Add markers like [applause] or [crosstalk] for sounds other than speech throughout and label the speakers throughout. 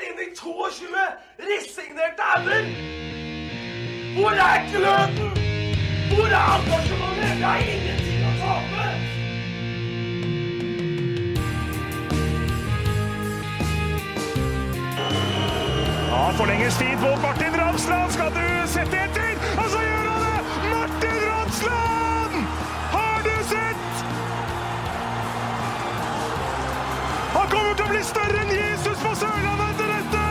Speaker 1: 22 resignerte ender! Hvor er gløden? Hvor er engasjementet? Jeg har ingenting å tape!
Speaker 2: Ja, forlenges tid på Martin Ramsland. Skal du sette etter? Og så gjør han det! Martin Ramsland! Har du sett? Han kommer til å bli større enn Jesus på Sørlandet etter dette!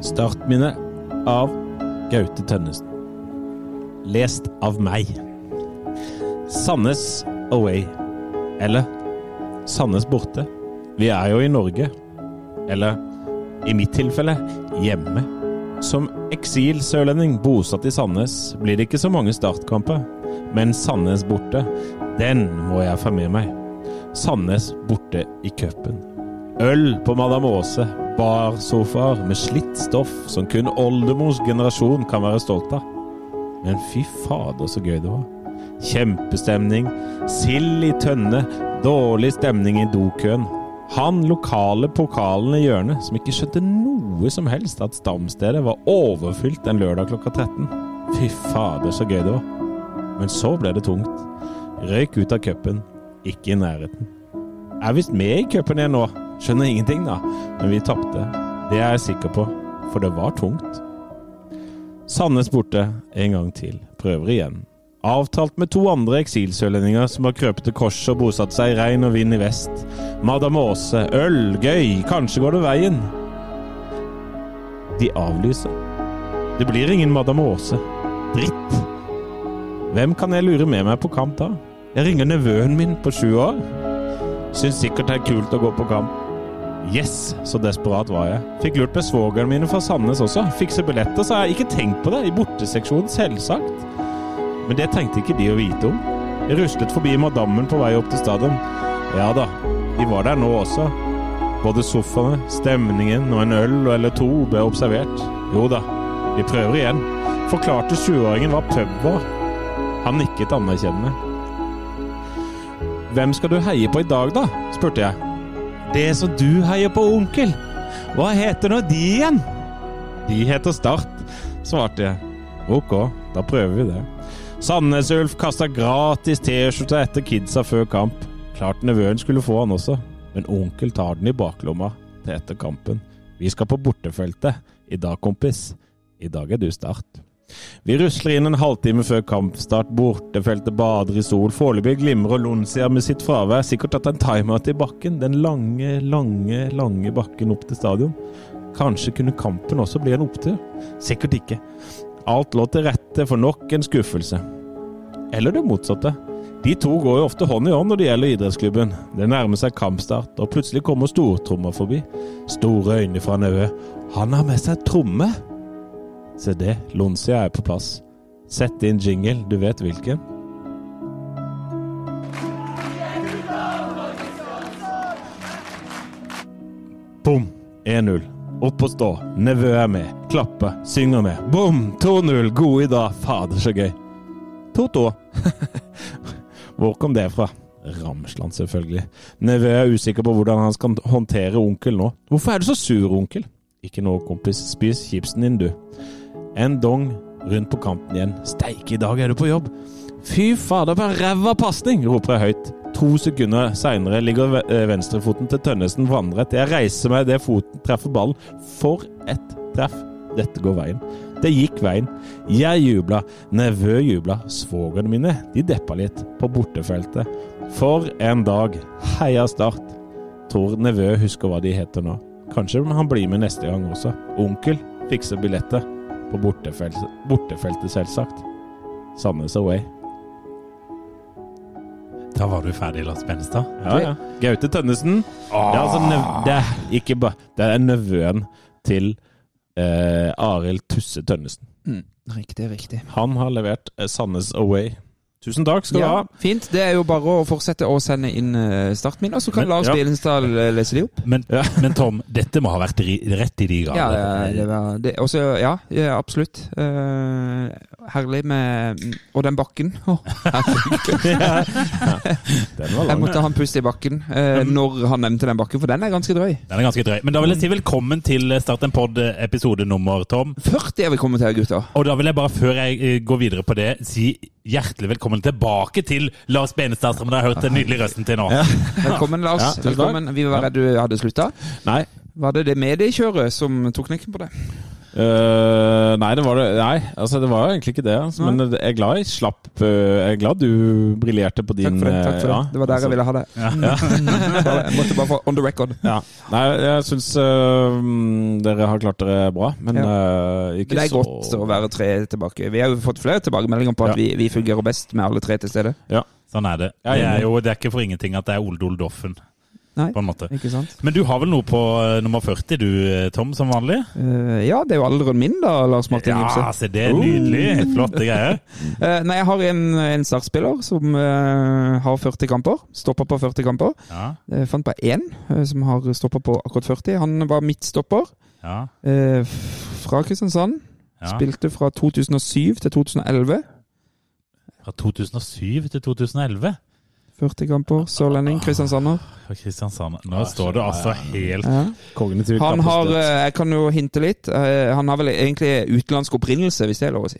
Speaker 3: Startminne av Gaute Tønnesen. Lest av meg. Sandnes away. Eller Sandnes borte. Vi er jo i Norge. Eller i mitt tilfelle hjemme. Som eksilsørlending bosatt i Sandnes blir det ikke så mange startkamper. Men Sandnes borte, den må jeg få med meg. Sandnes borte i cupen. Øl på Madam Åse, barsofaer med slitt stoff som kun oldemors generasjon kan være stolt av. Men fy fader, så gøy det var. Kjempestemning. Sild i tønne. Dårlig stemning i dokøen. Han lokale pokalen i hjørnet som ikke skjønte noe som helst at stamstedet var overfylt den lørdag klokka 13. Fy fader, så gøy det var. Men så ble det tungt. Røyk ut av cupen. Ikke i nærheten. Er visst med i cupen igjen nå. Skjønner ingenting, da. Men vi tapte. Det er jeg sikker på, for det var tungt. Sandnes borte en gang til. Prøver igjen. Avtalt med to andre eksilsørlendinger som har krøpet til korset og bosatt seg i regn og vind i vest. Madam Åse. Øl. Gøy. Kanskje går det veien. De avlyser. Det blir ingen Madam Åse. Dritt. Hvem kan jeg lure med meg på kamp da? Jeg ringer nevøen min på sju år. Syns sikkert det er kult å gå på kamp. Yes, så desperat var jeg. Fikk lurt med svogerne mine fra Sandnes også. Fikse billetter, så jeg har ikke tenkt på det. I borteseksjonen, selvsagt. Men det tenkte ikke de å vite om. Jeg ruslet forbi madammen på vei opp til stadion. Ja da, de var der nå også. Både sofaene, stemningen og en øl eller to ble observert. Jo da, vi prøver igjen. Forklarte 20-åringen hva pub var. Han nikket anerkjennende. Hvem skal du heie på i dag, da? spurte jeg. Det som du heier på, onkel. Hva heter nå de igjen? De heter Start, svarte jeg. Ok, da prøver vi det. Sandnes-Ulf kasta gratis T-skjorta etter kidsa før kamp. Klart nevøen skulle få han også, men onkel tar den i baklomma til etter kampen. Vi skal på bortefeltet. I dag, kompis. I dag er du Start. Vi rusler inn en halvtime før kampstart. Bortefeltet bader i sol. Foreløpig glimrer Lonsia med sitt fravær. Sikkert tatt en timeout i bakken. Den lange, lange, lange bakken opp til stadion. Kanskje kunne kampen også bli en opptur? Sikkert ikke. Alt lå til rette for nok en skuffelse. Eller det motsatte. De to går jo ofte hånd i hånd når det gjelder idrettsklubben. Det nærmer seg kampstart, og plutselig kommer stortromma forbi. Store øyne fra Naue. Han har med seg tromme! Se det, Lonsia er på plass. Sett inn jingle, du vet hvilken. Bom! 1-0. Opp og stå. Nevø er med. Klappe. Synger med. Bom! 2-0. God i dag. Fader, så gøy. 2-2. [laughs] Hvor kom det fra? Ramsland, selvfølgelig. Nevø er usikker på hvordan han skal håndtere onkel nå. Hvorfor er du så sur, onkel? Ikke noe, kompis. Spis chipsen din, du. En dong rundt på kanten igjen. Steike, i dag er du på jobb! Fy fader, for en ræva pasning! roper jeg høyt. To sekunder seinere ligger ve- eh, venstrefoten til Tønnesen vannrett. Jeg reiser meg idet foten treffer ballen. For et treff! Dette går veien. Det gikk veien. Jeg jubla. Nevø jubla. Svogerne mine de deppa litt på bortefeltet. For en dag. Heia Start. Tror nevø husker hva de heter nå. Kanskje han blir med neste gang også. Onkel fikser billetter. På bortefeltet, bortefeltet selvsagt. Sandnes away.
Speaker 4: Da var du ferdig, Lars Benstad.
Speaker 3: Ja, ja. Gaute Tønnesen.
Speaker 5: Ah.
Speaker 3: Det er altså nev- det er ikke ba Det er nevøen til eh, Arild Tusse Tønnesen.
Speaker 5: Riktig, riktig.
Speaker 3: Han har levert eh, Sandnes away. Tusen takk skal du
Speaker 5: Ja,
Speaker 3: ha.
Speaker 5: fint. Det er jo bare å fortsette å sende inn eh, starten min, og så kan
Speaker 4: Men-
Speaker 5: Lars
Speaker 3: ja.
Speaker 5: Billensdal eh, lese de opp.
Speaker 4: Men, men Tom, dette må ha vært ri- rett i de
Speaker 5: Ja,
Speaker 4: grader.
Speaker 5: det, det, var- det, også, ja, ja absolutt. Eh, herlig med Og den bakken. [laughs] Å, herregud.
Speaker 3: Den var
Speaker 5: jeg
Speaker 3: lang.
Speaker 5: måtte ha en pust i bakken eh, når han nevnte den bakken, for den er ganske drøy.
Speaker 4: Den er ganske drøy. Men da vil jeg si velkommen til Start en pod episode nummer, Tom.
Speaker 5: 40 er vi kommet til, gutter.
Speaker 4: Og da vil jeg bare, før jeg eh, går videre på det, si hjertelig velkommen tilbake til Lars Benestad, som dere har hørt den nydelige røsten til nå.
Speaker 5: Velkommen, Lars.
Speaker 3: Ja, tusen takk.
Speaker 5: Velkommen. Vi var redd du hadde slutta.
Speaker 3: Nei.
Speaker 5: Var det det mediekjøret som tok knekken på det?
Speaker 3: Øh, nei, det var det Nei, altså det var jo egentlig ikke det. Altså, men jeg er glad jeg slapp øh, Jeg er glad du briljerte på din
Speaker 5: Takk for det. takk
Speaker 3: øh,
Speaker 5: for
Speaker 3: ja,
Speaker 5: Det Det var der jeg ville ha det. [laughs] Bare- Jeg måtte bare få on the record.
Speaker 3: Ja. Nei, jeg syns eh, dere har klart dere bra, men øh, ikke
Speaker 5: Men det er
Speaker 3: så
Speaker 5: godt å være tre tilbake. Vi har jo fått flere tilbakemeldinger på at
Speaker 3: Ja.
Speaker 5: vi, vi fungerer best med alle tre til stede.
Speaker 3: Ja.
Speaker 4: Sånn er det.
Speaker 3: Ja,
Speaker 4: Det
Speaker 3: ja.
Speaker 4: er jo det er ikke for ingenting at det er Oldol Doffen,
Speaker 5: Nei,
Speaker 4: på en måte.
Speaker 5: ikke sant?
Speaker 4: Men du har vel noe på eh, nummer 40, du, eh, Tom, som vanlig?
Speaker 5: Eh, ja, det er jo alderen min da, Lars Martin Gimse.
Speaker 4: Ja, se det. er
Speaker 3: Uh.
Speaker 4: Nydelig. Flotte greier.
Speaker 5: Eh, nei, jeg har en, en startspiller som eh, har 40 kamper. Stopper på 40 kamper.
Speaker 4: Ja,
Speaker 5: Jeg fant bare én eh, som har stoppa på akkurat 40. Han var midtstopper
Speaker 4: ja,
Speaker 5: eh, f- fra Kristiansand.
Speaker 4: ja.
Speaker 5: Spilte fra 2007 til 2011.
Speaker 4: Fra 2007 til 2011.
Speaker 5: 40 kamper. Sørlending, kristiansander.
Speaker 4: Fra Kristiansand. Nå står det altså
Speaker 3: [laughs]
Speaker 4: helt
Speaker 5: Ja.
Speaker 3: Kognitiv
Speaker 5: Han har,
Speaker 3: kapasitet.
Speaker 5: eh, jeg kan jo hinte litt, eh, han har vel egentlig utenlandsk opprinnelse, hvis det er lov å si.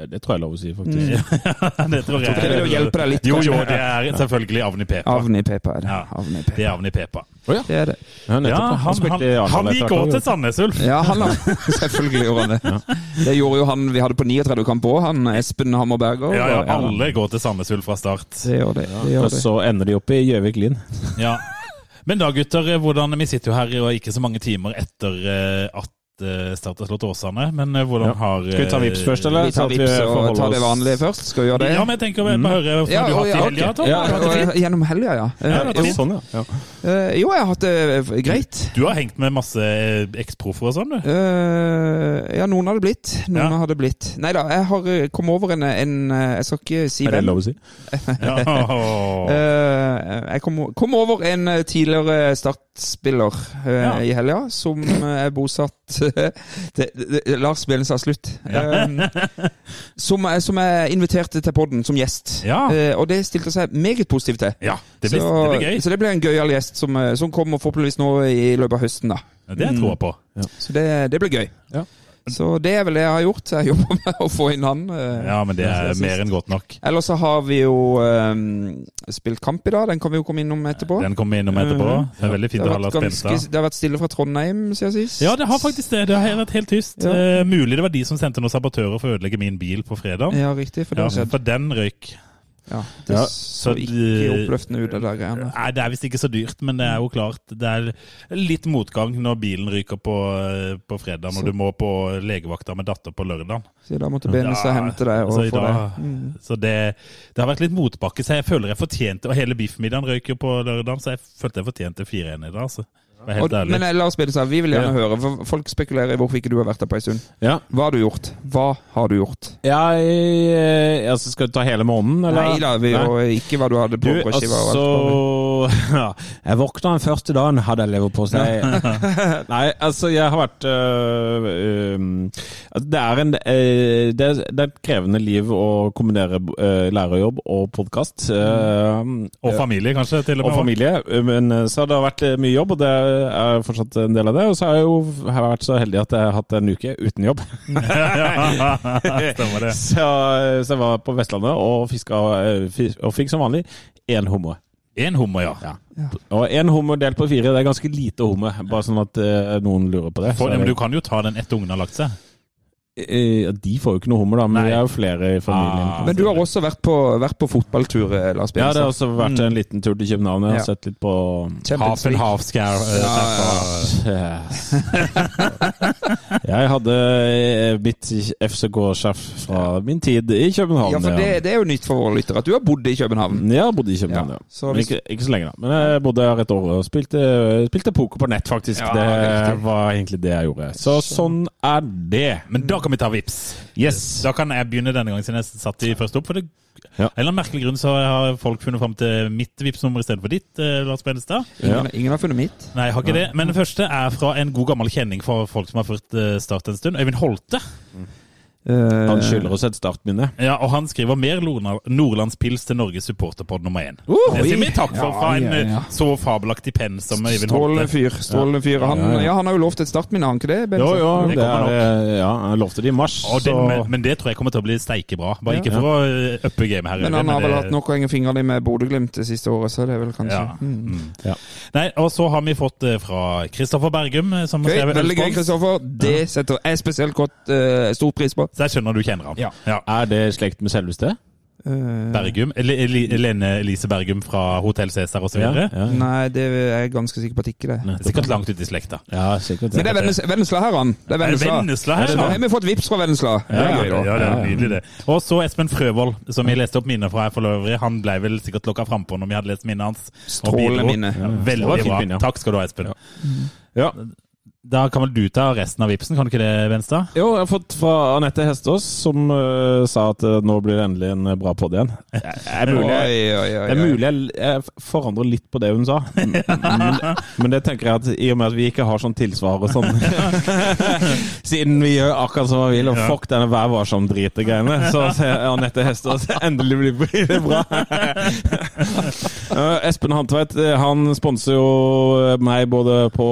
Speaker 3: eh, Det tror jeg er lov å si, faktisk.
Speaker 5: Mm.
Speaker 4: Det tror jeg.
Speaker 5: Det vil jo hjelpe deg litt.
Speaker 4: Jo, jo,
Speaker 5: kanskje.
Speaker 4: det er selvfølgelig Avni Pepa.
Speaker 5: Avni Pepa er det.
Speaker 4: Ja.
Speaker 5: Avni
Speaker 4: Det
Speaker 5: Pepa.
Speaker 4: er Avni Pepa.
Speaker 5: Det er det.
Speaker 3: [laughs] Ja, nettopp,
Speaker 4: Ja,
Speaker 3: ja.
Speaker 4: han, han,
Speaker 3: spilte i Arendal
Speaker 4: han gikk
Speaker 3: etter hvert
Speaker 4: òg til
Speaker 3: også.
Speaker 4: Sandnes Ulf.
Speaker 5: Ja,
Speaker 4: [laughs]
Speaker 5: han har Selvfølgelig gjorde han det. Det gjorde jo han vi hadde på 39 kamp òg, han Espen Hammerberger.
Speaker 4: Ja, ja,
Speaker 5: Og-
Speaker 4: alle går til Sandnes Ulf fra start.
Speaker 5: Det gjør det. det, gjør
Speaker 3: Og
Speaker 5: det.
Speaker 3: så ender de opp i Gjøvik Linn.
Speaker 4: Ja. Men da, gutter, hvordan, vi sitter jo her og ikke så mange timer etter eh, at eh, Start har slått Åsane, men eh, hvordan
Speaker 3: Ja.
Speaker 4: har eh,
Speaker 3: Skal vi ta Vips først, eller?
Speaker 5: Vi tar
Speaker 3: Så at vi
Speaker 5: vips og
Speaker 3: forholder
Speaker 5: tar det
Speaker 3: oss-
Speaker 5: vanlige først. Skal vi gjøre det?
Speaker 4: Ja, men jeg tenker
Speaker 3: Mm.
Speaker 4: bare bare høre hvordan
Speaker 5: Ja,
Speaker 4: du har hatt
Speaker 5: ja,
Speaker 4: i
Speaker 5: ok.
Speaker 4: helga, Tom.
Speaker 5: Ja,
Speaker 4: Har du hatt det
Speaker 5: og,
Speaker 4: fint?
Speaker 5: gjennom helga, ja. Eh,
Speaker 4: Ja, det var
Speaker 5: jo.
Speaker 4: fint.
Speaker 3: Sånn, ja. ja.
Speaker 5: Eh, jo, jeg har hatt det eh, greit.
Speaker 4: Du har hengt med masse eksprofer og sånn,
Speaker 5: [laughs]
Speaker 4: du.
Speaker 5: Eh, ja, noen har det blitt. Noen
Speaker 4: Ja.
Speaker 5: har det blitt. Nei da, jeg har eh, kommet over en, en eh, Jeg skal ikke si
Speaker 3: Er det
Speaker 5: hvem.
Speaker 3: lov å si?
Speaker 4: Ja.
Speaker 5: Eh, jeg kom, kom over en eh, tidligere startspiller eh,
Speaker 4: Ja.
Speaker 5: i helga, som eh, er bosatt [laughs] det, det, det- Lars Billens har slutt. Um, som, er- som jeg inviterte til podden som gjest.
Speaker 4: Ja.
Speaker 5: Eh, og det stilte seg meget positivt til.
Speaker 4: ja det, blir,
Speaker 5: så,
Speaker 4: det blir gøy.
Speaker 5: så det blir en gøyal gjest som, eh, som kommer forhåpentligvis nå i løpet av høsten. da
Speaker 4: Det tror jeg på.
Speaker 5: Så det, det blir gøy.
Speaker 3: Ja.
Speaker 5: Så det er vel det jeg har gjort. Jeg jobber med å få inn han. eh,
Speaker 4: Ja, men det er
Speaker 5: Jeg synes-
Speaker 4: mer enn godt nok.
Speaker 5: Ellers så har vi jo eh, spilt kamp i dag. Den kan vi jo komme innom etterpå.
Speaker 4: Den kommer vi innom etterpå. Det er veldig
Speaker 5: Det
Speaker 4: fint å
Speaker 5: har,
Speaker 4: ha Lars
Speaker 5: vært Mm. ganske,
Speaker 4: Benstad.
Speaker 5: det har vært stille fra Trondheim siden sist.
Speaker 4: Ja, det har faktisk det. Det har vært helt tyst.
Speaker 5: Ja.
Speaker 4: Eh, mulig det var de som sendte noen sabotører for å ødelegge min bil på fredag.
Speaker 5: Ja, riktig, for
Speaker 4: Ja,
Speaker 5: det har skjedd.
Speaker 4: for den røyk.
Speaker 5: Ja, det
Speaker 3: Ja,
Speaker 4: så
Speaker 5: så ikke
Speaker 4: de-
Speaker 5: oppløftende ut, det der greiene.
Speaker 4: Nei, det er visst ikke så dyrt, men det er jo klart det er litt motgang når bilen ryker på, eh, på fredag,
Speaker 5: Så-
Speaker 4: når du må på legevakta med datter på lørdag.
Speaker 5: Så da måtte Benes og hente deg og
Speaker 4: så, Altså, i
Speaker 5: få deg.
Speaker 4: dag- så det, det har vært litt motbakke, så jeg føler jeg fortjente Og hele biffmiddagen røyker på lørdag, så jeg følte jeg fortjente 4-1 i dag. Altså. Vær
Speaker 5: Og,
Speaker 4: helt ærlig.
Speaker 5: men eh, Lars Bedestad, vi vil gjerne
Speaker 3: Ja.
Speaker 5: høre, for folk spekulerer i hvorfor ikke du har vært der på ei stund.
Speaker 3: Ja.
Speaker 5: Hva har du gjort? Hva har du gjort?
Speaker 3: Jeg, eh, altså, skal du ta hele måneden, eller?
Speaker 5: Nei da, vi,
Speaker 3: Nei.
Speaker 5: og ikke hva du hadde på
Speaker 3: Du,
Speaker 5: på skiva. og alt mulig.
Speaker 3: altså [laughs] ja, Jeg våkna den første dagen, hadde jeg leverpostei. [laughs]
Speaker 4: [laughs]
Speaker 3: Nei, altså, jeg har vært øh, øhm, altså, Det er en øh, det, er- det er et krevende liv å kombinere øh, lærerjobb og podkast.
Speaker 4: Mm. og familie, kanskje, til og
Speaker 3: og
Speaker 4: med.
Speaker 3: familie, men øh, så har det vært øh, mye jobb, og det er fortsatt en del av det. Og så har jeg jo har jeg vært så heldig at jeg har hatt en uke uten
Speaker 4: [laughs]
Speaker 3: jobb.
Speaker 4: [laughs] Stemmer [laughs] det.
Speaker 3: [laughs] Så, øh, så jeg var på Vestlandet og, fiska, øh, fi- og fikk som vanlig én hummer.
Speaker 4: Én hummer, ja.
Speaker 3: Og én hummer delt på fire, det er ganske lite hummer. Bare sånn at eh, noen lurer på det.
Speaker 4: For,
Speaker 3: Så
Speaker 4: men
Speaker 3: er
Speaker 4: du kan jo ta den etter ungen har lagt seg.
Speaker 3: det- eh, ja, de får jo ikke noe hummer, da, men
Speaker 4: Nei.
Speaker 3: vi er jo flere i familien.
Speaker 4: Ah.
Speaker 5: Men du har også vært på, vært på fotballtur, eh, Lars
Speaker 3: ja, det har
Speaker 5: Bedestad.
Speaker 3: også vært en liten tur til København. Jeg har
Speaker 5: Mm. Ja.
Speaker 3: sett litt på
Speaker 5: Champions League.
Speaker 4: half scare. eh,
Speaker 3: Yes. [laughs] Jeg hadde eh, mitt FCK-sjef fra min tid i København.
Speaker 5: Ja, for det, det er jo nytt for våre lyttere at du har bodd i København.
Speaker 3: Ja, jeg bodde i København,
Speaker 5: Ja,
Speaker 3: ja.
Speaker 5: så
Speaker 3: Men
Speaker 5: hvis-
Speaker 3: ikke, ikke så lenge, da. Men jeg bodde her et år og spilte, spilte poker på nett, faktisk.
Speaker 5: Ja,
Speaker 3: det
Speaker 5: riktig.
Speaker 3: var egentlig det jeg gjorde. Så sånn er det.
Speaker 4: Men da Da kan vi ta vips.
Speaker 3: Yes!
Speaker 4: Da kan jeg begynne denne gangen, siden jeg satt i første opp. For det,
Speaker 3: Ja.
Speaker 4: av en eller annen merkelig grunn så har folk funnet fram til mitt Vipps-nummer istedenfor ditt, eh, Lars Benestad.
Speaker 5: Ingen, ingen har funnet mitt.
Speaker 4: Nei, jeg har ikke det. Men den første er fra en god gammel kjenning for folk som har ført eh, Start en stund. Øyvind Holte.
Speaker 5: Eh,
Speaker 3: Han skylder oss et startminne.
Speaker 4: Ja, og han skriver mer Lorna- Nordlandspils til Norges supporterpod nummer én.
Speaker 5: Oh,
Speaker 4: det sier vi takk for
Speaker 5: ja,
Speaker 4: fra en
Speaker 5: ja,
Speaker 4: eh,
Speaker 5: ja.
Speaker 4: så fabelaktig penn som Øyvind
Speaker 5: Strålende
Speaker 4: Holte.
Speaker 5: fyr. Strålende fyr. Han,
Speaker 3: Ja, ja.
Speaker 5: ja, han har jo lovt et startminne, har han ikke det? Benson?
Speaker 3: Jo, jo,
Speaker 4: det
Speaker 3: det
Speaker 4: kommer
Speaker 3: er,
Speaker 4: nok.
Speaker 3: eh, ja, jeg lovte det i mars,
Speaker 4: Og
Speaker 3: så
Speaker 4: den, men, men det tror jeg kommer til å bli steikebra. Bare ikke for å eh, uppe gamet her.
Speaker 5: Men han
Speaker 4: Øyvind,
Speaker 5: har vel
Speaker 4: det-
Speaker 5: hatt nok av fingrene med Bodø-Glimt det siste året, så det er vel kanskje
Speaker 4: Ja.
Speaker 5: Mm.
Speaker 3: Ja.
Speaker 4: Nei, og så har vi fått det fra Kristoffer Bergum. eh, Som har
Speaker 5: Gøy,
Speaker 4: skrevet
Speaker 5: veldig gøy,
Speaker 4: Ølspons.
Speaker 5: Kristoffer. Det setter jeg spesielt godt eh, stor pris på.
Speaker 4: Så jeg skjønner du kjenner han.
Speaker 5: Ja.
Speaker 3: Er det i slekt med selveste?
Speaker 5: Eh,
Speaker 4: Bergum, eller Eli- Lene Elise Bergum fra Hotell Cæsar osv.
Speaker 3: Ja,
Speaker 4: videre
Speaker 3: ja.
Speaker 5: Nei, det er jeg ganske sikker på at ikke det.
Speaker 4: Det er Sikkert langt ute i slekta.
Speaker 3: ja sikkert.
Speaker 5: Men det er Vennes- Vennesla her, han. Det er Vennesla.
Speaker 4: Vennesla her,
Speaker 5: Så nå
Speaker 4: da.
Speaker 5: har vi fått vips fra Vennesla. Det er
Speaker 4: Ja,
Speaker 5: gøy, da.
Speaker 4: ja, det er nydelig det. Og så Espen Frøvold, som jeg leste opp minnet fra her for øvrig. Han ble vel sikkert lokka frampå når vi hadde lest minnet hans. og
Speaker 5: Strålende
Speaker 4: bidro.
Speaker 5: minne.
Speaker 4: Ja,
Speaker 3: Det var
Speaker 4: Veldig
Speaker 3: fint
Speaker 4: bra.
Speaker 3: minne, ja.
Speaker 4: Takk skal du ha, Espen.
Speaker 3: Ja.
Speaker 4: Da kan vel du ta resten av vipsen, kan du ikke det, Venstad?
Speaker 3: Jo, jeg har fått fra Anette Hestås, som eh, sa at eh, nå blir det endelig en eh, bra podd igjen. Det er mulig, jeg,
Speaker 5: Oi, oi, oi,
Speaker 3: det er
Speaker 5: oi.
Speaker 3: mulig jeg, jeg forandrer litt på det hun sa. Men, men det tenker jeg at i og med at vi ikke har sånn tilsvar og sånn Siden vi gjør akkurat som vi vil, og fuck denne vær varsom-drite-greiene, så ser Anette Hestås endelig blir- blir det bra. Eh, Espen Hantveit eh, han sponser jo eh, meg både på,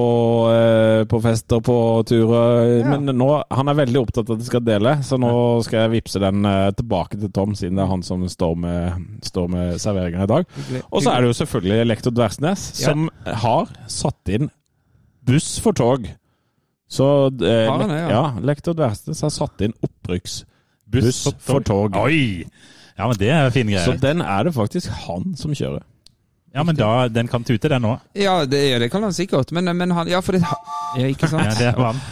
Speaker 3: eh, på fest og på tur. eh, Men nå, han er veldig opptatt av at de skal dele, så nå skal jeg vippse den eh, tilbake til Tom, siden det er han som står med, står med serveringa i dag. Og så er det jo selvfølgelig Lektor Dversnes, som har satt inn buss for tog. Så eh,
Speaker 5: Har han det, ja?
Speaker 3: ja, Lektor Dversnes har satt inn opprykksbuss
Speaker 4: Buss
Speaker 3: for tog.
Speaker 4: Oi! Ja, men det er fine
Speaker 3: Så
Speaker 4: greier.
Speaker 3: den er det faktisk han som kjører.
Speaker 4: Ja, men da, Den kan tute, den òg.
Speaker 5: Ja, det, ja, det kan han sikkert. Men, men han Ja, for det ja, Ikke
Speaker 4: Ja,
Speaker 5: sant?
Speaker 4: det var han.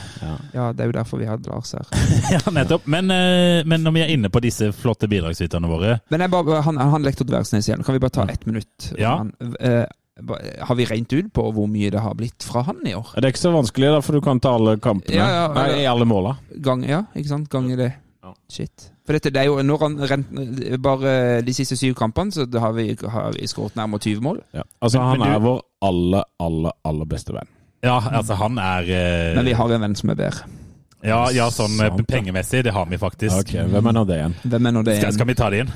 Speaker 5: Ja, det er jo derfor vi hadde Lars her.
Speaker 4: [laughs] Ja, nettopp. Men, eh, men når vi er inne på disse flotte bidragsyterne våre
Speaker 5: Men jeg bare, han, han lektor Dversnes igjen. Kan vi bare ta ett minutt?
Speaker 4: Ja.
Speaker 5: Han, eh, ba- har vi regnet ut på hvor mye det har blitt fra han i år?
Speaker 3: Det er ikke så vanskelig, da, for du kan ta alle kampene.
Speaker 5: Ja, ja,
Speaker 3: Nei,
Speaker 5: ja.
Speaker 3: i alle måla.
Speaker 5: Gang, ja, ikke sant? Ganger det.
Speaker 3: Ja.
Speaker 5: Shit. For dette det er jo Når han rent, bare de siste syv kampene, så har vi, har vi skåret nærmere 20 mål.
Speaker 3: Ja. Altså,
Speaker 4: Men- men
Speaker 3: han er
Speaker 4: du-
Speaker 3: vår aller, aller, aller beste venn.
Speaker 4: Ja, altså, han er eh,
Speaker 5: Men vi har en venn som er bedre.
Speaker 4: Ja, ja sånn eh,
Speaker 3: Sant, da.
Speaker 4: pengemessig, det har vi faktisk.
Speaker 3: Ok, Hvem er nå det igjen?
Speaker 5: Hvem er nå det?
Speaker 4: Skal, skal vi ta det inn?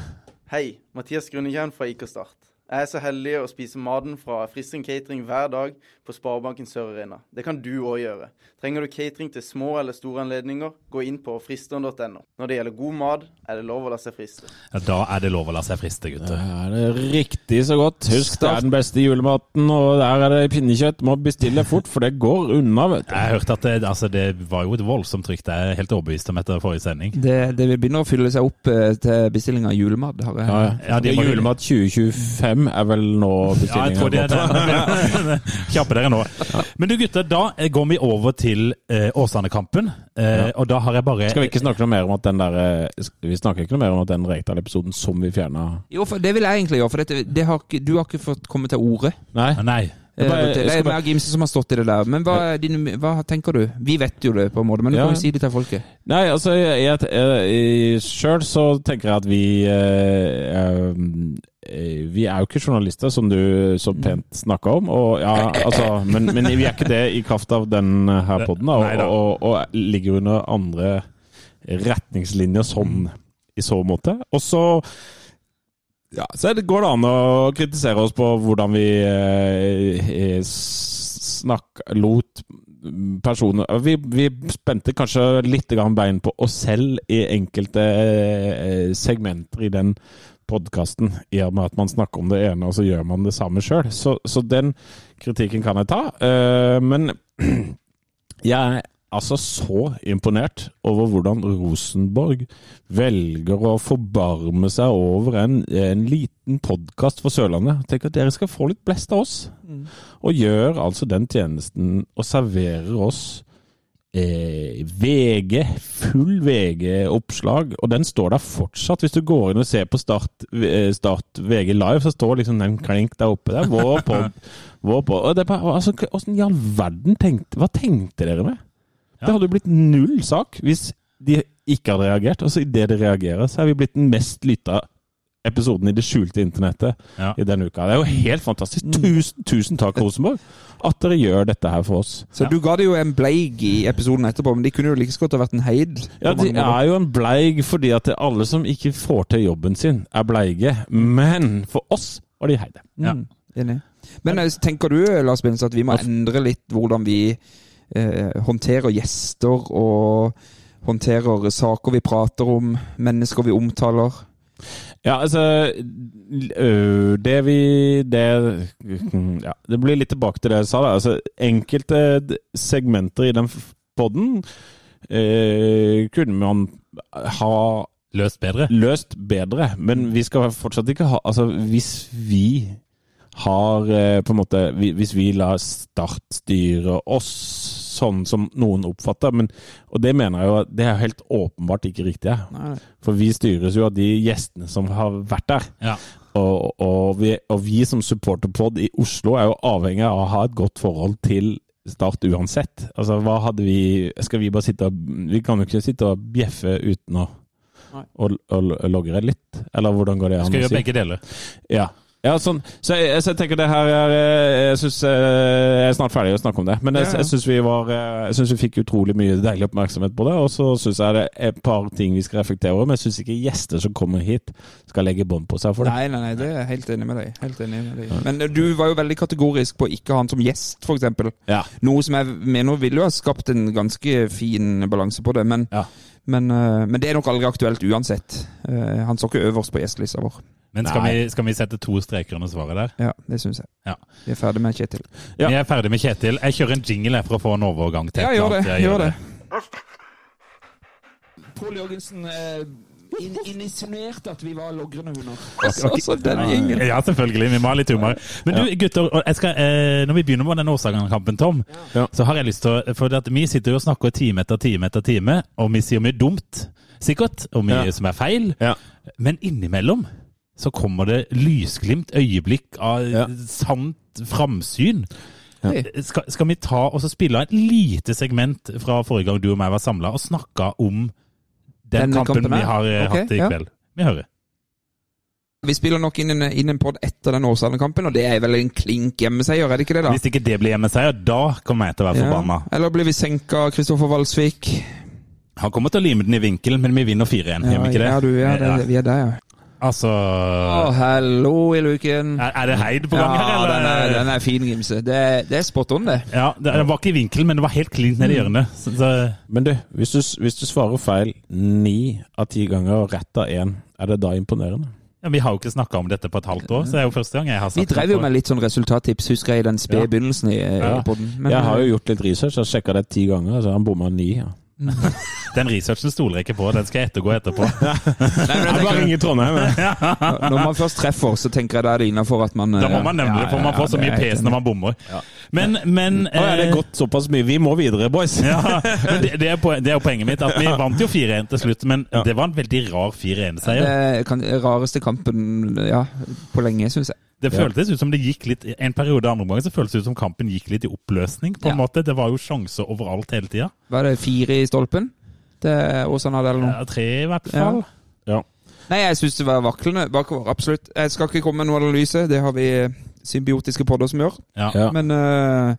Speaker 6: Hei, Mathias Grunnekjern fra IK Start. Jeg er så heldig å spise maten fra Fristing Catering hver dag på Sparebanken Sør Arena. Det kan du òg gjøre. Trenger du catering til små eller store anledninger, gå inn på fristeren.no. Når det gjelder god mat, er det lov å la seg friste.
Speaker 4: Ja, da er det lov å la seg friste,
Speaker 3: Det
Speaker 4: gutter.
Speaker 3: er det riktig så godt. Husk, det er den beste julematen, og der er det pinnekjøtt. Må bestille fort, for det går unna, vet du.
Speaker 4: Jeg hørte at det, altså, det var jo et voldsomt trykk. Det er jeg helt overbevist om etter forrige sending.
Speaker 5: Det, det begynner å fylle seg opp eh, til bestilling av julemat. Har jeg.
Speaker 3: Ja,
Speaker 4: Ja, det
Speaker 3: det
Speaker 4: må-
Speaker 3: julemat 2025 er vel nå
Speaker 4: Ja, jeg tror det
Speaker 3: bestillinga
Speaker 4: er det. [laughs] Kjappe dere nå. Men du gutter, da eh, går vi over til eh, Åsane-kampen. Eh, Og da har jeg bare
Speaker 3: Skal vi ikke snakke noe mer om at den der eh, Vi snakker ikke noe mer om at den Reitdal-episoden som vi fjerna
Speaker 5: Jo, for det vil jeg egentlig gjøre, for dette, det har, ikke- du har ikke fått komme til ordet.
Speaker 3: Nei?
Speaker 4: Nei.
Speaker 5: Eh,
Speaker 3: Bare-
Speaker 5: det
Speaker 3: jeg
Speaker 5: er
Speaker 3: skal
Speaker 5: meg og Gimse som har stått i det der. Men hva, er din, hva tenker du? Vi vet jo det, på en måte, men du
Speaker 3: Ja.
Speaker 5: kan jo si det til folket.
Speaker 3: Nei, altså jeg, jeg, jeg, Sjøl så tenker jeg at vi eh, eh, Vi er jo ikke journalister, som du så pent snakka om. Og, ja, altså, men, men vi er ikke det i kraft av den eh, her poden, da,
Speaker 4: Nei da.
Speaker 3: og, og, og ligger under andre retningslinjer sånn i så måte. Og så ja, så er det, går det an å kritisere oss på hvordan vi eh, eh, s- snakk, lot personer vi, vi spente kanskje litt grann bein på oss selv i enkelte eh, segmenter i den podkasten, i og med at man snakker om det ene, og så gjør man det samme sjøl. Så, så den kritikken kan jeg ta. Eh, men [clears throat] jeg er altså så imponert over hvordan Rosenborg velger å forbarme seg over en, en liten podkast for Sørlandet. Tenk at dere skal få litt blest av oss. Og gjør altså den tjenesten og serverer oss eh, VG, full VG-oppslag, og den står der fortsatt. Hvis du går inn og ser på Start, eh, start VG Live, så står liksom den klink der oppe. der, Vår [laughs] pod, vår pod. Og det er bare, altså, hvordan i all verden tenkte Hva tenkte dere med? Det hadde jo blitt null sak hvis de ikke hadde reagert. Og så idet de reagerer, så er vi blitt den mest lytta episoden i det skjulte internettet
Speaker 4: Ja.
Speaker 3: i denne uka. Det er jo helt fantastisk. Tusen, tusen [laughs] takk, Rosenborg, at dere gjør dette her for oss.
Speaker 5: Så du ga det jo en bleig i episoden etterpå, men de kunne jo like så godt ha vært en heid.
Speaker 3: Ja, de er jo en bleig fordi at det er alle som ikke får til jobben sin, er bleige. Men for oss var de heide.
Speaker 4: Ja.
Speaker 5: Mm, enig. Men eh, tenker du, Lars Bindens, at vi må endre litt hvordan vi eh, håndterer gjester og håndterer saker vi prater om, mennesker vi omtaler?
Speaker 3: Ja, altså øh, Det vi det, mm, ja, det blir litt tilbake til det jeg sa. Da. Altså, enkelte d- segmenter i den poden kunne man ha
Speaker 4: Løst bedre.
Speaker 3: løst bedre, men vi skal fortsatt ikke ha Altså, hvis vi har eh, på en måte vi- Hvis vi lar Start styre oss sånn som noen oppfatter men, Og det mener jeg jo at det er helt åpenbart ikke riktig. her. For vi styres jo av de gjestene som har vært der.
Speaker 4: Ja.
Speaker 3: Og, og, vi, og vi som supporterpod i Oslo er jo avhengig av å ha et godt forhold til Start uansett. Altså, hva hadde vi Skal vi bare sitte og Vi kan jo ikke sitte og bjeffe uten å
Speaker 5: Nei.
Speaker 3: og, og, logre litt, eller hvordan går det an
Speaker 4: Skal
Speaker 3: å
Speaker 4: gjøre
Speaker 3: si?
Speaker 4: begge deler.
Speaker 3: Ja. ja sånn. Så jeg, så jeg tenker det her er eh, Jeg synes, eh, jeg er snart ferdig å snakke om det, men jeg,
Speaker 5: Ja, ja.
Speaker 3: jeg syns vi var eh, Jeg synes vi fikk utrolig mye deilig oppmerksomhet på det, og så syns jeg det er et par ting vi skal reflektere over, men jeg syns ikke gjester som kommer hit, skal legge bånd på seg for det.
Speaker 5: Nei, nei, nei, det er jeg helt enig med deg. Helt enig med deg. Men eh, du var jo veldig kategorisk på å ikke ha han som gjest, f.eks.
Speaker 3: Ja.
Speaker 5: Noe som jeg mener ville jo ha skapt en ganske fin balanse på det, men,
Speaker 3: Ja.
Speaker 5: men, eh, men det er nok aldri aktuelt uansett. Eh, Han står ikke øverst på gjestelista vår.
Speaker 4: Men skal
Speaker 3: Nei.
Speaker 4: vi, skal vi sette to streker under svaret der?
Speaker 5: Ja, det syns jeg.
Speaker 4: Ja.
Speaker 5: Vi er ferdig med Kjetil.
Speaker 3: Ja.
Speaker 4: Vi er ferdig med Kjetil. Jeg kjører en jingle her for å få en overgang til eh,
Speaker 5: Ja,
Speaker 4: et
Speaker 5: gjør
Speaker 4: eller
Speaker 5: det.
Speaker 4: annet. Jeg
Speaker 5: Gjør det.
Speaker 7: Pål Jørgensen eh, in, in insinuerte at vi var logrende hunder.
Speaker 5: Så, så Altså, den gjengen.
Speaker 4: Ja, selvfølgelig. Vi må ha litt humor. Men du, gutter, og jeg skal, eh, når vi begynner med den Årsagen-kampen, Tom,
Speaker 3: Ja.
Speaker 4: så har jeg lyst til å For at vi sitter jo og snakker time etter time etter time, og vi sier mye dumt, sikkert, og mye
Speaker 3: Ja.
Speaker 4: som er feil,
Speaker 3: Ja.
Speaker 4: men innimellom så kommer det lysglimt øyeblikk av
Speaker 3: Ja.
Speaker 4: sant framsyn.
Speaker 3: Ja.
Speaker 4: Skal, skal vi ta og så spille av et lite segment fra forrige gang du og meg var samla, og snakke om den
Speaker 5: Denne
Speaker 4: kampen,
Speaker 5: kampen
Speaker 4: vi
Speaker 5: her?
Speaker 4: har eh,
Speaker 5: Ok,
Speaker 4: hatt i
Speaker 5: ja.
Speaker 4: kveld? Vi hører.
Speaker 5: Vi spiller nok inn en, inn en pod etter den Åsane-kampen, og det er vel en klink hjemmeseier, er det ikke det, da?
Speaker 4: Hvis ikke det blir hjemmeseier, da kommer jeg til å være forbanna.
Speaker 5: Eller blir vi senka av Kristoffer Valsvik?
Speaker 4: Han kommer til å lime den i vinkel, men vi vinner 4-1, gjør vi ikke det?
Speaker 5: ja, du, ja, det,
Speaker 4: Ja.
Speaker 5: vi er der, ja.
Speaker 4: Altså
Speaker 5: Å, hallo i luken.
Speaker 4: Er er det heid på
Speaker 5: Ja,
Speaker 4: gang her, eller?
Speaker 5: den er, den er fin, Gimse. Det, er- det er spot on, det.
Speaker 4: Ja, det, det var ikke i vinkel, men det var helt klint nede i
Speaker 5: Mm.
Speaker 4: hjørnet. Så, så,
Speaker 3: Men du, hvis du, hvis du svarer feil ni av ti ganger og rett av én, er det da imponerende?
Speaker 4: ja, vi har jo ikke snakka om dette på et halvt år, så det er jo første gang jeg har
Speaker 5: Vi
Speaker 4: sagt
Speaker 5: drev
Speaker 4: det
Speaker 5: jo
Speaker 4: på-
Speaker 5: med litt sånn resultattips, husker jeg, i den spede
Speaker 3: Ja.
Speaker 5: begynnelsen i, i
Speaker 3: Ja.
Speaker 5: podden.
Speaker 3: jeg har jo gjort litt research, jeg sjekka det ti ganger, så han bomma ni. Ja.
Speaker 4: Den researchen stoler jeg ikke på, den skal jeg ettergå etterpå.
Speaker 5: [laughs] [laughs] Nei,
Speaker 3: Jeg
Speaker 5: men jeg
Speaker 3: bare
Speaker 5: tenker,
Speaker 3: ringer Trondheim. jeg.
Speaker 5: Når man først treffer, så tenker jeg da er det innafor at man
Speaker 4: [laughs]
Speaker 5: eh,
Speaker 4: Da må man nevne det, for man får så mye pes når man bommer. Men, men eh,
Speaker 3: Å, ja, det er gått såpass mye. Vi må videre, boys.
Speaker 4: [laughs]
Speaker 5: [laughs]
Speaker 4: Ja, men det, det, er poen, det er jo poenget mitt. At vi vant jo 4-1 til slutt, men
Speaker 3: Ja.
Speaker 4: det var en veldig rar 4-1-seier.
Speaker 5: Det kan, rareste kampen ja, på lenge, syns jeg.
Speaker 4: Det føltes ut som det gikk litt En periode andre omgang så føltes det ut som kampen gikk litt i oppløsning. på en
Speaker 5: Ja.
Speaker 4: måte. Det var jo sjanser overalt hele tida.
Speaker 5: Var det fire i stolpen? Det Åsan hadde eller noe?
Speaker 4: Ja, tre, i hvert fall.
Speaker 5: Nei, jeg syns det var vaklende bakover. Absolutt. Jeg skal ikke komme med noen analyse, det har vi eh, symbiotiske podder som gjør.
Speaker 4: Ja.
Speaker 3: Ja.
Speaker 5: Men, øh,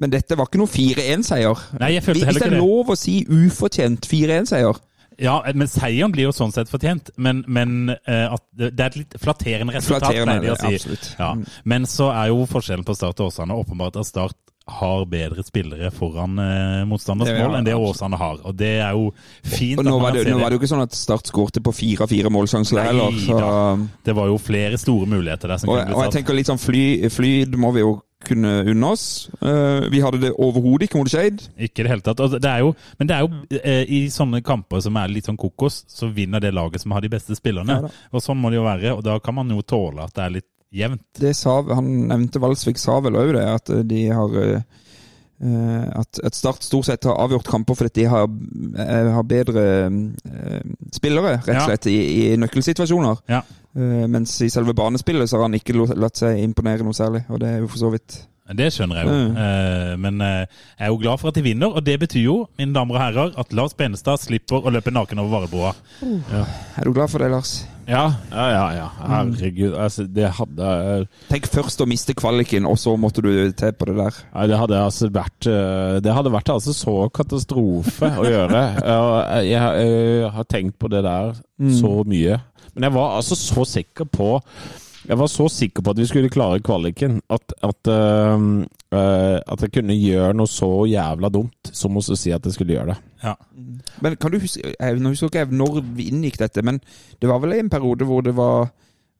Speaker 5: men dette var ikke noe 4-1-seier.
Speaker 4: Nei, jeg følte
Speaker 5: Hvis
Speaker 4: heller
Speaker 5: det
Speaker 4: ikke
Speaker 5: er
Speaker 4: det.
Speaker 5: lov å si ufortjent 4-1-seier
Speaker 4: Ja, Men seieren blir jo sånn sett fortjent. Men, men eh, at det det er et litt flatterende resultat,
Speaker 5: Flatterende,
Speaker 4: pleier de å si.
Speaker 5: absolutt. Mm.
Speaker 4: Ja. Men så er jo forskjellen på Start og Åsane åpenbart at Start har bedre spillere foran eh, motstanders
Speaker 5: Det- ja,
Speaker 4: mål enn det
Speaker 5: absolutt.
Speaker 4: Åsane har. Og det er jo fint.
Speaker 5: Og
Speaker 4: at
Speaker 5: nå
Speaker 4: man
Speaker 5: var, det,
Speaker 4: ser
Speaker 5: nå var det jo ikke sånn at Start skårte på fire av fire målsjanser
Speaker 4: Nei
Speaker 5: heller. Så,
Speaker 4: da.
Speaker 5: og,
Speaker 4: Det var jo flere store muligheter der som kunne
Speaker 5: og jeg
Speaker 4: blitt satt.
Speaker 5: tenker litt sånn fly, flyd må vi jo kunne unne oss. Eh, vi hadde det overhodet ikke mot Skeid.
Speaker 4: Ikke i det hele tatt. Altså, det er jo, men det er jo eh, i sånne kamper som er litt sånn kokos, så vinner det laget som har de beste spillerne. og sånn må det jo være, og da kan man jo tåle at det er litt jevnt.
Speaker 5: det sa, han nevnte Valsvik sa vel òg det, at de har eh, eh, at, at Start stort sett har avgjort kamper fordi de har, eh, har bedre eh, spillere, rett
Speaker 4: Ja.
Speaker 5: og slett, i, i nøkkelsituasjoner.
Speaker 4: Ja.
Speaker 5: Eh, mens i selve banespillet så har han ikke lo- latt seg imponere noe særlig, og det er jo for så vidt
Speaker 4: Det skjønner jeg jo. Eh, Men eh, jeg er jo glad for at de vinner, og det betyr jo, mine damer og herrer, at Lars Benestad slipper å løpe naken over Varebroa.
Speaker 5: Er du glad for det, Lars?
Speaker 3: Ja, ja, ja. ja. Herregud. Altså, det hadde
Speaker 5: Tenk først å miste kvaliken, og så måtte du til på det der.
Speaker 3: Nei, det hadde altså vært eh, Det hadde vært altså så katastrofe å gjøre. Og Jeg, eh, har tenkt på det der så mye. Men jeg var altså så sikker på jeg var så sikker på at vi skulle klare kvaliken, at, at, eh, eh, at jeg kunne gjøre noe så jævla dumt som å si at jeg skulle gjøre det.
Speaker 4: Ja.
Speaker 5: Men kan du huske jeg, Nå husker ikke jeg når vi inngikk dette, men det var vel en periode hvor det var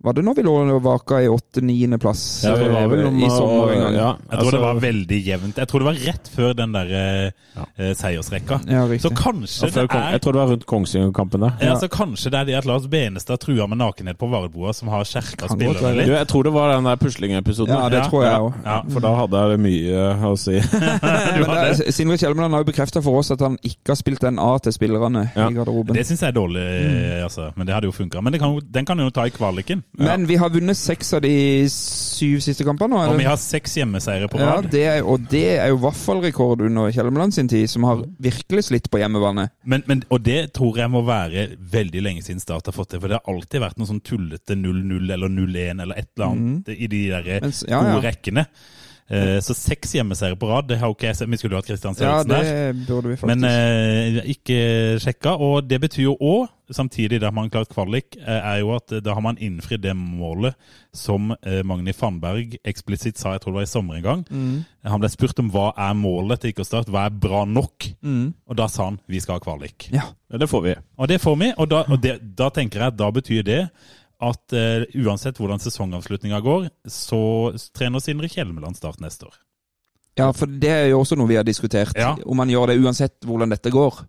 Speaker 5: Var det når vi lå og vaka i åtte-niendeplass?
Speaker 3: Ja, vi var vel om
Speaker 5: I
Speaker 3: å-
Speaker 5: sommer en gang.
Speaker 3: ja,
Speaker 4: Jeg tror
Speaker 3: altså-
Speaker 4: det var veldig jevnt. Jeg tror det var rett før den der eh, eh, seiersrekka.
Speaker 5: Ja, riktig.
Speaker 4: Så kanskje
Speaker 3: Ja, Altså, før
Speaker 4: det
Speaker 3: Kong-
Speaker 4: er
Speaker 3: Jeg tror det var rundt Kongsvinger-kampene.
Speaker 4: ja. så kanskje det er det at Lars Benestad trua med nakenhet på Varebroa, som har skjerka
Speaker 5: Kan godt
Speaker 4: spillerne
Speaker 5: være.
Speaker 3: Du,
Speaker 4: litt.
Speaker 3: jeg tror det var den der puslingepisoden.
Speaker 5: Ja, det tror jeg òg.
Speaker 4: Ja,
Speaker 3: For da hadde jeg det mye å si.
Speaker 5: Men det er- Sindre Kjelmeland har jo bekrefta for oss at han ikke har spilt NA til spillerne
Speaker 3: Ja.
Speaker 5: i garderoben.
Speaker 4: Det syns jeg er dårlig, altså. Men det hadde jo funka. Men det kan, jo- den kan jo ta i kvaliken.
Speaker 5: Mm. Men vi har vunnet seks av de syv siste kampene nå.
Speaker 4: Og
Speaker 5: eller?
Speaker 4: vi har seks hjemmeseiere på
Speaker 5: Ja,
Speaker 4: rad.
Speaker 5: det er, og det er jo vaffelrekord under Kjelmeland sin tid, som har virkelig slitt på hjemmebane.
Speaker 4: Men, men, og det tror jeg må være veldig lenge siden Start har fått det. For det har alltid vært noe sånn tullete 0-0 eller 0-1 eller et eller annet i de der eh,
Speaker 5: Mens- Mm. ja, ja.
Speaker 4: gode rekkene. Eh, så seks hjemmeseiere på rad, det har jo ikke jeg sett. Vi skulle jo hatt Kristian
Speaker 5: Ja,
Speaker 4: Svendsen der.
Speaker 5: det burde vi faktisk.
Speaker 4: Men eh, ikke sjekka. Og det betyr jo òg, samtidig der man har klart kvalik, eh, er jo at eh, da har man innfridd det målet som eh, Magni Fannberg eksplisitt sa, jeg tror det var i sommer en gang. Han ble spurt om hva er målet til Ikkerstad, hva er bra nok? Og da sa han vi skal ha kvalik.
Speaker 5: ja.
Speaker 3: Det får vi.
Speaker 4: Og det får vi, og da, og det, da tenker jeg at da betyr det at eh, uansett hvordan sesongavslutninga går, så trener Sindre Kjelmeland Start neste år.
Speaker 5: ja, for det er jo også noe vi har diskutert.
Speaker 4: Ja.
Speaker 5: Om man gjør det uansett hvordan dette går.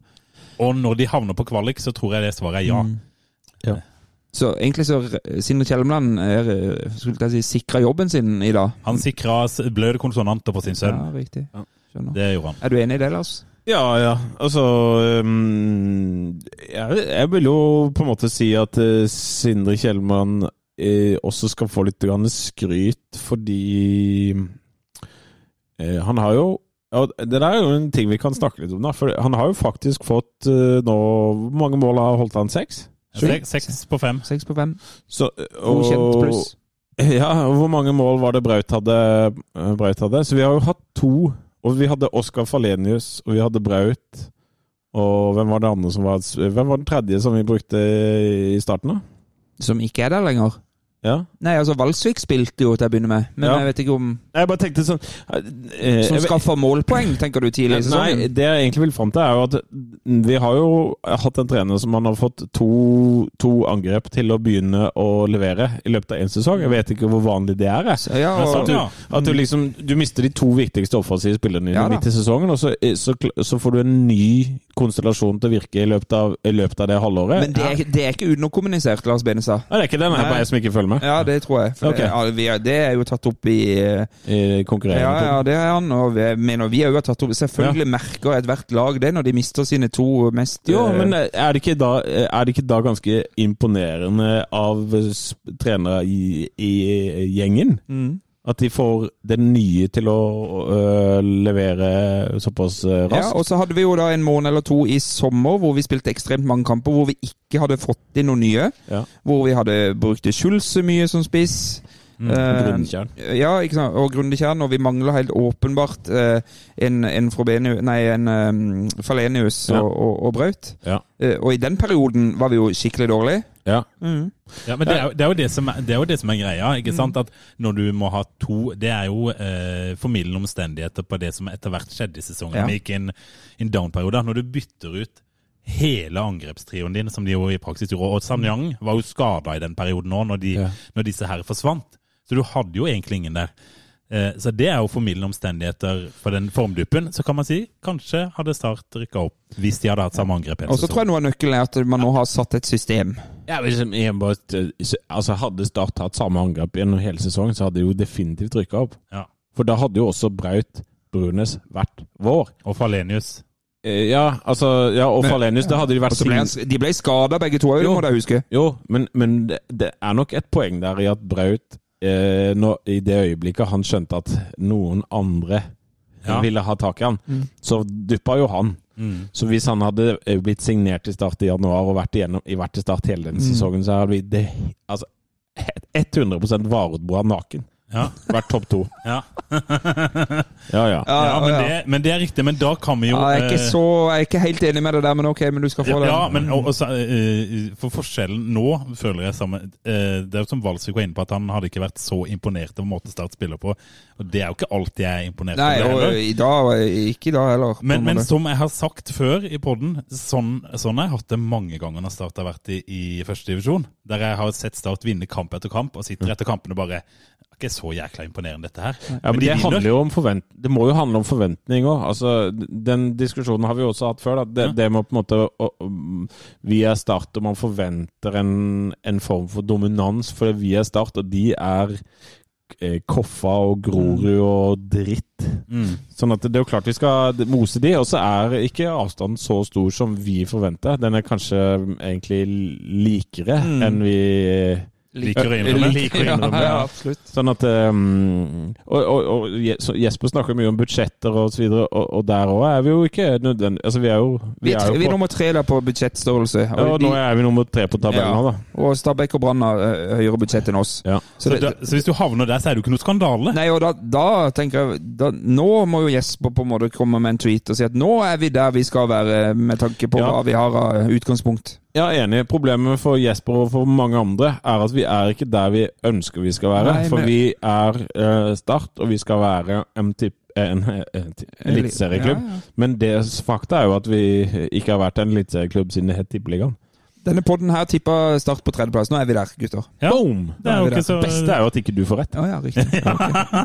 Speaker 4: Og når de havner på kvalik, så tror jeg det svaret er ja.
Speaker 5: Så egentlig så r- Sindre Kjelmeland er, skulle jeg si, sikra jobben sin i dag.
Speaker 4: Han sikra s- bløde konsonanter på sin sønn.
Speaker 5: Ja, riktig. Skjønner.
Speaker 4: Det gjorde han.
Speaker 5: Er du enig i det, Lars?
Speaker 3: Ja, ja. Altså øhm, jeg, jeg vil jo på en måte si at eh, Sindre Kjellmann eh, også skal få litt grann skryt, fordi eh, han har jo ja, Det der er jo en ting vi kan snakke litt om, da. For han har jo faktisk fått eh, nå Hvor mange mål har holdt han? Seks?
Speaker 4: Sek- Seks på fem.
Speaker 5: Seks på fem.
Speaker 3: Så,
Speaker 5: Godkjent pluss.
Speaker 3: [laughs] Ja, og hvor mange mål var det Braut hadde, eh, Braut hadde? Så vi har jo hatt to. Og vi hadde Oskar Falenius, og vi hadde Braut. Og hvem var det andre som var Hvem var den tredje som vi brukte i starten, da?
Speaker 5: Som ikke er der lenger.
Speaker 3: Ja.
Speaker 5: Nei, altså Valsvik spilte jo til å begynne med, men
Speaker 3: Ja.
Speaker 5: jeg vet ikke om
Speaker 3: Jeg bare tenkte sånn eh,
Speaker 5: Som
Speaker 3: jeg vet- Eh,
Speaker 5: skaffa målpoeng, tenker du, tidlig i
Speaker 3: Nei,
Speaker 5: sesongen?
Speaker 3: det jeg egentlig vil fram til, er jo at vi har jo hatt en trener som han har fått to, to angrep til å begynne å levere i løpet av én sesong. Jeg vet ikke hvor vanlig det er. Jeg. sånn,
Speaker 5: Ja,
Speaker 4: Men
Speaker 5: og,
Speaker 4: sant, ja.
Speaker 3: At du liksom Du mister de to viktigste offensive spillerne dine
Speaker 5: Ja da.
Speaker 3: midt i sesongen, og så, eh, så, så får du en ny konstellasjon til å virke i løpet av, i løpet av det halvåret.
Speaker 5: men det er, det er ikke utenomkommunisert, Lars Benestad.
Speaker 3: Nei, det er ikke den. Det er
Speaker 5: Nei.
Speaker 3: bare jeg som ikke følger med
Speaker 5: Ja, det tror jeg. For
Speaker 3: Ok.
Speaker 5: det, ja, vi er, det er jo tatt opp i eh,
Speaker 3: i
Speaker 5: Ja,
Speaker 3: konkurreringen.
Speaker 5: ja, det er han. Og vi, jeg mener, vi er jo tatt opp Selvfølgelig merker ethvert lag det når de mister sine to mest
Speaker 3: Jo,
Speaker 5: eh,
Speaker 3: men er det, ikke da, eh, er det ikke da ganske imponerende av eh, s- trenere i, i gjengen?
Speaker 5: Mm.
Speaker 3: At de får den nye til å øh, levere såpass øh,
Speaker 5: ja,
Speaker 3: raskt?
Speaker 5: og så hadde vi jo da en måned eller to i sommer hvor vi spilte ekstremt mange kamper hvor vi ikke hadde fått inn noen nye.
Speaker 3: Ja.
Speaker 5: Hvor vi hadde brukt Schulze mye som spiss.
Speaker 3: Mm.
Speaker 5: Eh,
Speaker 3: Grunnkjern.
Speaker 5: Ja, ikke sant? og Grundekjern, og vi mangler helt åpenbart eh, en, en, Frobenius, nei, en eh, Falenius
Speaker 3: Ja.
Speaker 5: og, og, og Braut.
Speaker 3: Ja.
Speaker 5: Eh, og i den perioden var vi jo skikkelig dårlige.
Speaker 3: Ja.
Speaker 4: Ja, men det er, jo- det, er jo det, som er, det er jo det som er greia. ikke
Speaker 5: Mm.
Speaker 4: sant? At når du må ha to Det er jo eh, formildende omstendigheter på det som etter hvert skjedde i sesongen.
Speaker 5: Ja.
Speaker 4: Vi gikk inn i en down-periode. Når du bytter ut hele angrepstrioen din, som de jo i praksis gjorde Og
Speaker 5: Mm.
Speaker 4: Samyang var jo skada i den perioden òg, når, de,
Speaker 3: Ja.
Speaker 4: når disse her forsvant. Så du hadde jo egentlig ingen der. Eh, så det er jo formildende omstendigheter for den formduppen. Så kan man si kanskje hadde Start rykka opp hvis de hadde hatt samme angrep. hele
Speaker 5: Og så
Speaker 4: sesongen.
Speaker 5: tror jeg noe av nøkkelen er at man nå har satt et system.
Speaker 3: Ja, hvis jeg bare, altså Hadde Start hatt samme angrep gjennom hele sesongen, så hadde de jo definitivt rykka opp.
Speaker 4: Ja.
Speaker 3: For da hadde jo også Braut Brunes vært vår.
Speaker 4: Og Falenius.
Speaker 3: Eh, Ja, altså, ja og Falenius, det hadde de vært
Speaker 5: Så ble han,
Speaker 3: sign-
Speaker 5: de ble skada begge to òg,
Speaker 3: Jo.
Speaker 5: må du huske.
Speaker 3: Jo, men, men det, det er nok et poeng der i at Braut eh, eh, når, i det øyeblikket han skjønte at noen andre
Speaker 4: Ja.
Speaker 3: ville ha tak i han, så duppa jo han. Så hvis han hadde eh, blitt signert til start i januar og vært, igjennom, i- vært til start hele den sesongen, så hadde vi det, altså, he- 100 Varodboa naken.
Speaker 4: Ja.
Speaker 3: Vært topp to.
Speaker 4: Ja.
Speaker 3: Ja, [laughs] ja.
Speaker 4: ja, men det, men det er riktig. Men da kan vi jo
Speaker 5: Ja, jeg, er ikke
Speaker 4: eh,
Speaker 5: så, jeg er ikke helt enig med deg der, men ok, men du skal få den.
Speaker 4: Ja, men og- og så, eh, for forskjellen nå, føler jeg samme eh, Det er jo som Walsvik var inne på, at han hadde ikke vært så imponert over måten Start spiller på. Og det er jo ikke alltid jeg er imponert
Speaker 5: Nei,
Speaker 4: over.
Speaker 5: og eh,
Speaker 4: heller.
Speaker 5: i dag Ikke i dag heller. på
Speaker 4: Men,
Speaker 5: en
Speaker 4: men
Speaker 5: måte.
Speaker 4: som jeg har sagt før i podden, sånn, sånn har jeg hatt det mange ganger når Start har vært i, i første divisjon. Der jeg har sett Start vinne kamp etter kamp, og sitter etter kampene og bare "Det er Ikke så jækla imponerende, dette her.
Speaker 3: Ja, men
Speaker 4: de
Speaker 3: det,
Speaker 4: vinner.
Speaker 3: handler jo om forvent det må jo handle om forventning òg. Altså, den diskusjonen har vi jo også hatt før. Da. Det, det med å på en måte å, å- Vi er Start, og man forventer en, en form for dominans fordi vi er Start, og de er eh, Koffa og Grorud og dritt.
Speaker 4: Mm.
Speaker 3: Sånn at det er jo klart vi skal mose de, og så er ikke avstanden så stor som vi forventer. Den er kanskje egentlig likere enn vi
Speaker 4: Liker å innrømme.
Speaker 3: Liker å innrømme,
Speaker 5: ja,
Speaker 3: ja.
Speaker 5: absolutt.
Speaker 3: Sånn at um, og, og, og Je- så Jesper snakker mye om budsjetter og så videre, og, og der òg er vi jo ikke nødvendig Altså, vi er jo
Speaker 5: Vi er, tre, vi er
Speaker 3: jo på,
Speaker 5: nummer tre der på budsjettstørrelse.
Speaker 3: ja, og
Speaker 5: de-
Speaker 3: nå er vi nummer tre på tabellen
Speaker 5: Ja.
Speaker 3: nå, da.
Speaker 5: og Stabæk og Brann har eh, høyere budsjett enn oss.
Speaker 3: Ja.
Speaker 5: Så
Speaker 4: Så,
Speaker 5: det,
Speaker 4: da, så hvis du havner der, så er det jo ikke noe skandale.
Speaker 5: nei, og da, da tenker jeg da, Nå må jo Jesper på en måte komme med en tweet og si at nå er vi der vi skal være, med tanke på
Speaker 3: Ja.
Speaker 5: hva vi har av utgangspunkt.
Speaker 3: Ja, enig. Problemet for Jesper og for mange andre er at vi er ikke der vi ønsker vi skal være.
Speaker 5: Nei,
Speaker 3: for
Speaker 5: men-
Speaker 3: vi er eh, Start, og vi skal være en, typ- en, en ti- eliteserieklubb.
Speaker 5: Ja, ja.
Speaker 3: Men det s- fakta er jo at vi ikke har vært en eliteserieklubb siden det het Tippeligaen.
Speaker 5: Denne podden her tippa Start på tredjeplass. Nå er vi der, gutter.
Speaker 4: Ja.
Speaker 3: Boom!
Speaker 4: Det er jo ikke så
Speaker 3: Det beste er jo at ikke du får rett.
Speaker 5: Ja, ja, riktig.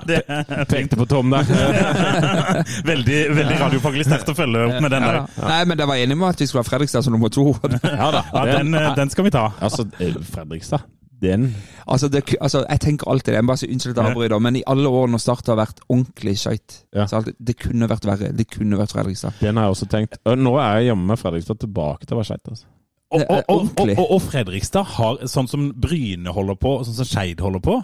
Speaker 4: det,
Speaker 3: Pekte på Tom der.
Speaker 5: [laughs]
Speaker 4: Veldig, veldig radiofaglig sterkt å følge opp med den der.
Speaker 5: Ja. Nei, men det var enig med at vi skulle ha Fredrikstad som nummer to. [laughs]
Speaker 3: Ja da.
Speaker 4: Ja, den, eh, den skal vi ta.
Speaker 3: Altså, eh, Fredrikstad. Den
Speaker 5: Altså, det, altså, jeg tenker alltid det. Jeg må bare si Unnskyld at jeg avbryter, men i alle år når Start har vært ordentlig skeit,
Speaker 3: Ja.
Speaker 5: så har alltid, det kunne vært verre. Det kunne vært Fredrikstad.
Speaker 3: Den har jeg også tenkt. Og Nå er jeg hjemme med Fredrikstad tilbake til å være skeit. Altså.
Speaker 4: Og, og, og, og,
Speaker 5: Ordentlig.
Speaker 4: og, og Fredrikstad har, sånn som Bryne holder på, og sånn som Skeid holder på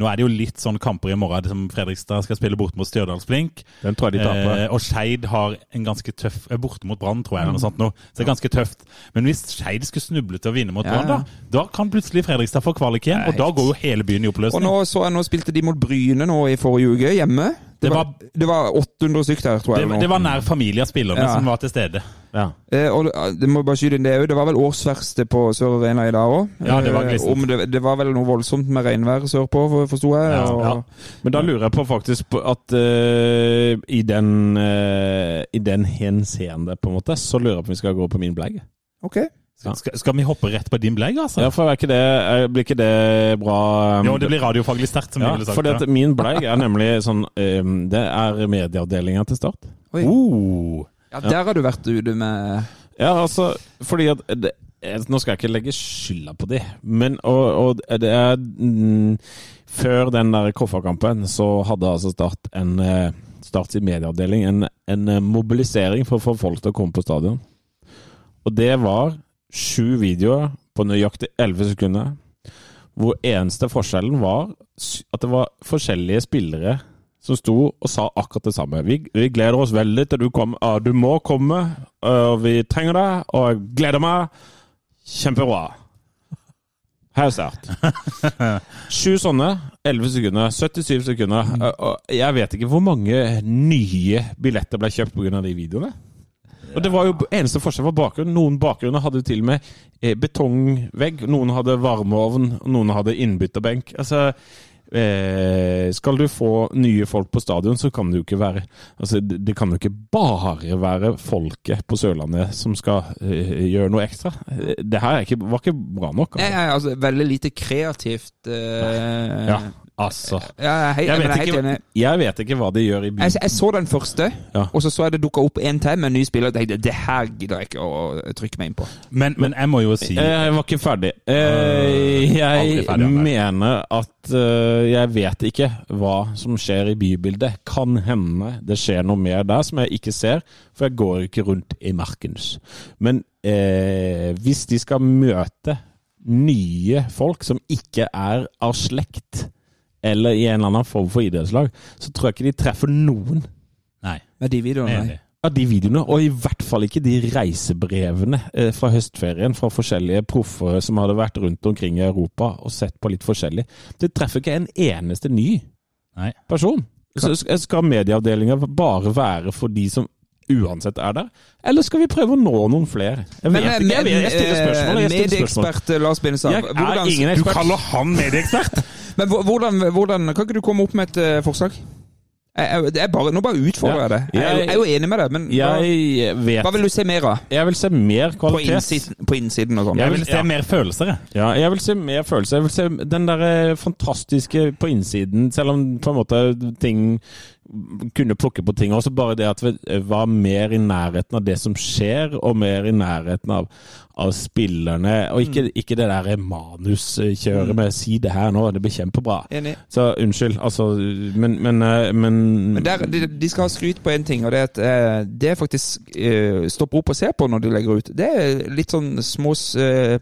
Speaker 4: Nå er det jo litt sånn kamper i morgen, som Fredrikstad skal spille bort mot Stjørdalsblink.
Speaker 3: Den tror jeg de taper.
Speaker 4: Eh, og Skeid har en ganske tøff eh, Borte mot Brann, tror jeg, eller noe
Speaker 5: Mm.
Speaker 4: sånt nå. Så det er ganske tøft. Men hvis Skeid skulle snuble til å vinne mot
Speaker 5: Ja,
Speaker 4: Brann, da, da kan plutselig Fredrikstad få kvalik igjen. Og da går jo hele byen i
Speaker 5: Og
Speaker 4: oppløsning.
Speaker 5: nå så jeg nå spilte de mot Bryne nå i forrige uke, hjemme. Det,
Speaker 4: Det
Speaker 5: var,
Speaker 4: var-
Speaker 5: det var 800 stykk der, tror
Speaker 4: det,
Speaker 5: jeg. nå.
Speaker 4: det var nær familie av spillerne
Speaker 5: Ja.
Speaker 4: som var til stede.
Speaker 3: Ja.
Speaker 5: Eh, og det, det må jeg bare skyte inn det òg. Det var vel årsverste på Sør Arena i dag òg.
Speaker 4: Ja, det var glissent.
Speaker 5: det, det var vel noe voldsomt med regnvær sørpå, for- forsto jeg.
Speaker 4: Ja,
Speaker 5: og,
Speaker 3: Ja. Men da lurer jeg på faktisk på at eh, i den uh, I den henseende, på en måte, så lurer jeg på om vi skal gå på min bleie.
Speaker 5: Ok.
Speaker 3: Ja.
Speaker 4: Skal, skal vi hoppe rett på din bleig, altså?
Speaker 3: Ja, for er ikke det, er, blir ikke det bra eh,
Speaker 4: Jo, det blir radiofaglig sterkt, som
Speaker 3: ja,
Speaker 4: vi ville sagt.
Speaker 3: fordi at
Speaker 4: ja.
Speaker 3: min bleig er nemlig sånn eh, Det er medieavdelinga til Start.
Speaker 5: Oi.
Speaker 4: Oh.
Speaker 5: Ja, der har du vært ute med
Speaker 3: Ja, altså, fordi at det, jeg- Nå skal jeg ikke legge skylda på de, men og, og det er mm, Før den der Koffa-kampen så hadde altså Start en eh, Starts i medieavdeling en, en eh, mobilisering for å få folk til å komme på stadion. Og det var sju videoer på nøyaktig elleve sekunder, hvor eneste forskjellen var s- at det var forskjellige spillere som sto og sa akkurat det samme. Vi, vi gleder oss veldig til du kommer. Ja, du må komme, og vi trenger deg, og jeg gleder meg. Kjempebra. Her er start. Sju sånne, 11 sekunder, 77 sekunder. Og- og Jeg vet ikke hvor mange nye billetter ble kjøpt pga. de videoene. Og det var jo eneste forskjell var bakgrunn. Noen bakgrunner hadde jo til og med eh, betongvegg, noen hadde varmeovn, og noen hadde innbytterbenk. Altså, eh, skal du få nye folk på stadion, så kan det jo ikke være altså, Det det kan jo ikke bare være folket på Sørlandet som skal eh, gjøre noe ekstra. Eh, Det her er ikke, var ikke bra nok.
Speaker 5: Nei,
Speaker 3: Altså.
Speaker 5: nei, altså, veldig lite kreativt eh,
Speaker 3: Ja, altså.
Speaker 5: Ja, jeg, er helt-
Speaker 3: Jeg
Speaker 5: men jeg
Speaker 3: vet,
Speaker 5: er helt
Speaker 3: ikke,
Speaker 5: enig.
Speaker 3: jeg vet ikke hva Altså, de gjør i
Speaker 5: Jeg,
Speaker 3: byen.
Speaker 5: jeg så den første,
Speaker 3: Ja.
Speaker 5: og så så jeg det dukka opp en til med en ny spiller. Og tenkte det her gidder jeg ikke å trykke meg inn på.
Speaker 4: Men, men jeg må jo si
Speaker 3: Eh, Jeg var ikke ferdig. Eh,
Speaker 4: aldri
Speaker 3: Jeg
Speaker 4: ferdig, han er.
Speaker 3: mener at eh, jeg vet ikke hva som skjer i bybildet. Kan hende det skjer noe mer der som jeg ikke ser, for jeg går ikke rundt i markens. Men eh, hvis de skal møte nye folk som ikke er av slekt eller i en eller annen form for idrettslag, så tror jeg ikke de treffer noen
Speaker 4: Nei.
Speaker 5: Med de
Speaker 4: jeg
Speaker 5: videoene,
Speaker 4: er
Speaker 5: nei.
Speaker 4: Enig.
Speaker 3: av de videoene. Og i hvert fall ikke de reisebrevene eh, fra høstferien fra forskjellige proffer som hadde vært rundt omkring i Europa og sett på litt forskjellig. Det treffer ikke en eneste ny
Speaker 4: Nei.
Speaker 3: person. Så sk- skal medieavdelinga bare være for de som uansett er der, eller skal vi prøve å nå noen flere? Jeg
Speaker 5: eh,
Speaker 3: vet ikke. Jeg, vet- jeg stiller
Speaker 4: eh,
Speaker 3: spørsmål. Jeg stiller spørsmål.
Speaker 5: Medieekspert eh, Lars Bindestad,
Speaker 3: Jeg er ingen
Speaker 4: Du
Speaker 3: ekspert.
Speaker 4: kaller han medieekspert?
Speaker 5: men hvor- hvordan, hvordan Kan ikke du komme opp med et eh, forslag? Jeg, jeg, det er bare, nå bare utfordrer
Speaker 3: Ja.
Speaker 5: jeg det. Jeg, er jo- jeg er jo enig med deg, men hva,
Speaker 3: Jeg vet
Speaker 5: hva vil du se mer av?
Speaker 3: Jeg vil se mer
Speaker 5: På
Speaker 3: kvalitet.
Speaker 5: innsiden, på innsiden og sånn.
Speaker 3: Jeg
Speaker 4: Jeg vil
Speaker 3: vil- ja.
Speaker 4: se mer følelser, jeg.
Speaker 3: Ja, jeg vil se mer følelse. Jeg vil se den derre fantastiske på innsiden, selv om på en måte ting kunne plukke på ting. Også bare det at vi eh, var mer i nærheten av det som skjer, og mer i nærheten av, av spillerne. Og
Speaker 5: Mm.
Speaker 3: ikke, ikke det der eh, manuskjøret med 'si det her nå, det blir kjempebra'.
Speaker 5: Enig.
Speaker 3: Så unnskyld, altså Men, men, eh, men,
Speaker 5: Men der, de, de skal ha skryt på én ting, og det er at eh, det faktisk eh, stopper opp og ser på når de legger ut. Det er litt sånn små eh,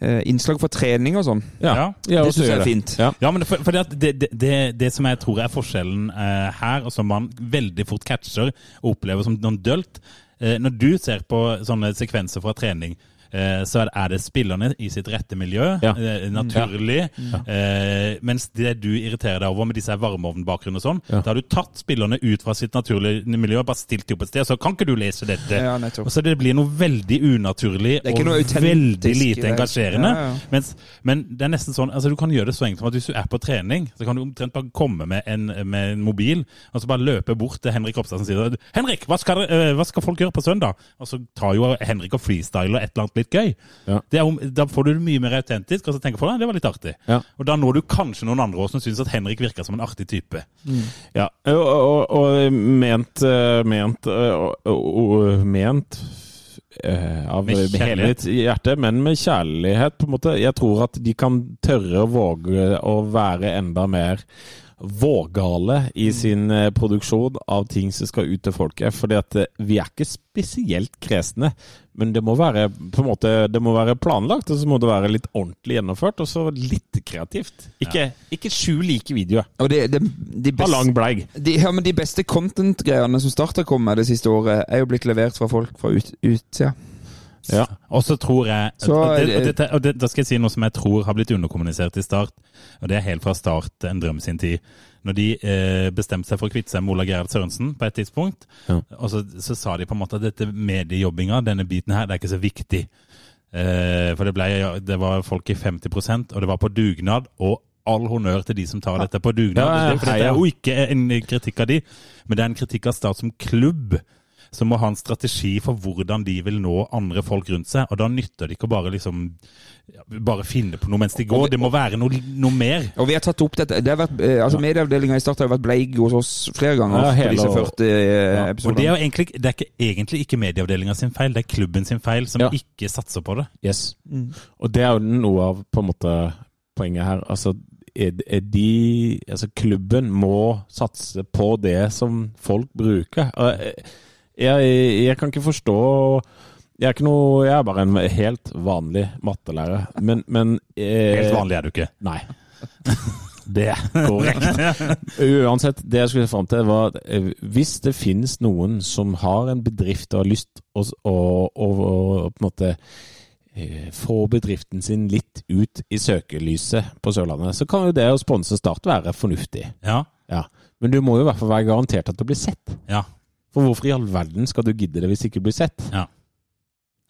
Speaker 5: eh, innslag for trening og sånn.
Speaker 3: Ja, jeg
Speaker 5: det
Speaker 3: også
Speaker 5: synes jeg
Speaker 3: gjør
Speaker 5: er fint.
Speaker 3: Ja.
Speaker 4: Ja, men det- for, for det, at det, det, det, det som jeg tror er forskjellen eh, her, og som man veldig fort catcher og opplever som noe dølt eh, Når du ser på sånne sekvenser fra trening, eh, så er det, er det spillerne i sitt rette miljø,
Speaker 3: Ja.
Speaker 4: eh, naturlig. Eh, mens det du irriterer deg over med disse her varmeovnbakgrunnen og sånn,
Speaker 3: Ja.
Speaker 4: da har du tatt spillerne ut fra sitt naturlige miljø og bare stilt dem opp et sted. Så kan ikke du lese dette?
Speaker 5: Ja, nettopp.
Speaker 4: og så det blir noe veldig unaturlig
Speaker 5: er ikke
Speaker 4: og
Speaker 5: noe autentisk
Speaker 4: veldig
Speaker 5: i
Speaker 4: lite
Speaker 5: det.
Speaker 4: engasjerende.
Speaker 5: Ja, ja.
Speaker 4: Mens, men det er nesten sånn altså Du kan gjøre det så enkelt som at hvis du er på trening, så kan du omtrent bare komme med en, med en mobil og så bare løpe bort til Henrik Ropstad som sier Henrik, hva skal, dere- eh, hva skal folk gjøre på søndag? Og så tar jo Henrik og freestyler et eller annet litt gøy.
Speaker 3: Ja.
Speaker 4: Det er, om- da får du det mye mer autentisk, og så tenker folk at det var litt artig.
Speaker 3: Ja.
Speaker 4: Og da når du kanskje noen andre også som syns at Henrik virker som en artig type.
Speaker 5: Mm.
Speaker 3: Ja, Eh, og, og, og ment eh, ment, eh, og, og, og ment eh, av
Speaker 4: Med
Speaker 3: hele
Speaker 4: kjærlighet.
Speaker 3: mitt hjerte, men med kjærlighet, på en måte. Jeg tror at de kan tørre å våge å være enda mer vågale i sin eh, produksjon av ting som skal ut til folket. Fordi at eh, vi er ikke spesielt kresne, men det må være på en måte, det må være planlagt, og så må det være litt ordentlig gjennomført, og så litt kreativt. Ikke, ikke sju like videoer.
Speaker 5: Og det, det, de,
Speaker 3: Ha
Speaker 5: best,
Speaker 3: lang bleig.
Speaker 5: de, ja, men de beste content-greiene som Starter kom med det siste året, er jo blitt levert fra folk fra ut, utsida.
Speaker 3: Ja.
Speaker 4: Og så tror jeg
Speaker 5: Så-
Speaker 4: og det, og det, og det, Da skal jeg si noe som jeg tror har blitt underkommunisert i start, og det er helt fra start en drøm sin tid. Når de eh, bestemte seg for å kvitte seg med Ola Gerhard Sørensen på et tidspunkt,
Speaker 3: Ja.
Speaker 4: og så, Altså, så sa de på en måte at dette mediejobbinga, denne biten her, det er ikke så viktig. Eh, for det, ble, det var folk i 50 og det var på dugnad. og All honnør til de som tar dette på dugnad.
Speaker 3: Ja, ja, ja.
Speaker 4: Det- for dette er jo ikke en kritikk av de, men det er en kritikk av Start som klubb som må ha en strategi for hvordan de vil nå andre folk rundt seg. Og da nytter det ikke å bare liksom ja, bare finne på noe mens de går. Det må være noe, noe mer.
Speaker 5: Og vi har tatt opp dette. Det har vært, eh, altså Medieavdelinga i Start har jo vært bleig hos oss flere ganger
Speaker 3: Ja, hele
Speaker 5: på disse
Speaker 3: år.
Speaker 5: 40 eh,
Speaker 4: Og det
Speaker 5: episodene.
Speaker 4: er jo egentlig, det er ikke, egentlig ikke medieavdelinga sin feil, det er klubben sin feil som
Speaker 3: Ja.
Speaker 4: ikke satser på det.
Speaker 3: Yes. Og det er jo noe av på en måte poenget her. Altså, er, er de Altså, klubben må satse på det som folk bruker. Og Jeg, jeg, jeg kan ikke forstå jeg er, ikke noe, jeg er bare en helt vanlig mattelærer. Men, men eh,
Speaker 4: Helt vanlig er det jo ikke.
Speaker 3: Nei. [laughs] Det er korrekt. [laughs] Uansett, det jeg skulle fram til, var at eh, hvis det finnes noen som har en bedrift og har lyst å, å, å, å på en måte eh, få bedriften sin litt ut i søkelyset på Sørlandet, så kan jo det å sponse Start være fornuftig.
Speaker 4: Ja,
Speaker 3: Ja. Men du må jo i hvert fall være garantert at du blir sett.
Speaker 4: ja.
Speaker 3: For hvorfor i all verden skal du gidde det hvis ikke du blir sett?
Speaker 4: Det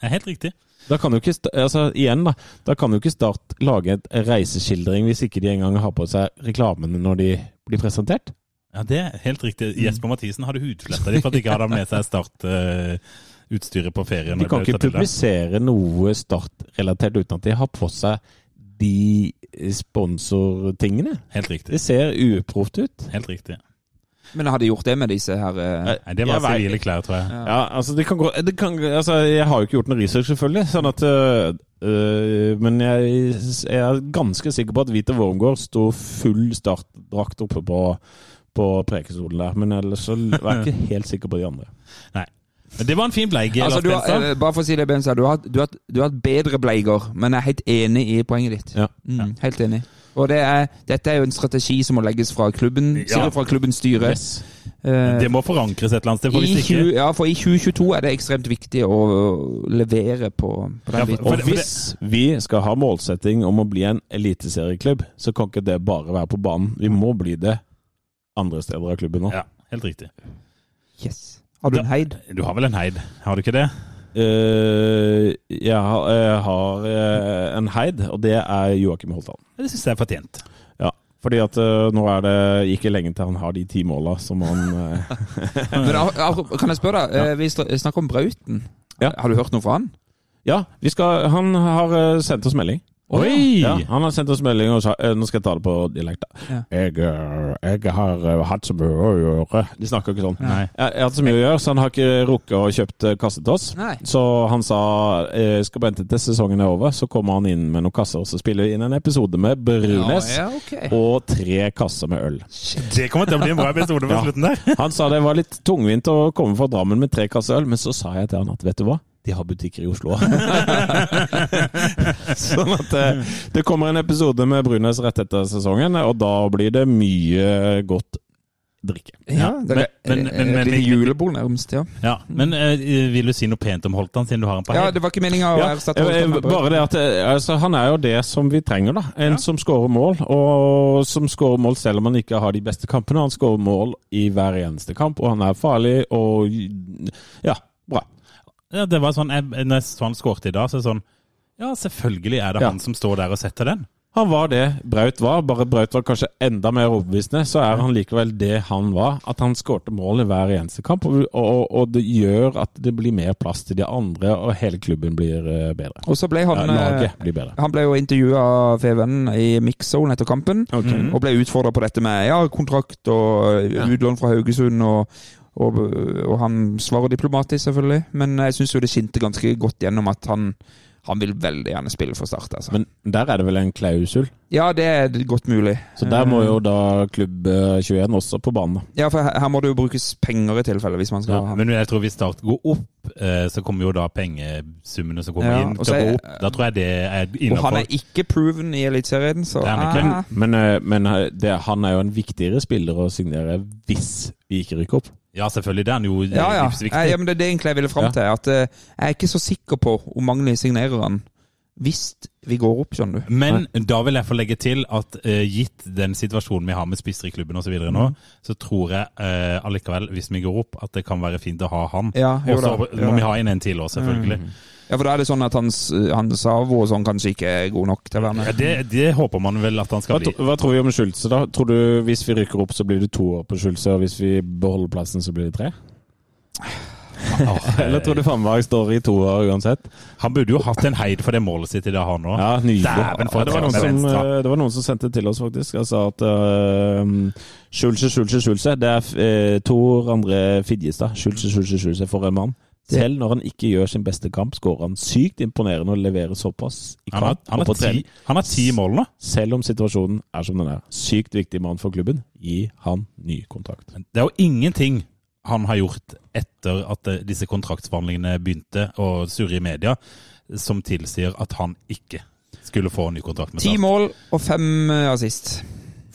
Speaker 4: er helt riktig.
Speaker 3: Da kan jo ikke, sta- altså igjen da, da kan jo ikke Start lage et reiseskildring hvis ikke de engang har på seg reklamene når de blir presentert.
Speaker 4: Ja, det er helt riktig. Jesper Mathisen hadde hudfletta de for at de ikke hadde med seg startutstyret på ferien.
Speaker 3: De kan ikke publisere noe Start-relatert uten at de har på seg de sponsortingene.
Speaker 4: Helt riktig.
Speaker 3: Det ser uproft ut.
Speaker 4: Helt riktig.
Speaker 5: Men hadde gjort det med disse her eh,
Speaker 4: Nei, det var
Speaker 3: Jeg vet-
Speaker 4: sivile klær, tror jeg.
Speaker 3: Ja, altså, det kan gå, det kan, altså Jeg har jo ikke gjort noe research, selvfølgelig, sånn at øh, øh, Men jeg, jeg er ganske sikker på at Vita Wormgård sto full startdrakt oppe på, på prekestolen der. Men ellers så er jeg ikke helt sikker på de andre.
Speaker 4: Men det var en fin bleig. Lars
Speaker 5: Altså, du har,
Speaker 4: Benstad.
Speaker 5: eh, bare for å si det, Bensa, du har, hatt- du, har, hatt- du har hatt bedre bleiger, men jeg er helt enig i poenget ditt.
Speaker 3: Ja.
Speaker 5: Mm, helt enig. Og det er, dette er jo en strategi som må legges fra klubben, sikkert fra klubbens styre.
Speaker 3: Yes.
Speaker 5: Eh,
Speaker 4: Det må forankres et eller annet sted. For
Speaker 5: i
Speaker 4: hvis ikke
Speaker 5: 20, ja, for i 2022 er det ekstremt viktig å levere på, på den
Speaker 4: Ja, for-
Speaker 5: biten.
Speaker 4: [laughs] for
Speaker 3: Og
Speaker 4: det-
Speaker 3: hvis vi skal ha målsetting om å bli en eliteserieklubb, så kan ikke det bare være på banen. Vi må bli det andre steder av klubben nå.
Speaker 4: Ja, helt riktig.
Speaker 5: Yes. Har du en
Speaker 4: Ja.
Speaker 5: heid?
Speaker 4: Du har vel en heid, har du ikke det?
Speaker 3: Eh, jeg har, jeg har eh, en heid, og det er Joakim Holtan.
Speaker 4: Det syns jeg er fortjent.
Speaker 3: Ja, fordi at eh, nå er det ikke lenge til han har de ti måla som han eh,
Speaker 5: Men, ah, ah, kan jeg spørre deg, eh, vi stra- snakker om Brauten.
Speaker 3: Ja.
Speaker 5: Har du hørt noe fra han?
Speaker 3: Ja, vi skal, han har eh, sendt oss melding.
Speaker 4: Oi!
Speaker 3: Ja, han har sendt oss melding og sa eh, Nå skal jeg ta det på dialekt. da. Jeg, eh, jeg har eh, hatt så mye å gjøre De snakker ikke sånn.
Speaker 4: Nei.
Speaker 3: Jeg, jeg har hatt så mye å gjøre, så han har ikke rukket å kjøpt eh, kasse til oss.
Speaker 5: Nei.
Speaker 3: Så han sa eh, skal bare vente til sesongen er over, så kommer han inn med noen kasser, og så spiller vi inn en episode med Brunes.
Speaker 5: Ja, ja, ok.
Speaker 3: Og tre kasser med øl.
Speaker 4: Det kommer til å bli en bra episode [laughs] på
Speaker 3: Ja.
Speaker 4: slutten der.
Speaker 3: Han sa det var litt tungvint å komme fra Drammen med tre kasser øl, men så sa jeg til han at vet du hva, de har butikker i Oslo. [laughs] sånn at eh, det kommer en episode med Brunes rett etter sesongen, og da blir det mye godt drikke.
Speaker 5: Ja, det er
Speaker 4: men- men- men-
Speaker 5: et
Speaker 4: men-
Speaker 5: lite julebord nærmest, ja.
Speaker 4: Ja, Men eh, vil du si noe pent om Holtan, siden du har han på
Speaker 5: Ja,
Speaker 4: heid?
Speaker 5: det var ikke meninga å
Speaker 3: Ja,
Speaker 5: erstatte
Speaker 3: eh,
Speaker 5: Holtan med Brauten.
Speaker 3: bare det at eh, altså, Han er jo det som vi trenger, da. En som skårer mål, og som skårer mål selv om han ikke har de beste kampene. Han skårer mål i hver eneste kamp, og han er farlig og Ja, bra.
Speaker 4: Ja, det var sånn, jeg, når jeg så han skårte i dag, så er det sånn Ja, selvfølgelig er det
Speaker 3: Ja.
Speaker 4: han som står der og setter den.
Speaker 3: Han var det Braut var, bare Braut var kanskje enda mer overbevisende. Så er han likevel det han var, at han skårte mål i hver eneste kamp. Og, og, og det gjør at det blir mer plass til de andre, og hele klubben blir eh, bedre.
Speaker 5: Og så ble
Speaker 3: Ja,
Speaker 5: han eh,
Speaker 3: laget blir bedre.
Speaker 5: Han ble jo intervjua av FVN i Mixzone etter kampen, og ble utfordra på dette med ja, kontrakt og eh, utlån fra Haugesund. og og, og han svarer diplomatisk, selvfølgelig, men jeg syns jo det skinte ganske godt gjennom at han, han vil veldig gjerne spille for Start. Altså.
Speaker 3: Men der er det vel en klausul,
Speaker 5: ja, det er godt mulig.
Speaker 3: så der
Speaker 5: Eh.
Speaker 3: må jo da klubb eh, 21 også på banen. da.
Speaker 5: Ja, for her, her må det jo brukes penger i tilfelle, hvis man skal ha
Speaker 4: Men jeg tror hvis Start går opp, eh, så kommer jo da pengesummene som kommer
Speaker 5: Ja,
Speaker 4: inn,
Speaker 5: og
Speaker 4: til å
Speaker 5: så er-
Speaker 4: gå opp. Da tror jeg det er
Speaker 5: Og han
Speaker 4: innafor.
Speaker 5: er ikke proven i Eliteserien, så
Speaker 4: Det er han ikke.
Speaker 5: ah,
Speaker 3: Men, eh, men eh, det, han er jo en viktigere spiller å signere hvis vi ikke rykker opp.
Speaker 4: Ja, selvfølgelig. Det er han jo
Speaker 5: Ja, ja.
Speaker 4: livsviktig.
Speaker 5: Jeg, ja, men det er det egentlig jeg ville fram
Speaker 3: Ja.
Speaker 5: til. At eh, jeg er ikke så sikker på om Magni signerer han hvis vi går opp, skjønner du.
Speaker 4: Men da vil jeg få legge til at eh, gitt den situasjonen vi har med spisser i klubben osv. nå, så tror jeg eh, allikevel, hvis vi går opp, at det kan være fint å ha han.
Speaker 5: Ja, jo
Speaker 4: og så
Speaker 5: da,
Speaker 4: må
Speaker 5: jo da.
Speaker 4: vi ha inn en til òg, selvfølgelig.
Speaker 5: Ja, For da er det sånn at hans, hans Savo og sånn kanskje ikke er god nok til å være
Speaker 4: Ja,
Speaker 5: med.
Speaker 4: det, det håper man vel at han
Speaker 3: Hva,
Speaker 4: skal bli.
Speaker 3: tro- hva tror vi om Schulze, da? Tror du hvis vi rykker opp, så blir det to år på Schulze, og hvis vi beholder plassen, så blir det tre?
Speaker 4: Åh, eh,
Speaker 3: Eller tror du Fannberg står i to år uansett?
Speaker 4: Han burde jo hatt en heid for det målet sitt i dag, han òg.
Speaker 3: Ja, nydelig.
Speaker 4: Dæven, for
Speaker 3: Ja, det, var
Speaker 4: et
Speaker 3: noen som,
Speaker 4: venstre.
Speaker 3: eh, det var noen som sendte til oss, faktisk. Og sa at uh, Schulze, Schulze, Schulze. Det er eh, Tor André Fidjestad. Schulze, Schulze, Schulze for en mann. Selv når han ikke gjør sin beste kamp, skårer han sykt imponerende og leverer såpass i
Speaker 4: Han har,
Speaker 3: kamp
Speaker 4: han,
Speaker 3: og på
Speaker 4: har ti,
Speaker 3: trening.
Speaker 4: han har ti mål nå.
Speaker 3: Selv om situasjonen er som den er. Sykt viktig mann for klubben. Gi han ny kontrakt.
Speaker 4: Det er jo ingenting han har gjort etter at eh, disse kontraktsforhandlingene begynte å surre i media, som tilsier at han ikke skulle få en ny kontrakt med
Speaker 5: Ti
Speaker 4: Start.
Speaker 5: mål og fem eh, assist.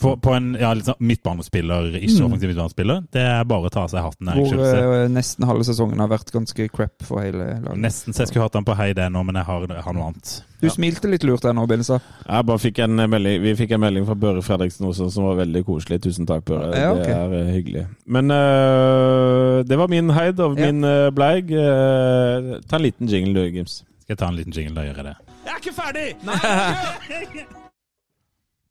Speaker 4: På, på en ja, litt sånn midtbanespiller, ikke offensiv midtbanespiller. Det er bare å ta av seg hatten. her,
Speaker 5: Mm. Hvor
Speaker 4: ikke sant?
Speaker 5: eh, nesten halve sesongen har vært ganske crap for hele laget.
Speaker 4: Nesten så jeg skulle hatt han på hei der nå, men jeg har, har noe annet.
Speaker 5: Du smilte litt lurt der nå, Bensa.
Speaker 3: Jeg bare fikk en melding, vi fikk en melding fra Børre Fredriksen også, som var veldig koselig. Tusen takk, Børre.
Speaker 5: Ja, ok.
Speaker 3: Det er eh, hyggelig. Men eh, det var min heid og
Speaker 5: Ja.
Speaker 3: min eh, bleig. Eh, ta en liten jingle, du, Gims.
Speaker 4: Skal jeg ta en liten jingle da gjør jeg det?
Speaker 2: Jeg er ikke ferdig!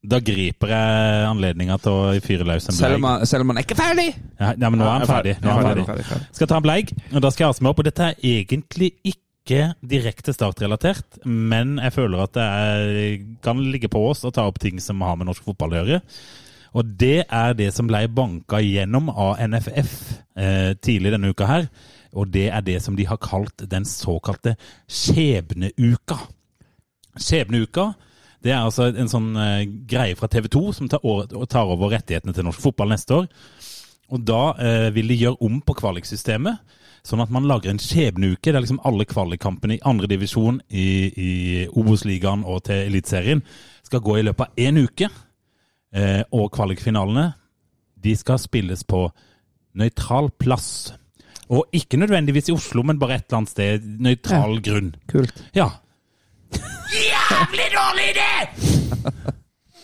Speaker 4: Da griper jeg anledninga til å fyre løs en
Speaker 5: Selv om
Speaker 4: bleig.
Speaker 5: han- selv om han er ikke ferdig!
Speaker 4: Ja, ja, men nå er han ferdig. Nå er han ferdig.
Speaker 5: ferdig, ferdig.
Speaker 4: Skal ta en bleig, og da skal jeg ha meg opp. Og dette er egentlig ikke direkte startrelatert, men jeg føler at det er, kan ligge på oss å ta opp ting som har med norsk fotball å gjøre. Og det er det som ble banka gjennom av NFF eh, tidlig denne uka her. Og det er det som de har kalt den såkalte skjebneuka. Skjebneuka det er altså en sånn eh, greie fra TV 2 som tar, over- tar over rettighetene til norsk fotball neste år. Og da eh, vil de gjøre om på kvaliksystemet, sånn at man lager en skjebneuke der liksom alle kvalikkampene i andredivisjon, i, i Obos-ligaen og til Eliteserien skal gå i løpet av én uke. Eh, og kvalikfinalene de skal spilles på nøytral plass. Og ikke nødvendigvis i Oslo, men bare et eller annet sted. Nøytral grunn.
Speaker 5: Kult.
Speaker 4: Ja. Jævlig dårlig idé!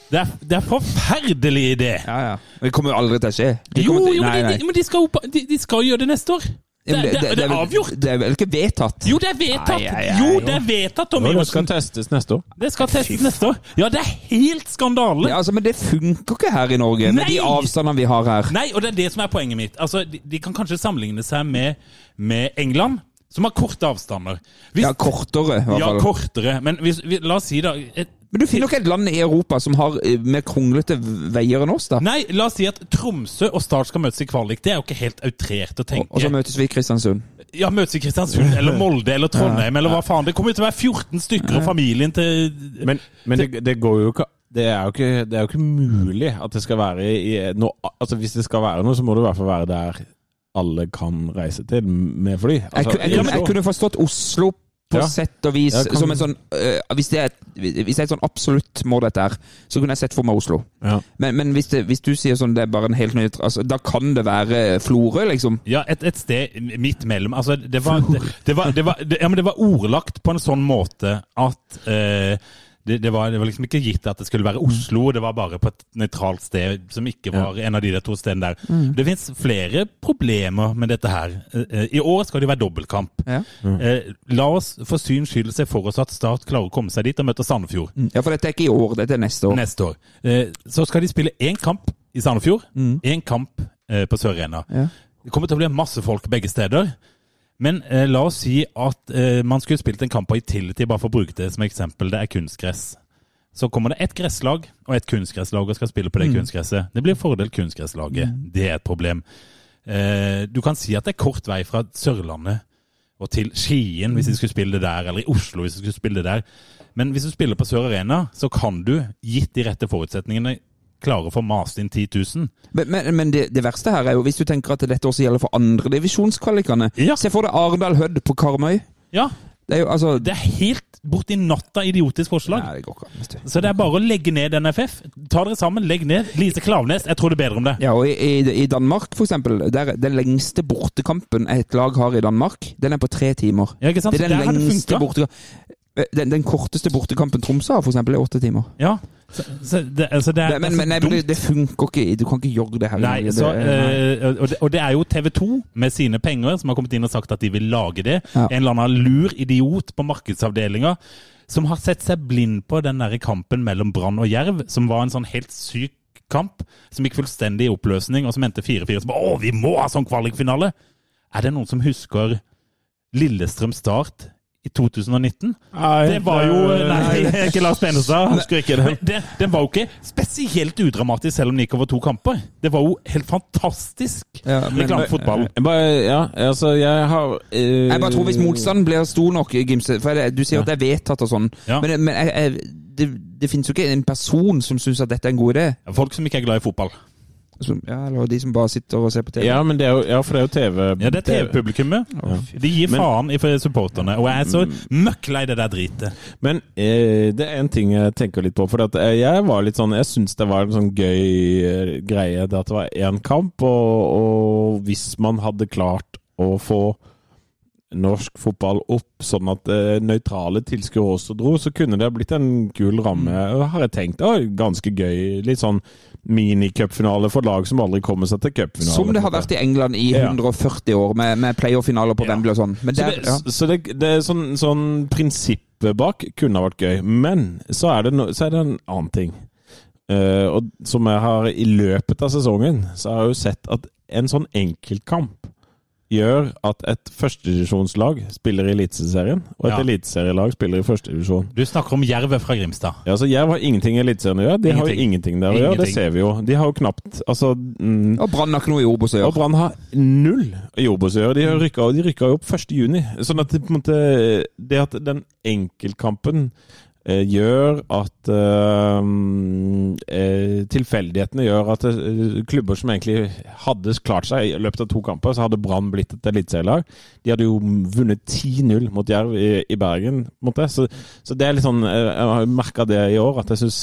Speaker 4: Det er, det er forferdelig idé.
Speaker 5: Ja, ja. Det kommer jo aldri til å skje. Det
Speaker 4: Jo,
Speaker 5: kommer til-
Speaker 4: jo,
Speaker 5: nei,
Speaker 4: men
Speaker 5: nei.
Speaker 4: de- de, men de skal, jo på- de, de skal jo gjøre det neste år.
Speaker 5: Ja,
Speaker 4: Det,
Speaker 5: men
Speaker 4: det, det,
Speaker 5: det
Speaker 4: er
Speaker 5: vel-
Speaker 4: avgjort.
Speaker 5: Det er vel ikke vedtatt?
Speaker 4: Jo, det er vedtatt.
Speaker 5: Nei, nei, nei,
Speaker 4: Jo,
Speaker 5: jo.
Speaker 4: det er vedtatt, Tom
Speaker 3: Og det skal
Speaker 4: Iversen.
Speaker 3: testes neste år.
Speaker 4: Det skal testes neste år. Ja, det er helt skandale.
Speaker 5: Ja, altså, men det funker ikke her i Norge, med
Speaker 4: Nei!
Speaker 5: de avstandene vi har her.
Speaker 4: Nei, og det er det som er poenget mitt. Altså, de, de kan kanskje sammenligne seg med, med England, som har korte avstander. Hvis,
Speaker 5: Ja, kortere, i hvert
Speaker 4: ja,
Speaker 5: fall.
Speaker 4: kortere. Men hvis, vi, la oss si da et,
Speaker 5: men du finner jo ikke et land i Europa som har eh, mer kronglete veier enn oss, da.
Speaker 4: Nei, la oss si at Tromsø og Start skal møtes i kvalik. Det er jo ikke helt outrert å
Speaker 5: Og
Speaker 4: tenke.
Speaker 5: og så møtes vi i Kristiansund.
Speaker 4: Ja, møtes i Kristiansund eller Molde
Speaker 5: [laughs]
Speaker 4: eller Trondheim eller hva faen. Det kommer jo til å være 14 stykker og familien til
Speaker 3: Men, men det, det går jo ikke det er, jo ikke, det er jo ikke mulig at det skal være i noe Altså, hvis det skal være noe, så må det i hvert fall være der alle kan reise til med fly.
Speaker 5: Jeg,
Speaker 3: Altså,
Speaker 5: ku- jeg, kunne- jeg kunne forstått Oslo på
Speaker 3: Ja.
Speaker 5: sett og vis
Speaker 3: Ja, kan-
Speaker 5: som en sånn eh, hvis, det er, et- hvis det er et sånn absolutt må dette her, så kunne jeg sett for meg Oslo.
Speaker 3: Ja.
Speaker 5: Men, men hvis, det, hvis du sier sånn det er bare en helt nøytral altså, Da kan det være Florø, liksom.
Speaker 4: Ja, et, et sted midt mellom. Altså, det var, det, det, var, det, var, det, ja, men det var ordlagt på en sånn måte at eh, det, det, var, det var liksom ikke gitt at det skulle være Oslo, det var bare på et nøytralt sted som ikke var en av de der to stedene der.
Speaker 5: Mm.
Speaker 4: Det fins flere problemer med dette her. Eh, eh, I år skal det være dobbeltkamp.
Speaker 5: Ja.
Speaker 4: Eh, la oss for syns skyld se for oss at Start klarer å komme seg dit og møte Sandefjord
Speaker 5: Ja, for dette er ikke i år, dette er neste år.
Speaker 4: neste år. Eh, Så skal de spille én kamp i Sandefjord, én kamp eh, på Sør-Arena.
Speaker 5: Ja.
Speaker 4: Det kommer til å bli masse folk begge steder. Men eh, la oss si at eh, man skulle spilt en kamp på Itility, bare for å bruke det som eksempel. Det er kunstgress. Så kommer det ett gresslag og ett kunstgresslag og skal spille på det kunstgresset. Det blir fordel kunstgresslaget. Det er et problem. Eh, du kan si at det er kort vei fra Sørlandet og til Skien hvis de skulle spille det der, eller i Oslo hvis de skulle spille det der. Men hvis du spiller på Sør Arena, så kan du, gitt de rette forutsetningene, klare å få mast inn 10 000.
Speaker 5: Men, men, men det, det verste her er jo hvis du tenker at dette også gjelder for andredivisjonskvalikene.
Speaker 4: Ja.
Speaker 5: Se for deg Arendal Hødd på Karmøy.
Speaker 4: Ja,
Speaker 5: Det er jo altså
Speaker 4: det er helt borti natta idiotisk forslag.
Speaker 5: Nei, det går ikke an. vet du.
Speaker 4: Så det er bare å legge ned NFF. Ta dere sammen, legg ned. Lise Klaveness, jeg tror det er bedre om det.
Speaker 5: Ja, og i, i, i Danmark, for eksempel, der den lengste bortekampen et lag har i Danmark, den er på tre timer.
Speaker 4: Ja, ikke sant?
Speaker 5: Det er
Speaker 4: Der har
Speaker 5: den
Speaker 4: det
Speaker 5: lengste
Speaker 4: funket.
Speaker 5: bortekampen. Den, den korteste bortekampen Tromsø har, for eksempel, er åtte timer.
Speaker 4: Ja, så, så det, altså det er,
Speaker 5: Det,
Speaker 4: det er
Speaker 5: men
Speaker 4: så
Speaker 5: men nei, men
Speaker 4: dumt.
Speaker 5: det, det funker ikke. i- Du kan ikke gjøre det her. i
Speaker 4: Nei,
Speaker 5: Norge.
Speaker 4: så,
Speaker 5: det, nei.
Speaker 4: eh, og, det, og det er jo TV 2 med sine penger som har kommet inn og sagt at de vil lage det.
Speaker 5: Ja.
Speaker 4: En eller annen lur idiot på markedsavdelinga som har sett seg blind på den der kampen mellom Brann og Jerv, som var en sånn helt syk kamp, som gikk fullstendig i oppløsning, og som endte 4-4. Som bare, Å, vi må ha sånn kvalikfinale! Er det noen som husker Lillestrøm Start i 2019? Det var jo eh, Nei, ikke Lars Benestad. Husker ikke det. Den, den var jo ikke spesielt udramatisk, selv om den gikk over to kamper. Det var jo helt fantastisk
Speaker 5: Ja, men-
Speaker 4: reklamefotball.
Speaker 3: Jeg bare, ja, altså, jeg har eh,
Speaker 5: Jeg bare tror hvis motstanden blir stor nok, Gimse for det, Du sier at det er vedtatt og sånn,
Speaker 4: Ja.
Speaker 5: men, men jeg, jeg, det, det finnes jo ikke en person som syns at dette er en god idé.
Speaker 4: Folk som ikke er glad i fotball.
Speaker 5: Som, ja, eller de som bare sitter og ser på TV.
Speaker 3: Ja, men det er jo, ja, for det er jo TV.
Speaker 4: Ja, Det er TV-publikummet. De gir faen i supporterne. Og jeg er så møkk lei det der dritet.
Speaker 3: Men eh, det er en ting jeg tenker litt på. For at eh, jeg var litt sånn Jeg syns det var en sånn gøy eh, greie det at det var én kamp, og, og hvis man hadde klart å få norsk fotball opp sånn at eh, nøytrale tilskuere også dro, så kunne det ha blitt en kul ramme, har jeg tenkt. Å, ganske gøy. Litt sånn minicupfinale for lag som aldri kommer seg til cupfinale.
Speaker 5: Som det har vært i England i
Speaker 3: Ja.
Speaker 5: 140 år, med, med playoff-finaler på Wembley og sånn. Men
Speaker 3: Så
Speaker 5: der,
Speaker 3: det,
Speaker 5: ja.
Speaker 3: så det, det er sånn, sånn prinsippet bak kunne ha vært gøy, men så er det, no, så er det en annen ting. Eh, og som jeg har i løpet av sesongen, så har jeg jo sett at en sånn enkeltkamp gjør at et førstedivisjonslag spiller i Eliteserien, og et
Speaker 4: Ja.
Speaker 3: eliteserielag spiller i førstedivisjon.
Speaker 4: Du snakker om Jervet fra Grimstad.
Speaker 3: Ja, altså Jerv har ingenting i Eliteserien å gjøre. De har jo ingenting der å gjøre, det
Speaker 4: Ingenting.
Speaker 3: ser vi jo. De har jo knapt Altså mm,
Speaker 5: Og Brann har ikke noe i Obos å
Speaker 3: og
Speaker 5: gjøre.
Speaker 3: Brann har null i Obos å gjøre. De har rykka, de rykka jo opp 1.6. Sånn at det, på en måte, det at den enkeltkampen eh, gjør at eh, eh, eh, tilfeldighetene gjør at eh, klubber som egentlig hadde klart seg i løpet av to kamper, så hadde Brann blitt et eliteserielag. De hadde jo vunnet 10-0 mot Jerv i, i Bergen, på en måte. Så, så det er litt sånn eh, Jeg har merka det i år, at jeg syns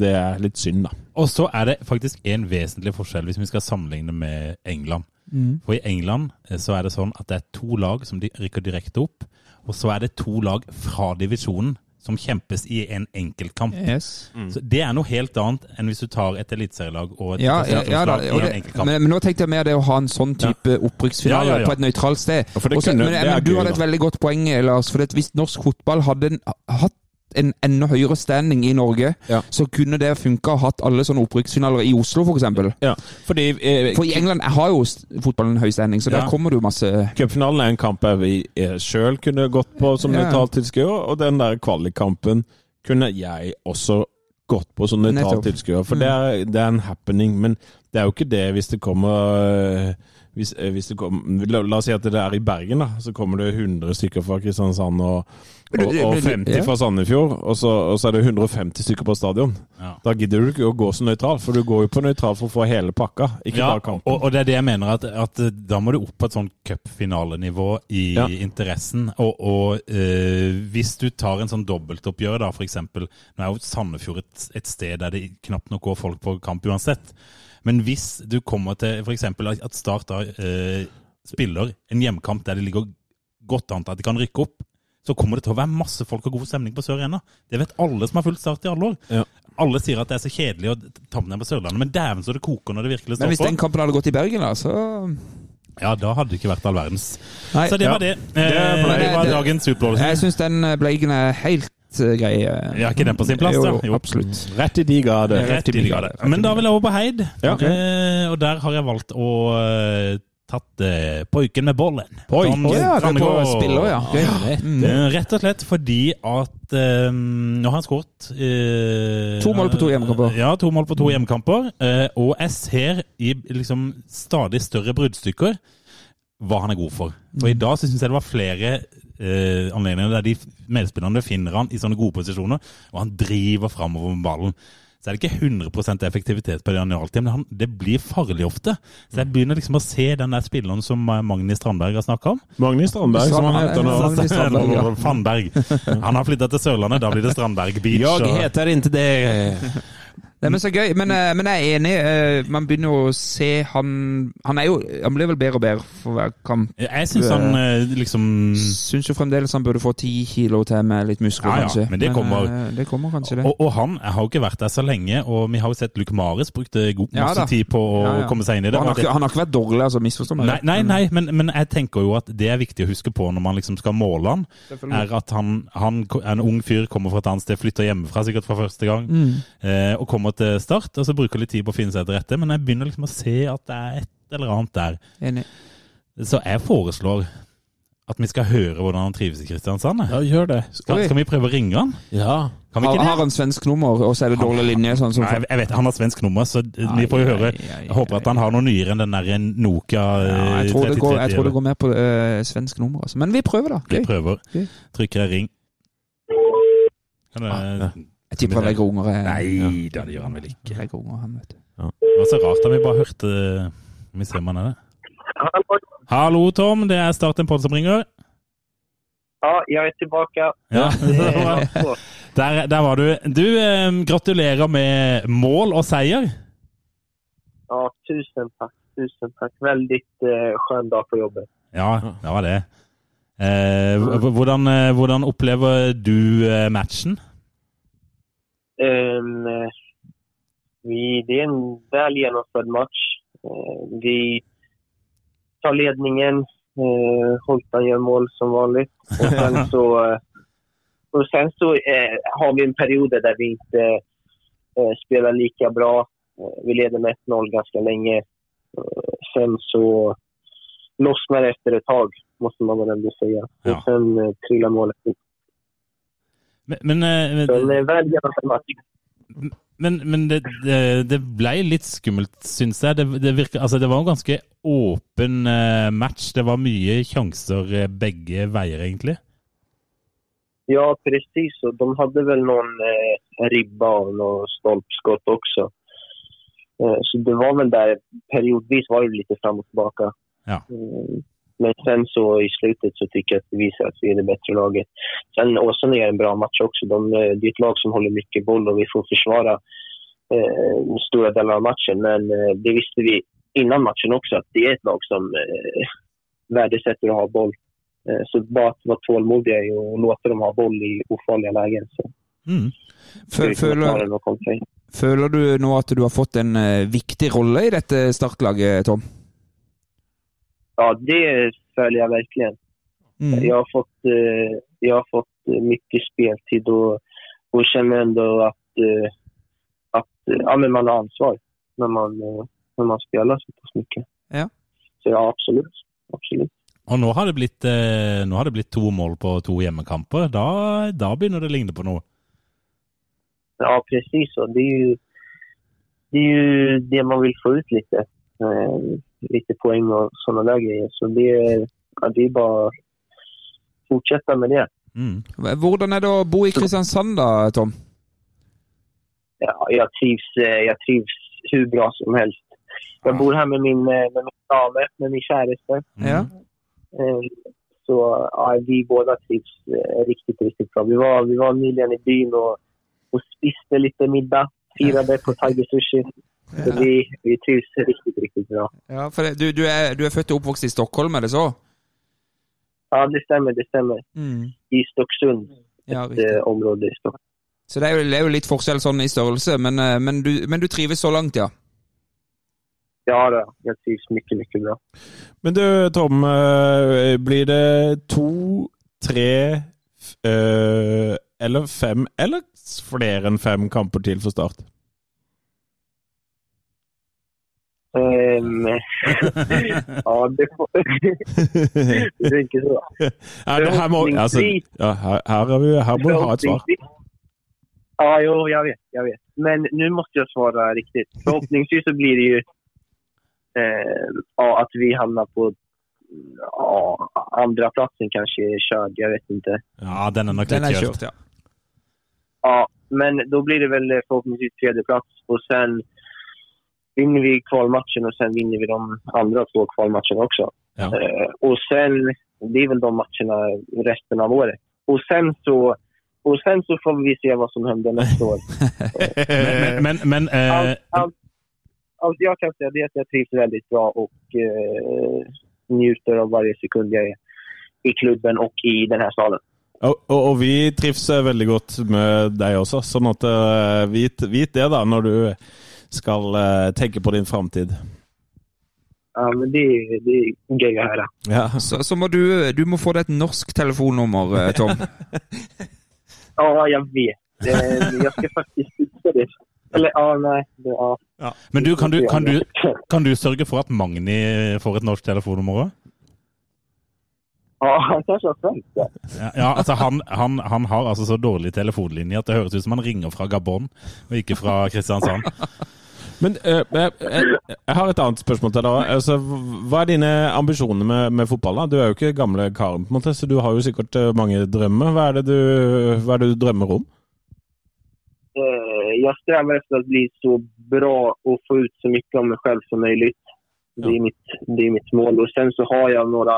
Speaker 3: det er litt synd, da.
Speaker 4: Og så er det faktisk en vesentlig forskjell hvis vi skal sammenligne med England.
Speaker 5: Mm.
Speaker 4: For i England eh, så er det sånn at det er to lag som de rykker direkte opp, og så er det to lag fra divisjonen som kjempes i en enkeltkamp.
Speaker 5: Yes.
Speaker 4: Så Det er noe helt annet enn hvis du tar et eliteserielag og et
Speaker 5: Ja, ja, ja da,
Speaker 4: prestasjonslag
Speaker 5: og
Speaker 4: i
Speaker 5: det,
Speaker 4: en enkeltkamp.
Speaker 5: men, men nå tenkte jeg mer det å ha en sånn type opprykksfinale
Speaker 4: Ja, ja, ja.
Speaker 5: på et nøytralt sted.
Speaker 3: for det
Speaker 5: Også-
Speaker 3: kunne-
Speaker 5: men
Speaker 3: det er
Speaker 5: men du
Speaker 3: gøy,
Speaker 5: hadde et
Speaker 3: da.
Speaker 5: veldig godt poeng, Lars. For hvis norsk fotball hadde en, hatt en enda høyere standing i Norge,
Speaker 3: Ja.
Speaker 5: så kunne det funka å hatt alle sånne opprykksfinaler i Oslo, f.eks. For, eksempel.
Speaker 3: Ja, fordi eh,
Speaker 5: for i England har jo s- fotballen høy standing, så
Speaker 4: Ja.
Speaker 5: der kommer det jo masse
Speaker 3: Cupfinalen er en kamp jeg vi sjøl kunne gått på som
Speaker 5: Ja.
Speaker 3: nøytralt tilskuer, og den der kvalikkampen kunne jeg også gått på som nøytralt
Speaker 5: Nettopp.
Speaker 3: tilskuer, for det er, det er en happening. Men det er jo ikke det hvis det kommer øh, hvis, øh, hvis det kom, la, la oss si at det er i Bergen, da. Så kommer det 100 stykker fra Kristiansand og, og, og 50 fra Sandefjord. Og så, og så er det 150 stykker på stadion.
Speaker 4: Ja.
Speaker 3: Da gidder du ikke å gå som nøytral, for du går jo på nøytral for å få hele pakka, ikke
Speaker 4: Ja,
Speaker 3: bare kampen.
Speaker 4: og, og det er det jeg mener, at, at eh, da må du opp på et sånn cupfinalenivå i
Speaker 3: Ja.
Speaker 4: interessen. Og, og eh, hvis du tar en sånn dobbeltoppgjør, da, f.eks. Nå er jo Sandefjord et, et sted der det knapt nok går folk på kamp uansett. Men hvis du kommer til f.eks. at Start da eh, spiller en hjemkamp der det ligger godt an til at de kan rykke opp, så kommer det til å være masse folk og god stemning på Sør Arena. Det vet alle som har fulgt Start i alle år.
Speaker 3: Ja.
Speaker 4: Alle sier at det er så kjedelig å ta med ned på Sørlandet, men dæven så det koker når det virkelig
Speaker 5: Men
Speaker 4: står
Speaker 5: hvis
Speaker 4: på.
Speaker 5: den kampen hadde gått i Bergen, da, så
Speaker 4: Ja, da hadde det ikke vært all verdens.
Speaker 5: Nei.
Speaker 4: Så det var det. Eh,
Speaker 3: ble-
Speaker 4: det var
Speaker 5: det-
Speaker 4: dagens utblåsning.
Speaker 5: Jeg syns den eh, Bleigen er helt eh, grei. eh.
Speaker 4: Ja, ikke den på sin plass, da?
Speaker 5: Jo,
Speaker 4: Jo.
Speaker 5: jo, absolutt.
Speaker 3: Rett i de grader.
Speaker 4: Rett i brigade. Men da vil jeg over på Heid,
Speaker 3: Ja, ok.
Speaker 4: eh, og der har jeg valgt å eh, tatt eh, poiken med bollen. Som
Speaker 5: Ja, det er på
Speaker 4: Sandefjord.
Speaker 5: spiller, ja. Gøy.
Speaker 4: Eh, Rett og slett fordi at eh, nå har han skåret eh,
Speaker 5: To mål på to hjemmekamper. Mm.
Speaker 4: Ja, to mål på to hjemmekamper. Eh, og jeg ser i liksom stadig større bruddstykker hva han er god for. For
Speaker 5: Mm.
Speaker 4: i dag så syns jeg det var flere eh, anledninger der de medspillerne finner han i sånne gode posisjoner, og han driver framover med ballen. Så er det ikke 100 effektivitet på det han gjør alltid, men han, det blir farlig ofte. Så
Speaker 5: Mm.
Speaker 4: jeg begynner liksom å se den der spilleren som eh, Magni Strandberg har snakka om.
Speaker 3: Magnus Strandberg, som han heter nå.
Speaker 5: Magnus Strandberg, ja.
Speaker 4: Fannberg. Han har flytta til Sørlandet, da blir det Strandberg Beach. og-
Speaker 3: heter ikke det
Speaker 5: Nei, men så gøy. Men, eh, men jeg er enig. eh, Man begynner jo å se han Han er jo Han blir vel bedre og bedre for hver kamp.
Speaker 4: Jeg syns han eh, liksom
Speaker 5: Syns jo fremdeles han burde få ti kilo til med litt muskler,
Speaker 4: Ja, ja,
Speaker 5: kanskje.
Speaker 4: men det kommer.
Speaker 5: eh, det kommer kanskje, det.
Speaker 4: og, og han har jo ikke vært der så lenge, og vi har jo sett Luc Maris brukte eh, god,
Speaker 5: Ja,
Speaker 4: masse
Speaker 5: da.
Speaker 4: tid på å
Speaker 5: Ja, ja.
Speaker 4: komme seg inn i det.
Speaker 5: han, har,
Speaker 4: Og det-
Speaker 5: ikke- han har ikke vært dårlig, altså. Misforstå meg.
Speaker 4: Nei, nei, nei men, men jeg tenker jo at det er viktig å huske på når man liksom skal måle han, er at han, han ko- er en ung fyr, kommer fra et annet sted, flytter hjemmefra sikkert fra første gang,
Speaker 5: Mm.
Speaker 4: eh, og kommer til start, og så bruker litt tid på å finne seg til rette, men jeg begynner liksom å se at det er et eller annet der.
Speaker 5: Enig.
Speaker 4: Så jeg foreslår at vi skal høre hvordan han trives i Kristiansand. jeg.
Speaker 3: Ja, gjør det.
Speaker 4: Skal, skal vi prøve å ringe han?
Speaker 3: Ja.
Speaker 4: Kan vi
Speaker 5: Har,
Speaker 4: ikke
Speaker 5: har
Speaker 4: det?
Speaker 5: han svensk nummer, og så er det dårlig linje? Sånn som
Speaker 4: Nei, jeg vet, Han har svensk nummer, så vi får jo høre. Jeg håper at han har noe nyere enn den der Nokia eh,
Speaker 5: ja, jeg, tror det går, jeg tror det går mer på eh, svensk nummer, altså. Men vi prøver, da.
Speaker 4: Vi
Speaker 5: Gøy.
Speaker 4: prøver.
Speaker 5: Gøy.
Speaker 4: Trykker jeg ring. Kan
Speaker 5: Ah,
Speaker 4: det,
Speaker 5: Jeg tipper han legger unger. eh,
Speaker 4: nei da, det gjør han vel ikke.
Speaker 5: Legger unger han, vet du.
Speaker 4: Det var så rart da vi bare hørte Skal Vi ser om han er det. Hallo, Tom. Det er Start en podd som ringer.
Speaker 8: Ja, jag är tillbaka.
Speaker 4: Ja, [laughs] det var-
Speaker 8: Så,
Speaker 4: Der, der var du. Du, eh, gratulerer med mål og seier.
Speaker 8: Ja, tusen tack. Tusen tack. Väldigt eh, skön dag på jobbet.
Speaker 4: Ja, det var det. Eh, h- h- hvordan, eh, hvordan opplever du eh, matchen?
Speaker 8: Ehm, eh, vi, det är en väl genomförd match. Eh, vi tar ledningen. Eh, Holtan gör mål som vanligt. Och sen så, eh, och sen så eh, har vi en period där vi inte eh, spelar lika bra. Eh, vi leder med 1-0 ganska länge. Eh, sen så lossnar det efter ett tag, måste man väl ändå säga.
Speaker 4: Ja.
Speaker 8: Och sen eh, trillar målet ut.
Speaker 4: Men, men, eh,
Speaker 8: Så en eh, väl genomförd match.
Speaker 4: men, men det, det, det ble litt skummelt, syns jeg. Det, det, virker, altså, det var en ganske åpen eh, match. Det var mye sjanser eh, begge veier, egentlig.
Speaker 8: Ja, precis. Och de hade väl någon eh, ribba och något stolpskott också. Eh, Så det var väl där, periodvis var det lite fram och tillbaka.
Speaker 4: Ja.
Speaker 8: Eh, Men sen så i slutet så tycker jag att vi visar att vi är det bättre laget. Sen Åsane gör en bra match också. De, eh, det är ett lag som håller mycket boll och vi får försvara eh, stora delar av matchen. Men eh, det visste vi innan matchen också att det är ett lag som eh, värdesätter att ha boll. Eh, så bara att vara tålmodiga och låta dem ha boll i ofarliga lägen. Så
Speaker 4: Mm.
Speaker 8: ska vi
Speaker 5: Fø-
Speaker 8: kunna klara
Speaker 5: Føler,
Speaker 8: det och kontra.
Speaker 5: føler du nå at du har fått en eh, viktig rolle i dette startlaget, Tom?
Speaker 8: Ja, det följer jag verkligen.
Speaker 5: Mm.
Speaker 8: Jag har fått, eh, jag har fått eh, mycket speltid och, och känner ändå att, eh, att eh, ja, men man har ansvar när man, eh, när man spelar så pass mycket.
Speaker 5: Ja.
Speaker 8: Så ja, absolut. absolut.
Speaker 4: Og nå har, det blitt, eh, nå har det blitt to mål på to hjemmekamper. Da, da begynner det å ligne på noe.
Speaker 8: Ja, precis så. Det är, ju, det är ju det man vill få ut lite. Eh, lite poäng och sådana där grejer. Så det är, ja, det är bara att fortsätta med det.
Speaker 4: Mm.
Speaker 5: Hvordan er det å bo i Kristiansand da, Tom?
Speaker 8: ja, jag, trivs, eh, jag trivs hur bra som helst. Jag bor här med min, eh, med min dame, med min käreste.
Speaker 4: Mm.
Speaker 5: Ja.
Speaker 8: Eh, Så ja, vi båda trivs eh, riktigt, riktigt bra. Vi var, vi var nyligen i byn och, och spiste lite middag. Firade på Tiger Sushi. Så vi, vi trivs riktigt, riktigt bra.
Speaker 5: Ja, for det, du, du, er, du er født og oppvokst i Stockholm, er det så?
Speaker 8: Ja, det stämmer, det stämmer. I Stocksund,
Speaker 5: Mm. Ja, riktig.
Speaker 8: eh, område i Stockholm.
Speaker 5: Så det er, jo, det er jo litt forskjell sånn i størrelse, men, eh, men, du, men du trives så langt, ja?
Speaker 8: Ja, då, jag trivs mycket, mycket bra.
Speaker 3: Men du, Tom. eh, Blir det to, tre f- eh, eller fem, eller s- flere enn fem kamper til for Start? [laughs]
Speaker 8: Ehm, ja, det får... [laughs] du tänker så.
Speaker 3: Ja, det her, må, altså, ja, her, her, er vi, her må vi ha et svar.
Speaker 8: Förhoppningsvis- Ja, jo, jag vet, jag vet. Men nu måste jag svara riktigt. Förhoppningsvis så blir det ju eh, ja, att vi hamnar på ja, andra platsen kanske är körd, jag vet inte.
Speaker 4: ja, den er nok
Speaker 5: Den
Speaker 4: litt
Speaker 5: er
Speaker 4: kjørt.
Speaker 5: kjørt, ja.
Speaker 8: Ja, men då blir det väl förhoppningsvis tredje plats och sen vinner vi kvalmatchen och sen vinner vi de andra två kvalmatcherna också.
Speaker 4: Ja.
Speaker 8: Eh, och sen, det är väl de matcherna resten av året. Och sen så, och sen så får vi se vad som händer nästa år.
Speaker 4: Men, men, men eh,
Speaker 8: Allt, allt, allt jag kan säga Altså, det är att jag trivs väldigt bra och eh, njuter av varje sekund jag är i klubben och i den här staden.
Speaker 3: Og, og, og vi trives eh, veldig godt med deg også, sånn at eh, vit, vit det da når du skal eh, tenke på din framtid.
Speaker 8: Ja, men det, är- det är gøy att höra.
Speaker 3: Ja.
Speaker 5: Så, så må du, du må få deg et norsk telefonnummer, eh, Tom. [laughs]
Speaker 8: Ja, jag vet. Eh, jag ska faktiskt fixa det. Eller ja, nej. Det, ja.
Speaker 4: ja. men du, kan, du, kan, du, kan du sørge for at Magni får et norsk telefonnummer òg?
Speaker 8: Ja, han kanske har svenska. Ja.
Speaker 4: Ja, ja, altså han, han, han har altså så dårlig telefonlinje at det høres ut som han ringer fra Gabon, og ikke fra Kristiansand.
Speaker 3: Men eh, jeg, jeg, jeg har et annet spørsmål til deg. Altså, hva er dine ambisjoner med, med fotball? da? Du er jo ikke gamle karen, på en måte, så du har jo sikkert eh, mange drømmer. Hva er det du, hva er det du drømmer om?
Speaker 8: Eh, jag strävar efter att bli så bra och få ut så mycket av mig själv som möjligt. Det, är mitt, det är mitt mål. Och sen så har jag några...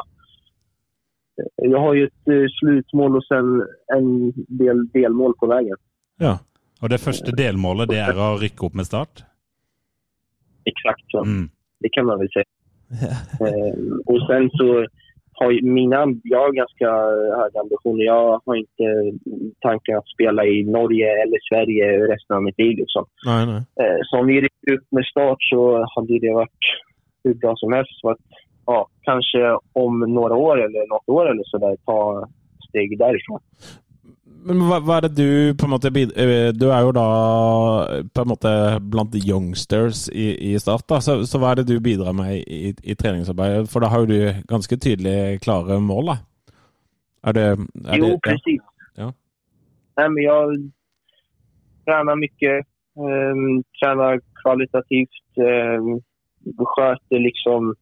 Speaker 8: eh, Jag har ju ett eh, slutmål og sen en del delmål på vägen.
Speaker 4: Og det første delmålet det er å rykke opp med Start.
Speaker 8: Exakt så.
Speaker 4: Mm.
Speaker 8: Det kan man väl säga. Eh, och sen så har ju mina, jag har ganska höga ambitioner. Jag har inte tanken att spela i Norge eller Sverige resten av mitt liv. Liksom.
Speaker 3: Nei, nei.
Speaker 8: Eh, så om vi rycker upp med start så hade det varit hur bra som helst. För att, ja, kanske om några år eller något år eller så där, ta steg därifrån.
Speaker 3: Men hva, hva er det du på en måte bid- eh, Du er jo da på en måte blant de youngsters i, i Start, da. Så, så hva er det du bidrar med i, i, i treningsarbeidet? For da har jo du ganske tydelig klare mål, da. Er det, er det
Speaker 8: jo, precis.
Speaker 3: Ja.
Speaker 8: Nej, men jag tränar mycket, ehm, tränar kvalitativt, ehm, sköter liksom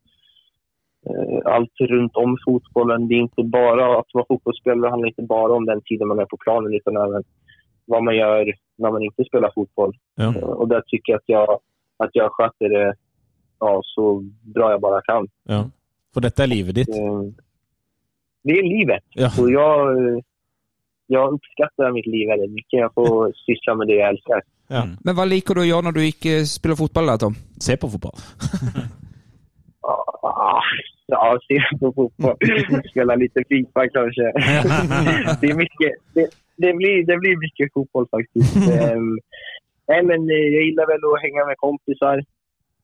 Speaker 8: eh, allt runt om fotbollen. Det är inte bara att vara fotbollsspelare, det handlar inte bara om den tiden man är på planen utan även vad man gör när man inte spelar fotboll.
Speaker 3: Ja.
Speaker 8: Eh, Och där tycker jag att jag att jag sköter det ja, så bra jag bara kan.
Speaker 3: Ja. For dette er livet ditt.
Speaker 8: Eh, Det är livet.
Speaker 3: Ja.
Speaker 8: Och jag, eh, jag uppskattar mitt liv väldigt mycket. Jag får syssla med det jag älskar.
Speaker 5: Men hva liker du å gjøre når du ikke spiller fotball, da, Tom?
Speaker 3: Se på fotball.
Speaker 8: Ah, Ja, se på fotboll. Spela lite Fifa kanske. Det, är mycket, det, det, blir, det blir mycket fotboll faktiskt. Ehm, Nej, men eh, jag gillar väl att hänga med kompisar.
Speaker 5: Eh,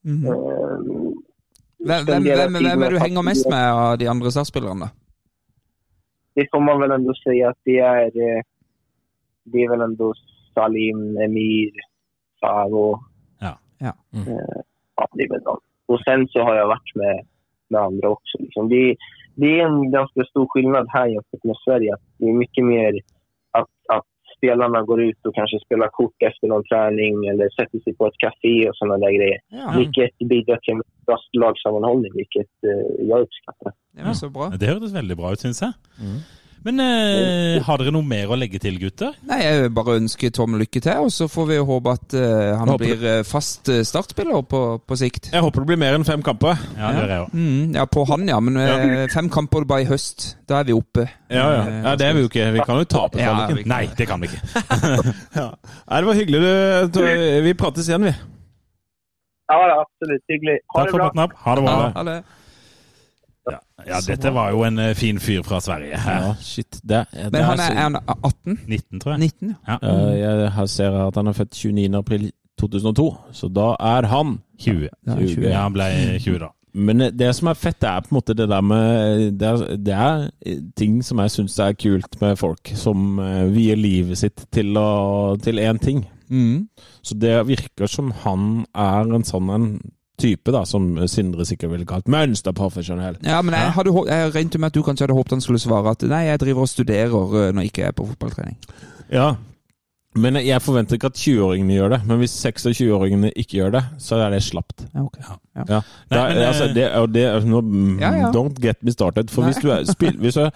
Speaker 8: Ehm,
Speaker 5: Mhm. Hvem, hvem, hvem, hvem er du henger mest med av de andre SAS-spillerne? da?
Speaker 8: det får man väl ändå säga att det är. eh, Det är väl ändå Salim, Emir, Favo.
Speaker 4: Ja.
Speaker 5: Ja.
Speaker 3: Mm.
Speaker 8: Eh, ja, det är väl dem. Och sen så har jag varit med, med andra också. Liksom. Det, det är en ganska stor skillnad här jämfört med Sverige. Att det är mycket mer att, att spelarna går ut och kanske spelar kort efter någon träning eller sätter sig på ett café och sådana där grejer. Vilket bidrar till en bra lagsammanhållning, vilket eh, jeg uppskattar.
Speaker 5: Det var så bra.
Speaker 4: Det hørtes veldig bra ut, syns jeg.
Speaker 3: Mm.
Speaker 4: Men eh, har dere noe mer å legge til, gutter?
Speaker 5: Nei, jeg vil bare ønsker Tom lykke til, og så får vi jo håpe at eh, han
Speaker 3: Håper
Speaker 5: blir eh, fast eh, startspiller på, på sikt.
Speaker 3: Jeg håper det blir mer enn fem kamper.
Speaker 4: Ja, det gjør jeg òg.
Speaker 5: Mm, ja, på han, ja. Men eh, fem kamper bare i høst. Da er vi oppe.
Speaker 3: Ja, ja.
Speaker 5: Eh,
Speaker 3: ja det er vi jo ikke. Vi kan jo tape
Speaker 5: Ja,
Speaker 3: kvaliken.
Speaker 5: vi-
Speaker 4: Nei, det kan vi ikke.
Speaker 3: Nei, det var hyggelig. du- Tor- Vi prates igjen, vi.
Speaker 8: Ja, det er absolutt. Hyggelig. Ha
Speaker 4: Takk
Speaker 8: det
Speaker 4: for
Speaker 8: bra.
Speaker 4: praten. Ab. Ha det bra.
Speaker 5: Ja, ha det.
Speaker 4: Ja, dette var jo en eh, fin fyr fra Sverige.
Speaker 3: Ja, shit. Det, det
Speaker 5: Men han er,
Speaker 3: så-
Speaker 5: er han 18?
Speaker 4: 19, tror jeg.
Speaker 5: 19? ja.
Speaker 3: Ja, jeg her ser jeg at han er født 29. april 2002, så da er han
Speaker 4: 20.
Speaker 5: Ja, 20.
Speaker 4: Ja, han ble 20 da.
Speaker 3: Men eh, det som er fett, det er på en måte det der med Det er, det er ting som jeg syns er kult med folk, som eh, vier livet sitt til, å, til én ting.
Speaker 5: Mm.
Speaker 3: Så det virker som han er en sånn en type, da, som Sindre sikkert ville kalt mønsterprofesjonell.
Speaker 5: Ja, men jeg, hadde, hå- jeg regnet jo med at du kanskje hadde håpet han skulle svare at nei, jeg driver og studerer eh, når jeg ikke er på fotballtrening.
Speaker 3: Ja. Men jeg forventer ikke at 20-åringene gjør det. Men hvis 26-åringene ikke gjør det, så er det slapt.
Speaker 5: Ja, ok.
Speaker 3: Ja.
Speaker 4: Nei,
Speaker 3: Da-
Speaker 4: men, eh,
Speaker 3: altså, det, og det, nå, mm,
Speaker 5: Ja, ja.
Speaker 3: Don't get me started. For hvis du, er, spill, hvis, du er,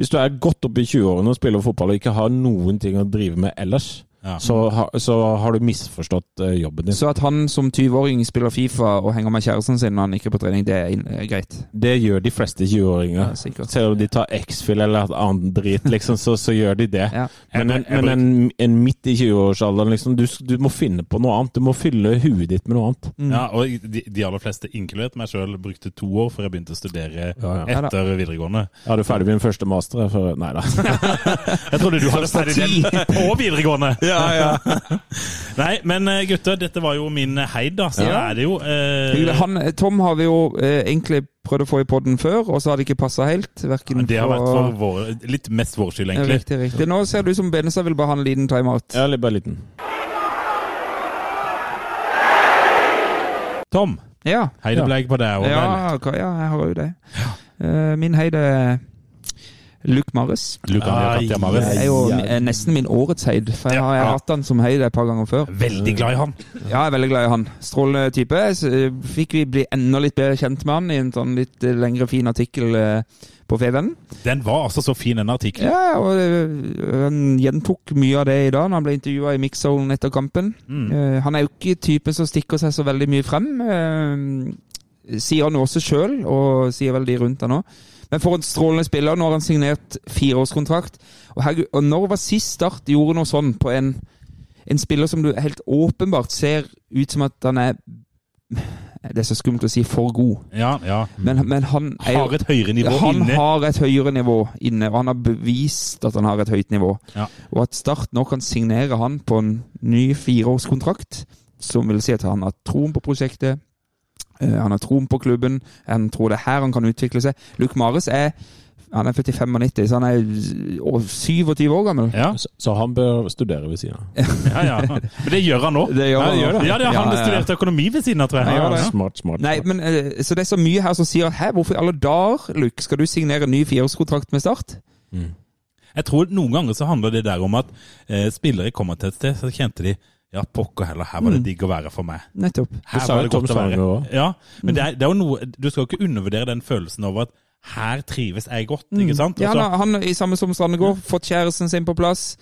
Speaker 3: hvis du er godt oppe i 20-årene og spiller fotball og ikke har noen ting å drive med ellers,
Speaker 4: Ja.
Speaker 3: så, ha, så har du misforstått eh, jobben din.
Speaker 5: Så at han som 20-åring spiller Fifa og henger med kjæresten sin når han ikke er på trening, det er inn- er greit.
Speaker 3: Det gjør de fleste 20-åringer.
Speaker 5: Ja, sikkert.
Speaker 3: Selv om de tar X-Fill eller et annet drit, liksom, så, så gjør de det.
Speaker 5: Ja.
Speaker 3: Men, en,
Speaker 4: Jeg bruk- jeg
Speaker 3: men en, en midt i 20-årsalderen, liksom, du, du må finne på noe annet. Du må fylle huet ditt med noe annet.
Speaker 5: Mm.
Speaker 4: Ja, og de, de aller fleste, inkludert meg sjøl, brukte to år før jeg begynte å studere
Speaker 3: Ja,
Speaker 5: ja.
Speaker 4: etter videregående.
Speaker 3: Jeg hadde ferdig med min første master. jeg, For, nei da.
Speaker 4: Jeg trodde du hadde ferdig den på videregående! Nei, men eh, gutter, dette var jo min eh, heid, da. Så
Speaker 5: Ja.
Speaker 4: er det jo
Speaker 5: Hyggelig.
Speaker 4: eh,
Speaker 5: Han, Tom har vi jo eh, egentlig prøvd å få i podden før, og så har det ikke passa helt. Hverken
Speaker 4: Det har vært
Speaker 5: på-
Speaker 4: for vår, litt mest vår skyld,
Speaker 5: Ja,
Speaker 4: egentlig.
Speaker 5: Riktig, riktig. Nå ser det ut som Benestad vil bare ha en liten timeout.
Speaker 3: Jeg er litt- bare liten.
Speaker 4: Tom,
Speaker 5: Ja.
Speaker 4: hei det ble jeg på deg òg, vel?
Speaker 5: Ja, hva- ja, jeg har jo det. Eh, min heid er Luke Marres.
Speaker 4: Luka, vi har
Speaker 5: Det
Speaker 4: tatt
Speaker 5: er
Speaker 4: hjemme.
Speaker 5: jo eh, nesten min årets heid, for jeg har, jeg har hatt han som heid et par ganger før.
Speaker 4: Veldig glad i han.
Speaker 5: Ja, jeg er veldig glad i han. Strålende type. Så eh, fikk vi bli enda litt bedre kjent med han i en sånn litt eh, lengre, fin artikkel eh, på Fevennen.
Speaker 4: Den var altså så fin, den artikkelen.
Speaker 5: Ja, og eh, han gjentok mye av det i dag når han ble intervjua i Mixzone etter kampen. Eh, Han er jo ikke typen som stikker seg så veldig mye frem. eh, Sier han jo også sjøl, og sier vel de rundt han òg. Men for en strålende spiller. Nå har han signert fireårskontrakt. Og, herregud, og når var sist Start gjorde noe sånn på en, en spiller som du helt åpenbart ser ut som at han er Det er så skummelt å si for god,
Speaker 4: Ja, ja.
Speaker 5: men, men han er jo
Speaker 4: Har et høyere nivå
Speaker 5: han
Speaker 4: inne.
Speaker 5: har et høyere nivå inne, og han har bevist at han har et høyt nivå.
Speaker 4: Ja.
Speaker 5: Og at Start nå kan signere han på en ny fireårskontrakt, som vil si at han har troen på prosjektet, eh, han har troen på klubben, han tror det er her han kan utvikle seg. Luke Mares er han er født i 95, så han er å, 27 år gammel.
Speaker 4: Ja,
Speaker 3: Så, så han bør studere ved siden av.
Speaker 4: ja, ja. Men det gjør han nå.
Speaker 5: [laughs] Det
Speaker 4: ja,
Speaker 5: gjør han nå.
Speaker 4: Ja, det er han
Speaker 5: Ja,
Speaker 4: som
Speaker 5: ja, ja.
Speaker 4: studerte økonomi ved siden av, tror jeg.
Speaker 5: Ja, det.
Speaker 3: Smart, smart.
Speaker 5: Nei, men, eh, så det er så mye her som sier Hæ, hvorfor i alle dager, Luke, skal du signere en ny fireårskontrakt med Start?
Speaker 4: Jeg tror noen ganger så handler det der om at eh, spillere kommer til et sted, så kjente de ja, pokker heller, her
Speaker 5: Mm.
Speaker 4: var det digg å være for meg.
Speaker 5: Nettopp.
Speaker 4: Her
Speaker 3: Det sa
Speaker 4: var
Speaker 3: jo Tom Sagen også.
Speaker 4: Ja, men det
Speaker 5: Mm.
Speaker 4: er, det er jo noe, du skal jo ikke undervurdere den følelsen over at her trives jeg godt, ikke sant?
Speaker 5: Mm. Ja,
Speaker 4: Og så-
Speaker 5: han, har- han er i samme som Strandegård. Fått kjæresten sin på plass.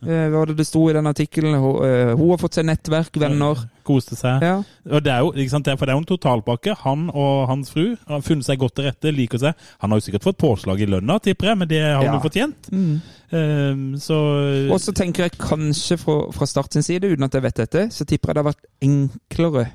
Speaker 5: Eh, Hva var det det sto i den artikkelen? Hun, eh, hun har fått seg nettverk, venner.
Speaker 4: Koste seg.
Speaker 5: Ja.
Speaker 4: Og det er jo, ikke sant, det er- for det er jo en totalpakke. Han og hans fru har funnet seg godt til rette, liker seg. Han har jo sikkert fått påslag i lønna, tipper jeg, men det har han
Speaker 5: Ja.
Speaker 4: jo fortjent.
Speaker 5: Mm.
Speaker 4: Ehm, så
Speaker 5: Og så tenker jeg kanskje fra, fra start sin side, uten at jeg vet dette, så tipper jeg det har vært enklere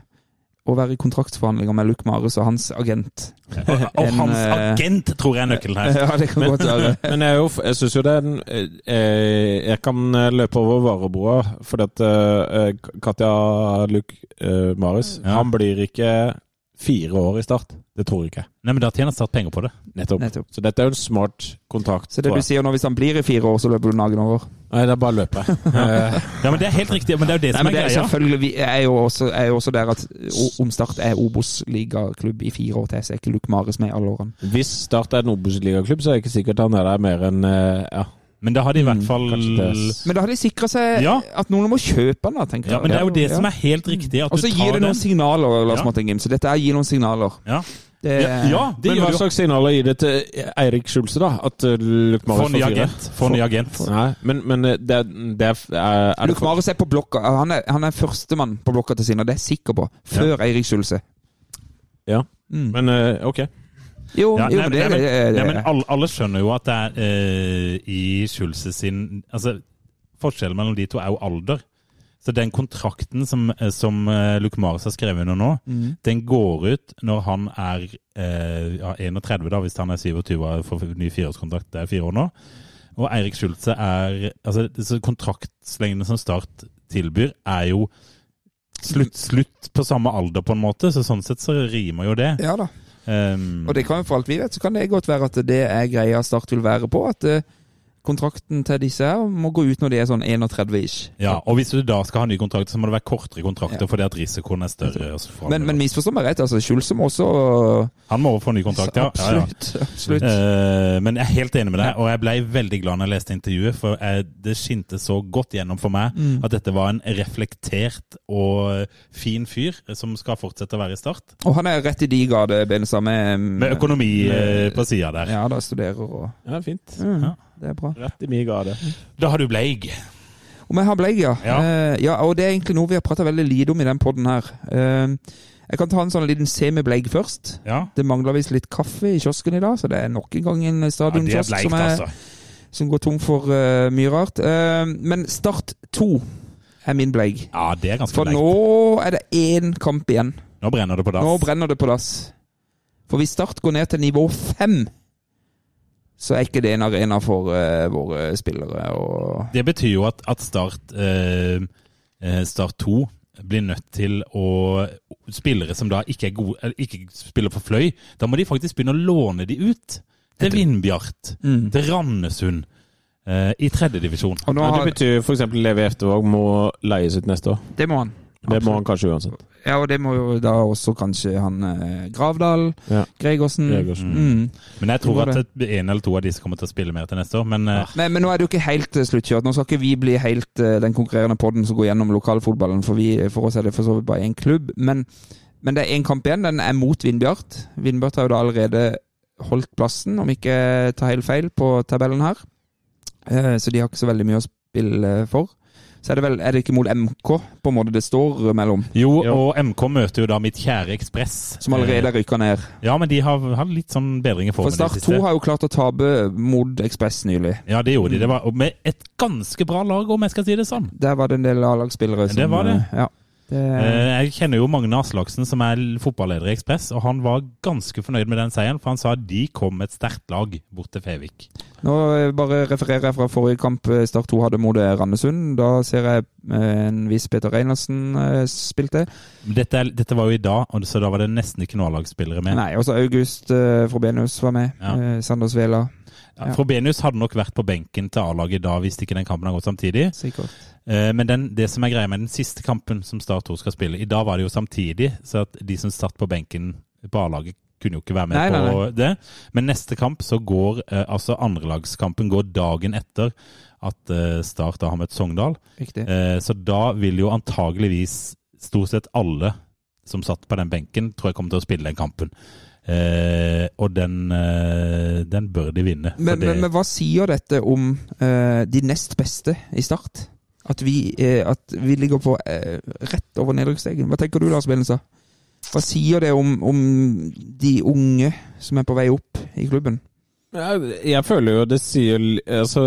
Speaker 5: å være i kontraktsforhandlinger med Luc Marius og hans agent.
Speaker 4: [laughs] Og
Speaker 5: en,
Speaker 4: hans
Speaker 5: eh,
Speaker 4: agent tror jeg er nøkkelen her.
Speaker 5: [laughs] Ja, det kan godt være.
Speaker 3: Men jeg, er jo f- jeg syns jo det er en eh, Jeg kan eh, løpe over varebroa, fordi at eh, K- Katja Luke eh, Marius
Speaker 4: Ja.
Speaker 3: Han blir ikke fire år i Start. Det tror jeg ikke.
Speaker 4: Nei, men da tjener Start penger på det.
Speaker 3: Nettopp.
Speaker 5: Nettopp.
Speaker 3: Så dette er jo en smart kontrakt.
Speaker 5: Så det
Speaker 3: tror
Speaker 5: du
Speaker 3: jeg.
Speaker 5: sier nå, hvis han blir i fire år, så løper du nagen over?
Speaker 3: Nei, det er bare å løpe.
Speaker 5: [laughs]
Speaker 3: Eh,
Speaker 4: Ja, men Det er helt riktig, men det er jo det
Speaker 5: Nei,
Speaker 4: som
Speaker 5: men det
Speaker 4: er
Speaker 5: er
Speaker 4: greia.
Speaker 5: selvfølgelig vi er jo også, er jo også der at O- om Start er Obos-ligaklubb i fire år til, så er ikke Luc Marius med i alle årene.
Speaker 3: hvis Start er en Obos-ligaklubb, så er det ikke sikkert han er der mer enn eh, ja.
Speaker 4: Men det har de i
Speaker 5: Mm,
Speaker 4: hvert fall
Speaker 3: kanskje det
Speaker 5: Men da har de sikra seg
Speaker 4: Ja.
Speaker 5: at noen må kjøpe den, da, tenker
Speaker 4: Ja, Men det er jo det som er helt riktig. At
Speaker 5: Og
Speaker 4: du
Speaker 5: så gir
Speaker 4: tar
Speaker 5: det noen
Speaker 4: den.
Speaker 5: signaler, Lars
Speaker 4: Ja.
Speaker 5: Martin Gim. Så dette er gir noen signaler.
Speaker 4: Ja.
Speaker 5: Det,
Speaker 4: Ja, ja, det
Speaker 3: Men
Speaker 4: gjør
Speaker 3: hva
Speaker 4: det jo.
Speaker 3: slags signaler gir det til Eirik Schulze, da? At eh, Luke
Speaker 4: Få
Speaker 3: Marius
Speaker 4: ny
Speaker 3: får fire?
Speaker 4: agent. Få ny agent.
Speaker 3: Nei, men, men eh, det, er- det er, er, er det
Speaker 5: Luc Marius er på blokka. Han er, han er førstemann på blokka til sin, og det er jeg sikker på. Før Eirik Schulze.
Speaker 3: Ja.
Speaker 5: Mm.
Speaker 3: Men eh, ok.
Speaker 5: Jo,
Speaker 4: Ja,
Speaker 5: jo,
Speaker 4: nei,
Speaker 5: men det
Speaker 4: nei,
Speaker 5: er
Speaker 4: Nei, men alle, alle skjønner jo at det er eh, i Schulze sin Altså, forskjellen mellom de to er jo alder. Så den kontrakten som, eh, som eh, Luc Marius har skrevet under nå,
Speaker 5: Mm.
Speaker 4: den går ut når han er eh, ja, 31, da, hvis han er 27 og får ny fireårskontrakt. Det er fire år nå. Og Eirik Schulze er Altså, disse kontraktslengdene som Start tilbyr, er jo slutt, slutt på samme alder, på en måte. Så sånn sett så rimer jo det.
Speaker 5: Ja da.
Speaker 4: Um,
Speaker 5: Og det kan jo for alt vi vet, så kan det godt være at det er greia Start vil være på. At eh, kontrakten til disse her må gå ut når de er sånn 31-ish.
Speaker 4: Ja, og hvis du da skal ha ny kontrakt, så må det være kortere kontrakter, fordi at risikoen er større. og så får han
Speaker 5: Men, men
Speaker 4: det.
Speaker 5: misforstå meg rett, altså. Schulze må også
Speaker 4: han må få ny kontrakt, ja. ja, ja.
Speaker 5: Absolutt. absolutt.
Speaker 4: Eh, men jeg er helt enig med deg, og jeg ble veldig glad når jeg leste intervjuet, for jeg, det skinte så godt gjennom for meg
Speaker 5: Mm.
Speaker 4: at dette var en reflektert og fin fyr som skal fortsette å være i Start,
Speaker 5: Og han er rett i de gade, Benestad, med,
Speaker 4: med økonomi eh, på sida der.
Speaker 5: Mm. Ja, da studerer og
Speaker 3: Ja, fint.
Speaker 5: mm,
Speaker 4: Ja.
Speaker 5: Det er bra.
Speaker 3: Rett i min gade.
Speaker 4: Da har du Bleig.
Speaker 5: Om jeg har bleig, ja.
Speaker 4: Ja.
Speaker 5: Eh, ja. Og det er egentlig noe vi har prata veldig lite om i den podden her. Eh, jeg kan ta en sånn liten semibleig først.
Speaker 4: Ja.
Speaker 5: Det mangler visst litt kaffe i kiosken i dag, så det er nok en gang en
Speaker 4: ja, det
Speaker 5: eh,
Speaker 4: er
Speaker 5: stadionkiosk
Speaker 4: bleigt,
Speaker 5: som, er-
Speaker 4: altså.
Speaker 5: som går tom for eh, mye rart. Eh, men Start 2 er min bleig.
Speaker 4: Ja, det er ganske
Speaker 5: For
Speaker 4: bleigt.
Speaker 5: nå er det én kamp igjen.
Speaker 4: Nå brenner det på dass.
Speaker 5: Nå brenner det på dass. For hvis Start går ned til nivå fem, så er ikke det en arena for eh, våre spillere. Og
Speaker 4: Det betyr jo at, at Start eh, eh, Start 2 blir nødt til å Spillere som da ikke er gode eller Ikke spiller for fløy, da må de faktisk begynne å låne de ut. Til Vindbjart, til Randesund, eh, i tredjedivisjon.
Speaker 5: og nå
Speaker 3: Men det
Speaker 5: har,
Speaker 3: betyr f.eks. Levi Eftervåg må leies ut neste år.
Speaker 5: det må han.
Speaker 3: Det må han kanskje uansett.
Speaker 5: Ja, og det må jo da også kanskje han eh, Gravdal,
Speaker 3: Ja.
Speaker 5: Gregersen.
Speaker 3: Gregersen.
Speaker 5: Mm.
Speaker 4: Men jeg tror
Speaker 5: Det Ah, var
Speaker 4: at et- en eller to av disse kommer til å spille mer til neste år. Men eh,
Speaker 5: Men, men nå er det jo ikke helt eh, sluttkjørt. Nå skal ikke vi bli helt eh, den konkurrerende podden som går gjennom lokalfotballen, for, vi, for oss er det for så vidt bare én klubb. Men, men det er én kamp igjen. Den er mot Vindbjart. Vindbjart har jo da allerede holdt plassen, om ikke jeg tar helt feil, på tabellen her. Eh, Så de har ikke så veldig mye å spille for. Så er det vel Er det ikke mot MK på en måte det står mellom,
Speaker 4: jo,
Speaker 3: Ja.
Speaker 4: og MK møter jo da mitt kjære Ekspress.
Speaker 5: som allerede er rykka ned?
Speaker 4: Eh, Ja, men de har, har litt sånn bedring i
Speaker 5: For
Speaker 4: formen. i
Speaker 5: Start
Speaker 4: det
Speaker 5: 2
Speaker 4: siste.
Speaker 5: har jo klart å tape mot Ekspress nylig.
Speaker 4: Ja, det gjorde de. Det var og med et ganske bra lag, om jeg skal si det sånn.
Speaker 5: Der var det en del A-lagsspillere som
Speaker 4: Det var det.
Speaker 5: Ja. Det,
Speaker 4: Eh, Jeg kjenner jo Magne Aslaksen, som er l- fotballeder i Ekspress, og han var ganske fornøyd med den seieren, for han sa de kom med et sterkt lag bort til Fevik.
Speaker 5: Nå eh, bare refererer jeg fra forrige kamp eh, Start 2 hadde mot eh, Randesund. Da ser jeg eh, en viss Peter Reinersen eh, spilte.
Speaker 4: Men Dette, er- dette var jo i dag, og så da var det nesten ikke noen A-lagsspillere med.
Speaker 5: Nei, også August eh, Frobenius var med.
Speaker 4: Ja.
Speaker 5: Eh, Sanders Vela,
Speaker 4: Ja, Frobenius hadde nok vært på benken til A-laget i dag hvis ikke den kampen har gått samtidig.
Speaker 5: sikkert.
Speaker 4: Eh, Men den, det som er greia med den siste kampen som Start 2 skal spille, i dag var det jo samtidig, så at de som satt på benken på A-laget kunne jo ikke være med
Speaker 5: Nei, nei,
Speaker 4: på det. Men neste kamp så går eh, altså andrelagskampen går dagen etter at eh, Start da har møtt Sogndal.
Speaker 5: Riktig.
Speaker 4: Eh, Så da vil jo antageligvis stort sett alle som satt på den benken, tror jeg kommer til å spille den kampen. Eh, og den, eh, den bør de vinne. for
Speaker 5: Men,
Speaker 4: det-
Speaker 5: men, men hva sier dette om eh, de nest beste i Start? At vi, eh, at vi ligger på eh, rett over nedrykksstreken. Hva tenker du, Lars Benestad? Hva sier det om, om de unge som er på vei opp i klubben?
Speaker 3: Ja, Jeg føler jo det sier altså,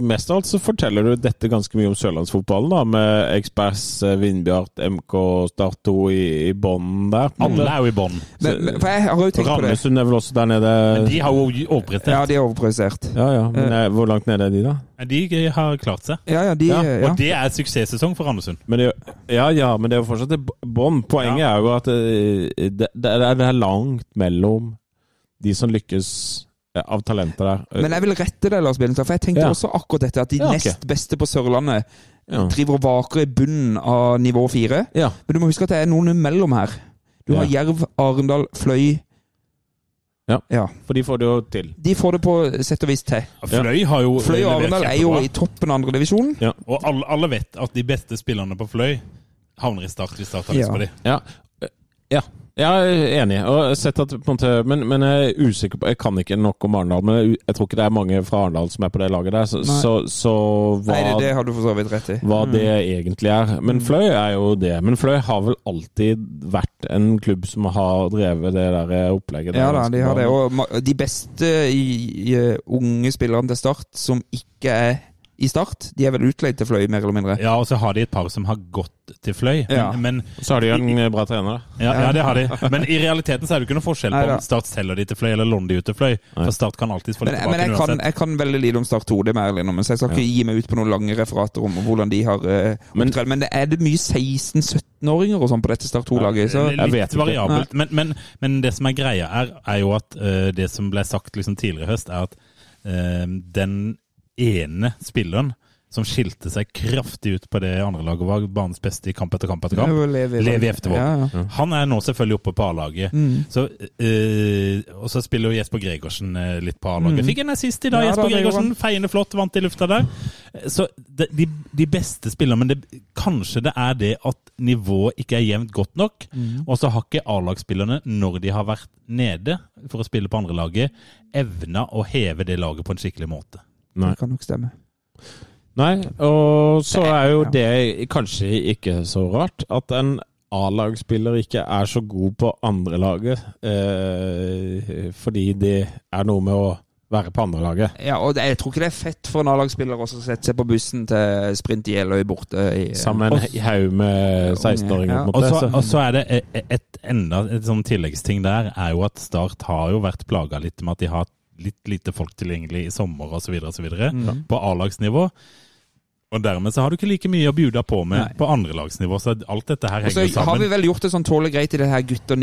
Speaker 3: Mest av alt så forteller du dette ganske mye om sørlandsfotballen, da, med Ekspress, eh, Vindbjart, MK, Start 2 i, i bånden der. Mm.
Speaker 4: alle er jo i bånn.
Speaker 5: Men, men, for jeg har jo tenkt på det.
Speaker 3: Randesund er vel også der nede?
Speaker 4: Men de har jo
Speaker 5: Ja,
Speaker 4: overprestert.
Speaker 5: de er overprosessert.
Speaker 3: Ja, ja, men eh, Hvor langt nede er de, da?
Speaker 4: De har klart seg.
Speaker 5: Ja, ja, de
Speaker 3: Ja,
Speaker 5: eh,
Speaker 4: Og
Speaker 5: ja.
Speaker 4: det er suksesssesong for Randesund.
Speaker 3: Men det, ja, ja, men det er jo fortsatt et bånd. Poenget er jo at eh, det, det, er, det er langt mellom de som lykkes eh, av talenter der.
Speaker 5: Men jeg vil rette deg, Lars Benestad, for jeg tenkte
Speaker 3: Ja.
Speaker 5: også akkurat dette. At de
Speaker 3: Ja, ok.
Speaker 5: nest beste på Sørlandet
Speaker 3: Ja.
Speaker 5: driver og vaker i bunnen av nivå fire.
Speaker 3: Ja.
Speaker 5: Men du må huske at det er noen imellom her. Du har Jerv, Arendal, Fløy.
Speaker 3: Ja.
Speaker 5: ja.
Speaker 3: For de får det jo til.
Speaker 5: De får det på sett og vis til.
Speaker 4: Fløy har jo
Speaker 5: Fløy og Arendal er jo i toppen av andredivisjon.
Speaker 4: Og alle, alle vet at de beste spillerne på Fløy havner i Start hvis Start har lyst
Speaker 5: Ja.
Speaker 4: på dem.
Speaker 3: Ja. ja. Jeg er enig. Og jeg har sett at, på en måte, men, men jeg er usikker på Jeg kan ikke nok om Arendal, men jeg, jeg tror ikke det er mange fra Arendal som er på det laget der. Så,
Speaker 5: Nei.
Speaker 3: så, så hva,
Speaker 5: Nei, det, det Mm. har du for så vidt rett i.
Speaker 3: hva det egentlig er. Men Fløy er jo det. Men Fløy har vel alltid vært en klubb som har drevet det der eh, opplegget.
Speaker 5: Ja
Speaker 3: der
Speaker 5: da,
Speaker 3: ganske
Speaker 5: de har
Speaker 3: bra.
Speaker 5: det. Og ma- de beste i, i, unge spillerne til Start som ikke er i Start, de er vel utleid til Fløy, mer eller mindre.
Speaker 4: Ja, og så har de et par som har gått til Fløy.
Speaker 5: Ja.
Speaker 4: Men,
Speaker 3: Så har de jo en eh, bra trener, da.
Speaker 4: ja, ja, det har de. Men i realiteten så er det ikke noe forskjell på
Speaker 5: Neida.
Speaker 4: om Start selger de til Fløy, eller låner de ut til Fløy. For Start kan alltid få
Speaker 5: Men,
Speaker 4: det
Speaker 5: men
Speaker 4: tilbake
Speaker 5: jeg, kan,
Speaker 4: uansett.
Speaker 5: jeg kan veldig lite om Start 2, det må jeg ærlig innrømme, så jeg skal ikke gi meg ut på noen lange referater om hvordan de har eh,
Speaker 3: Men-
Speaker 5: opptredd. Men det er det mye 16-17-åringer og sånn på dette Start 2-laget? Så
Speaker 3: Jeg vet
Speaker 4: Litt
Speaker 3: ikke.
Speaker 4: variabelt. Men, men, men det som er greia, er, er jo at eh, det som ble sagt liksom tidligere i høst, er at eh, den ene spilleren som skilte seg kraftig ut på det andre laget, var banens beste i kamp etter kamp etter
Speaker 5: Det
Speaker 4: kamp.
Speaker 5: er jo Levi-
Speaker 4: Levi Eftervold.
Speaker 5: Ja, Mm. ja.
Speaker 4: Han er nå selvfølgelig oppe på A-laget. Så, eh, og så spiller jo Jesper Gregersen eh, litt på A-laget. Fikk en assist i dag,
Speaker 5: Mm. Ja, da,
Speaker 4: Jesper
Speaker 5: det gjorde
Speaker 4: Gregersen. Feiende flott, vant i lufta der. Eh, Så de, de, de beste spillerne Men det, kanskje det er det at nivået ikke er jevnt godt nok.
Speaker 5: Mm.
Speaker 4: Og så har ikke A-lagsspillerne, når de har vært nede for å spille på andrelaget, evna å heve det laget på en skikkelig måte.
Speaker 5: Det kan nok stemme.
Speaker 3: Nei, og så er jo det kanskje ikke så rart at en A-lagspiller ikke er så god på andrelaget, eh, fordi det er noe med å være på andrelaget.
Speaker 5: Ja, og det, jeg tror ikke det er fett for en A-lagsspiller også å sette seg på bussen til sprint i Eløy borte. I, eh,
Speaker 3: Sammen med en haug med 16-åringer.
Speaker 5: Ja,
Speaker 3: på en
Speaker 4: Og
Speaker 3: måte,
Speaker 4: så,
Speaker 3: så-
Speaker 4: og så er det et, et enda et sånn tilleggsting der, er jo at Start har jo vært plaga litt med at de har litt lite folk tilgjengelig i sommer osv. videre på A-lagsnivå. Og dermed så har du ikke like mye å bjuda på med på andrelagsnivå, så alt dette her
Speaker 5: Og så
Speaker 4: henger
Speaker 5: har vi
Speaker 4: sammen.
Speaker 5: vel gjort det sånn tåle greit i det her gutter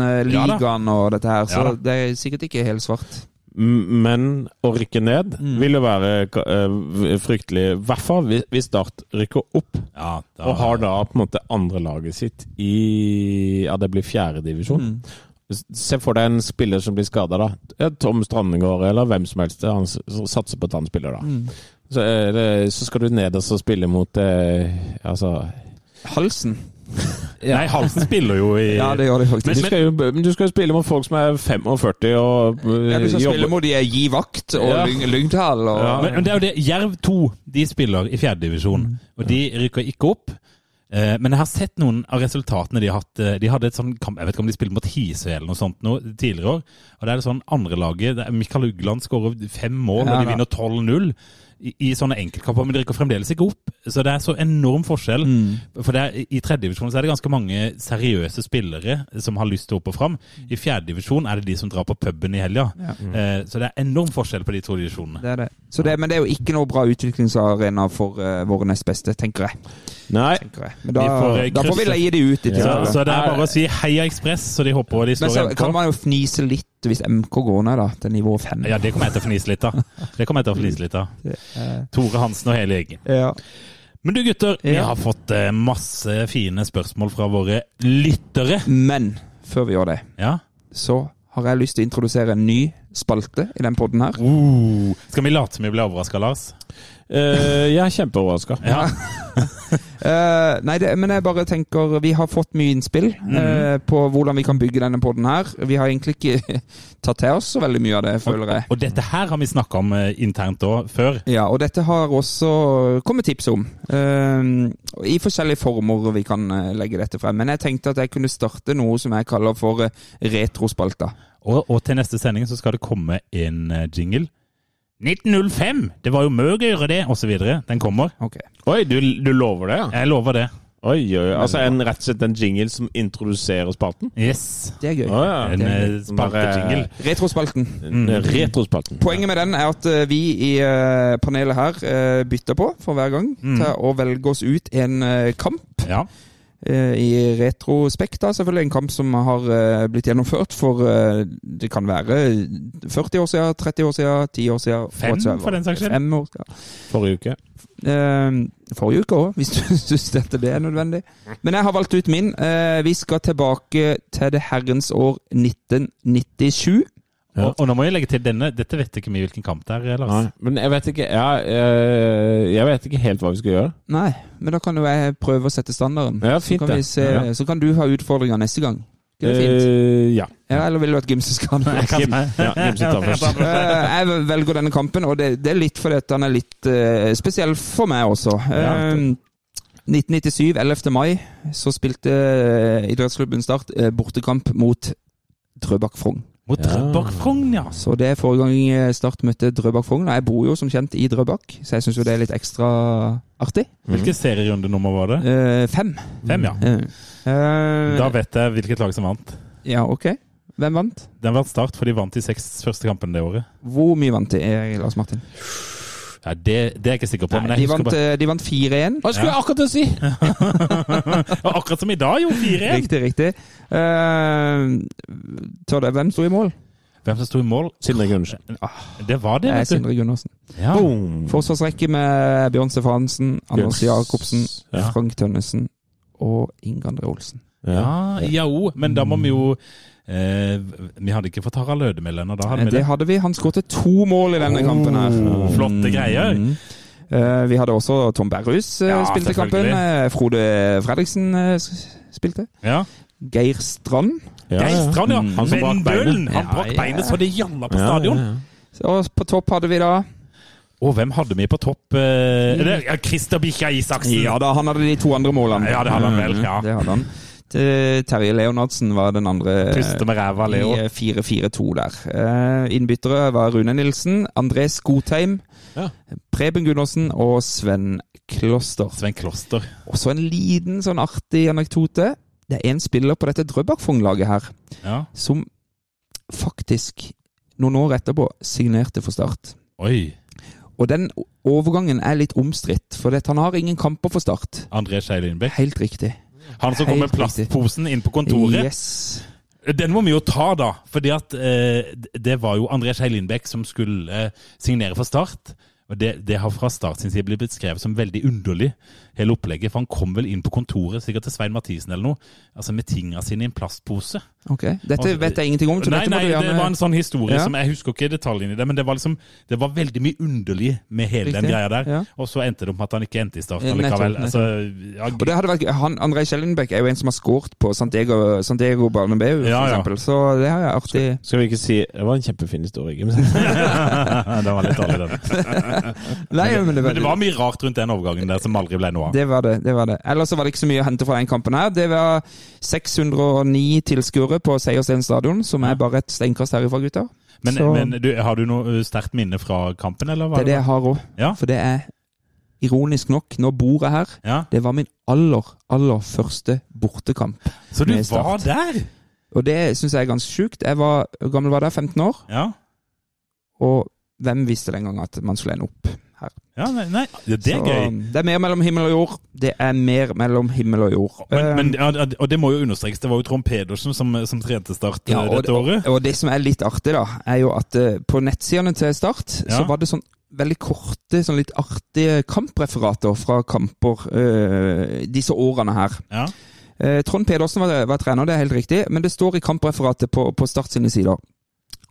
Speaker 5: 19-ligaen og dette her, så
Speaker 4: Ja da.
Speaker 5: det er sikkert ikke helt svart.
Speaker 3: M- Men å rykke ned vil jo være eh, fryktelig, i hvert fall hvis- hvis Start rykker opp.
Speaker 4: Ja, da-
Speaker 3: Og har da på en måte andrelaget sitt i Ja, det blir fjerdedivisjon.
Speaker 5: Mm.
Speaker 3: divisjon Se for deg en spiller som blir skada, da. Ja, Tom Strandegård eller hvem som helst. Han s- s- satser på at han spiller, da.
Speaker 5: Mm.
Speaker 3: Så, eh, det- så skal du ned og så spille mot eh, Altså
Speaker 5: Halsen.
Speaker 4: Nei, Halsen spiller jo i
Speaker 5: Ja, det gjør det
Speaker 3: du
Speaker 5: faktisk.
Speaker 3: skal, jo, men du skal jo spille mot folk som er 45 og eh,
Speaker 5: Ja, du skal spille
Speaker 3: jobber
Speaker 5: mot de er Gi Vakt og
Speaker 3: Ja.
Speaker 5: Lyng- Lyngdal og
Speaker 3: Ja.
Speaker 4: Men, men det er jo det. Jerv 2 de spiller i fjerdedivisjon,
Speaker 5: Mm.
Speaker 4: og de rykker ikke opp. Eh, men jeg har sett noen av resultatene de har hatt. Eh, De hadde et sånn kamp, Jeg vet ikke om de spilte mot Hisøy eller noe sånt nå, tidligere år. Og det er det sånn andrelaget Mikael Ugland skårer fem mål,
Speaker 5: Ja,
Speaker 4: og de
Speaker 5: da.
Speaker 4: vinner 12-0. I, I sånne enkeltkamper, men de rykker fremdeles ikke opp. Så det er så enorm forskjell.
Speaker 5: Mm.
Speaker 4: For det er, I tredjedivisjon er det ganske mange seriøse spillere som har lyst til å opp og fram. I fjerdedivisjon er det de som drar på puben i helga. Eh, så det er enorm forskjell på de to divisjonene.
Speaker 5: Det er det. Så det, men det er jo ikke noe bra utviklingsarena for eh, våre nest beste, tenker jeg.
Speaker 3: Nei,
Speaker 5: Tenker jeg. Men da,
Speaker 4: Vi får, eh,
Speaker 5: da får vi
Speaker 4: krysse-
Speaker 5: leie de ut. i
Speaker 4: Så,
Speaker 5: tilfelle.
Speaker 4: så det er bare å si heia Ekspress, så de håper de
Speaker 5: Men
Speaker 4: står
Speaker 5: så
Speaker 4: igjen
Speaker 5: kan
Speaker 4: på.
Speaker 5: man jo fnise litt hvis MK går ned da, til nivå fem.
Speaker 4: Ja, det kommer jeg til å fnise litt av. Det kommer jeg til å fnise litt
Speaker 5: [laughs]
Speaker 4: av.
Speaker 5: Eh,
Speaker 4: Tore Hansen og hele gjengen.
Speaker 5: ja.
Speaker 4: Men du gutter, vi
Speaker 5: Ja.
Speaker 4: har fått eh, masse fine spørsmål fra våre lyttere.
Speaker 5: Men før vi gjør det,
Speaker 4: Ja.
Speaker 5: så har jeg lyst til å introdusere en ny spalte i den podden her.
Speaker 4: Uh, skal vi late som vi ble overraska, Lars?
Speaker 3: Eh, jeg er kjempeoverraska.
Speaker 4: Ja.
Speaker 5: Eh, nei, det, men jeg bare tenker Vi har fått mye innspill
Speaker 3: Mhm.
Speaker 5: eh, på hvordan vi kan bygge denne podden her. Vi har egentlig ikke [laughs] tatt til oss så veldig mye av det, føler jeg.
Speaker 4: Og dette her har vi snakka om eh, internt òg før.
Speaker 5: Ja, og dette har også kommet tips om. eh, I forskjellige former vi kan eh, legge dette frem. Men jeg tenkte at jeg kunne starte noe som jeg kaller for eh, retrospalta.
Speaker 4: Og, og til neste sending så skal det komme en eh, jingle. 1905! Det var jo mye gøyere, det! Og så videre. Den kommer.
Speaker 5: Ok.
Speaker 3: Oi, du, du lover det? ja?
Speaker 4: Jeg lover det.
Speaker 3: Oi, oi, oi. Altså en, rett og slett en jingle som introduserer spalten?
Speaker 4: Yes.
Speaker 5: Det er sånn gøy.
Speaker 3: Å ja.
Speaker 4: En eh, spaltejingle.
Speaker 5: Retrospalten.
Speaker 3: En Retrospalten.
Speaker 5: Poenget med den er at eh, vi i eh, panelet her eh, bytter på for hver gang
Speaker 4: Mm.
Speaker 5: til å velge oss ut en eh, kamp.
Speaker 4: Ja.
Speaker 5: eh, I retrospekt, da, selvfølgelig en kamp som har eh, blitt gjennomført for eh, Det kan være 40 år siden, 30 år siden, 10 år siden
Speaker 4: Fem,
Speaker 5: whatsoever.
Speaker 4: for den saks skyld.
Speaker 5: Fem år, ja.
Speaker 3: Forrige uke.
Speaker 5: Eh, forrige uke òg, hvis du [laughs] syns dette det er nødvendig. Men jeg har valgt ut min. Eh, vi skal tilbake til det herrens år 1997.
Speaker 4: Og, og nå må jeg legge til denne. Dette vet ikke vi hvilken kamp det er, Lars.
Speaker 3: Nei, men jeg vet ikke ja, eh, Jeg vet ikke helt hva vi skal gjøre.
Speaker 5: Nei, men da kan jo jeg prøve å sette standarden.
Speaker 3: Ja, fint
Speaker 5: så, kan vi
Speaker 3: det.
Speaker 5: se,
Speaker 3: Ja.
Speaker 5: så kan du ha utfordringer neste gang. Det er fint.
Speaker 3: Eh, ja.
Speaker 5: Ja, eller vil du at Gimse skal ha det?
Speaker 4: Kim-
Speaker 3: Ja, Kim sitter
Speaker 5: [laughs]
Speaker 3: først.
Speaker 5: Eh, Jeg velger denne kampen, og det, det er litt fordi at den er litt eh, spesiell for meg også. Eh, 1997, 11. mai, så spilte eh, idrettsklubben Start eh, bortekamp mot Drøbak Frogn.
Speaker 4: Mot Drøbak Frogn, ja.
Speaker 5: Så det er forrige gang eh, Start møtte Drøbak Frogn. og Jeg bor jo som kjent i Drøbak, så jeg syns jo det er litt ekstra artig.
Speaker 3: Mm.
Speaker 4: Hvilket serierundenummer var det?
Speaker 5: Eh, fem.
Speaker 4: Fem, ja.
Speaker 5: Eh, eh,
Speaker 4: Da vet jeg hvilket lag som vant.
Speaker 5: ja, ok. Hvem vant?
Speaker 4: Den vant Start, for de vant de seks første kampene det året.
Speaker 5: Hvor mye vant de, eh, Lars Martin?
Speaker 4: Ja, det, det er jeg ikke sikker på. men
Speaker 5: de
Speaker 4: jeg husker
Speaker 5: vant,
Speaker 4: bare,
Speaker 5: eh, de vant 4-1.
Speaker 3: Hva skulle jeg akkurat til å si?
Speaker 4: Og akkurat som i dag, jo! 4-1!
Speaker 5: Riktig, riktig. Eh, tør det, hvem sto i mål?
Speaker 4: Hvem som sto i mål?
Speaker 3: Sindre Gundersen.
Speaker 4: Det var det, vet
Speaker 5: Det er
Speaker 4: du.
Speaker 5: Eh, Sindre Gundersen.
Speaker 4: Ja.
Speaker 3: Boom!
Speaker 5: Forsvarsrekke med Bjørn Stefansen, Anders
Speaker 3: Bjørn-
Speaker 5: Jacobsen,
Speaker 3: Ja.
Speaker 5: Frank Tønnesen og Inge André Olsen.
Speaker 3: Ja.
Speaker 4: Ja, jau, men da må vi jo eh, Vi hadde ikke fått Harald Lødemel ennå, da hadde
Speaker 5: Eh,
Speaker 4: vi det.
Speaker 5: Det hadde vi. Han skåret to mål i denne kampen her.
Speaker 4: Flotte
Speaker 3: Mm.
Speaker 4: greier.
Speaker 5: Eh, Vi hadde også Tom Berrhus eh,
Speaker 4: Ja,
Speaker 5: spilte kampen.
Speaker 4: selvfølgelig.
Speaker 5: Eh, Frode Fredriksen eh, s- spilte.
Speaker 4: Ja.
Speaker 5: Geir Strand.
Speaker 3: Ja, ja.
Speaker 4: Geistran, ja!
Speaker 3: Han som brakk
Speaker 4: Vendølen!
Speaker 3: beinet.
Speaker 4: Han brakk beinet så det gjalla på stadion.
Speaker 5: Og på topp hadde vi da
Speaker 4: Og hvem hadde vi på topp? Eh, er det- ja, Christer Bikkja Isaksen!
Speaker 5: Ja da, han hadde de to andre målene. Mm,
Speaker 4: Ja, det hadde han vel, ja.
Speaker 5: Det hadde han. Te- Terje Leonardsen var den andre.
Speaker 4: Puste med ræva, Leo.
Speaker 5: i 4-4-2 der. Eh, Innbyttere var Rune Nilsen, André Skotheim,
Speaker 3: Ja.
Speaker 5: Preben Gundersen og Sven Kloster.
Speaker 4: Sven Kloster.
Speaker 5: Og så en liten sånn artig anekdote. Det er en spiller på dette Drøbak-Frogn-laget her
Speaker 4: Ja.
Speaker 5: som faktisk, noen år etterpå, signerte for Start.
Speaker 4: Oi.
Speaker 5: Og den o- overgangen er litt omstridt, for det- han har ingen kamper for Start.
Speaker 4: André Skei Lindbekk.
Speaker 5: Helt riktig.
Speaker 4: Han som kom med
Speaker 5: Helt riktig.
Speaker 4: plastposen inn på kontoret.
Speaker 5: Yes.
Speaker 4: Den må vi jo ta, da. Fordi at eh, det var jo André Skei Lindbekk som skulle eh, signere for Start. Og det, det har fra Start sin side blitt beskrevet som veldig underlig, hele opplegget. For han kom vel inn på kontoret, sikkert til Svein Mathisen eller noe, altså med tinga sine i en plastpose.
Speaker 5: Ok. Dette vet jeg ingenting om. Så
Speaker 4: Altså, Nei,
Speaker 5: dette må
Speaker 4: nei,
Speaker 5: du gjerne...
Speaker 4: det var en sånn historie
Speaker 5: Ja.
Speaker 4: som Jeg husker ikke detaljene i det, men det var liksom Det var veldig mye underlig med hele den
Speaker 5: Riktig,
Speaker 4: greia der.
Speaker 5: ja.
Speaker 4: Og så endte det opp med at han ikke endte i Start
Speaker 5: Ja, nettopp,
Speaker 4: allikevel.
Speaker 5: nettopp.
Speaker 4: Altså, ja,
Speaker 5: Og det hadde vært gøy. han, André Kjellenbæk er jo en som har skåret på Santiago, Santiago Barnebeu, for
Speaker 4: Ja, ja.
Speaker 5: eksempel. Så det er jo artig.
Speaker 3: Skal vi ikke si Det var en kjempefin historie. Kim.
Speaker 4: [laughs]
Speaker 3: [laughs]
Speaker 4: det var litt dårlig, den.
Speaker 5: [laughs] Nei, men det var
Speaker 4: Men det
Speaker 5: det.
Speaker 4: var mye rart rundt den overgangen der som aldri ble noe av.
Speaker 5: Det var det. det, var det. Ellers så var det ikke så mye å hente fra den kampen her. Det var 609 tilskuere på Seiersten stadion, som er bare et steinkast herifra, gutter.
Speaker 4: Men,
Speaker 5: Så-
Speaker 4: men du, har du noe ø, sterkt minne fra kampen, eller?
Speaker 5: Det
Speaker 4: Var
Speaker 5: er det jeg har òg.
Speaker 4: Ja.
Speaker 5: For det er ironisk nok, nå bor jeg her.
Speaker 4: Ja.
Speaker 5: Det var min aller, aller første bortekamp.
Speaker 4: Så du
Speaker 5: Med
Speaker 4: var
Speaker 5: Start.
Speaker 4: der?
Speaker 5: Og det syns jeg er ganske sjukt. Jeg var, hvor gammel var jeg da? 15 år.
Speaker 4: Ja.
Speaker 5: Og hvem visste den gang at man skulle ende opp her?
Speaker 4: ja nei, nei, det det er
Speaker 5: Så, um,
Speaker 4: gøy.
Speaker 5: Det er mer mellom himmel og jord. Det er mer mellom himmel og jord.
Speaker 4: Men,
Speaker 5: Eh,
Speaker 4: men, ja, ja, og det må jo understrekes, det var jo Trond Pedersen som, som trente Start ø,
Speaker 5: ja, og,
Speaker 4: dette året.
Speaker 5: Og, og det som er litt artig, da, er jo at eh, på nettsidene til Start
Speaker 4: Ja.
Speaker 5: så var det sånn veldig korte, sånn litt artige kampreferater fra kamper eh, disse årene her.
Speaker 4: Ja.
Speaker 5: Eh, Trond Pedersen var, var trener, det er helt riktig, men det står i kampreferatet på, på Start sine sider.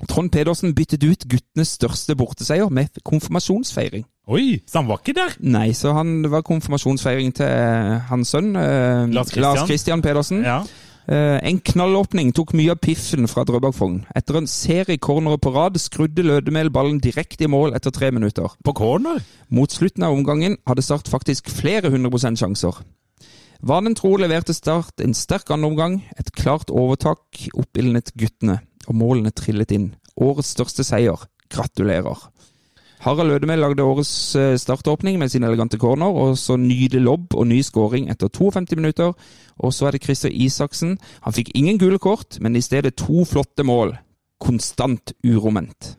Speaker 5: Trond Pedersen byttet ut guttenes største borteseier med konfirmasjonsfeiring.
Speaker 4: Oi, så han var ikke der!
Speaker 5: Nei, så han, det var konfirmasjonsfeiring til eh, hans sønn, eh,
Speaker 4: Lars Christian.
Speaker 5: Christian Pedersen.
Speaker 4: Ja.
Speaker 5: Eh, en knallåpning tok mye av piffen fra Drøbak Fogn. Etter en serie cornerer på rad skrudde Lødemel ballen direkte i mål etter tre minutter.
Speaker 4: På corner?
Speaker 5: Mot slutten av omgangen hadde Start faktisk flere 100 sjanser. Vanen tro leverte Start en sterk andre omgang, et klart overtak oppildnet guttene, og målene trillet inn. Årets største seier. Gratulerer. Harald Ødemel lagde årets eh, startåpning med sin elegante corner, og så nydelig lobb og ny scoring etter 52 minutter. Og så er det Christer Isaksen. Han fikk ingen gule kort, men i stedet to flotte mål. Konstant uroment.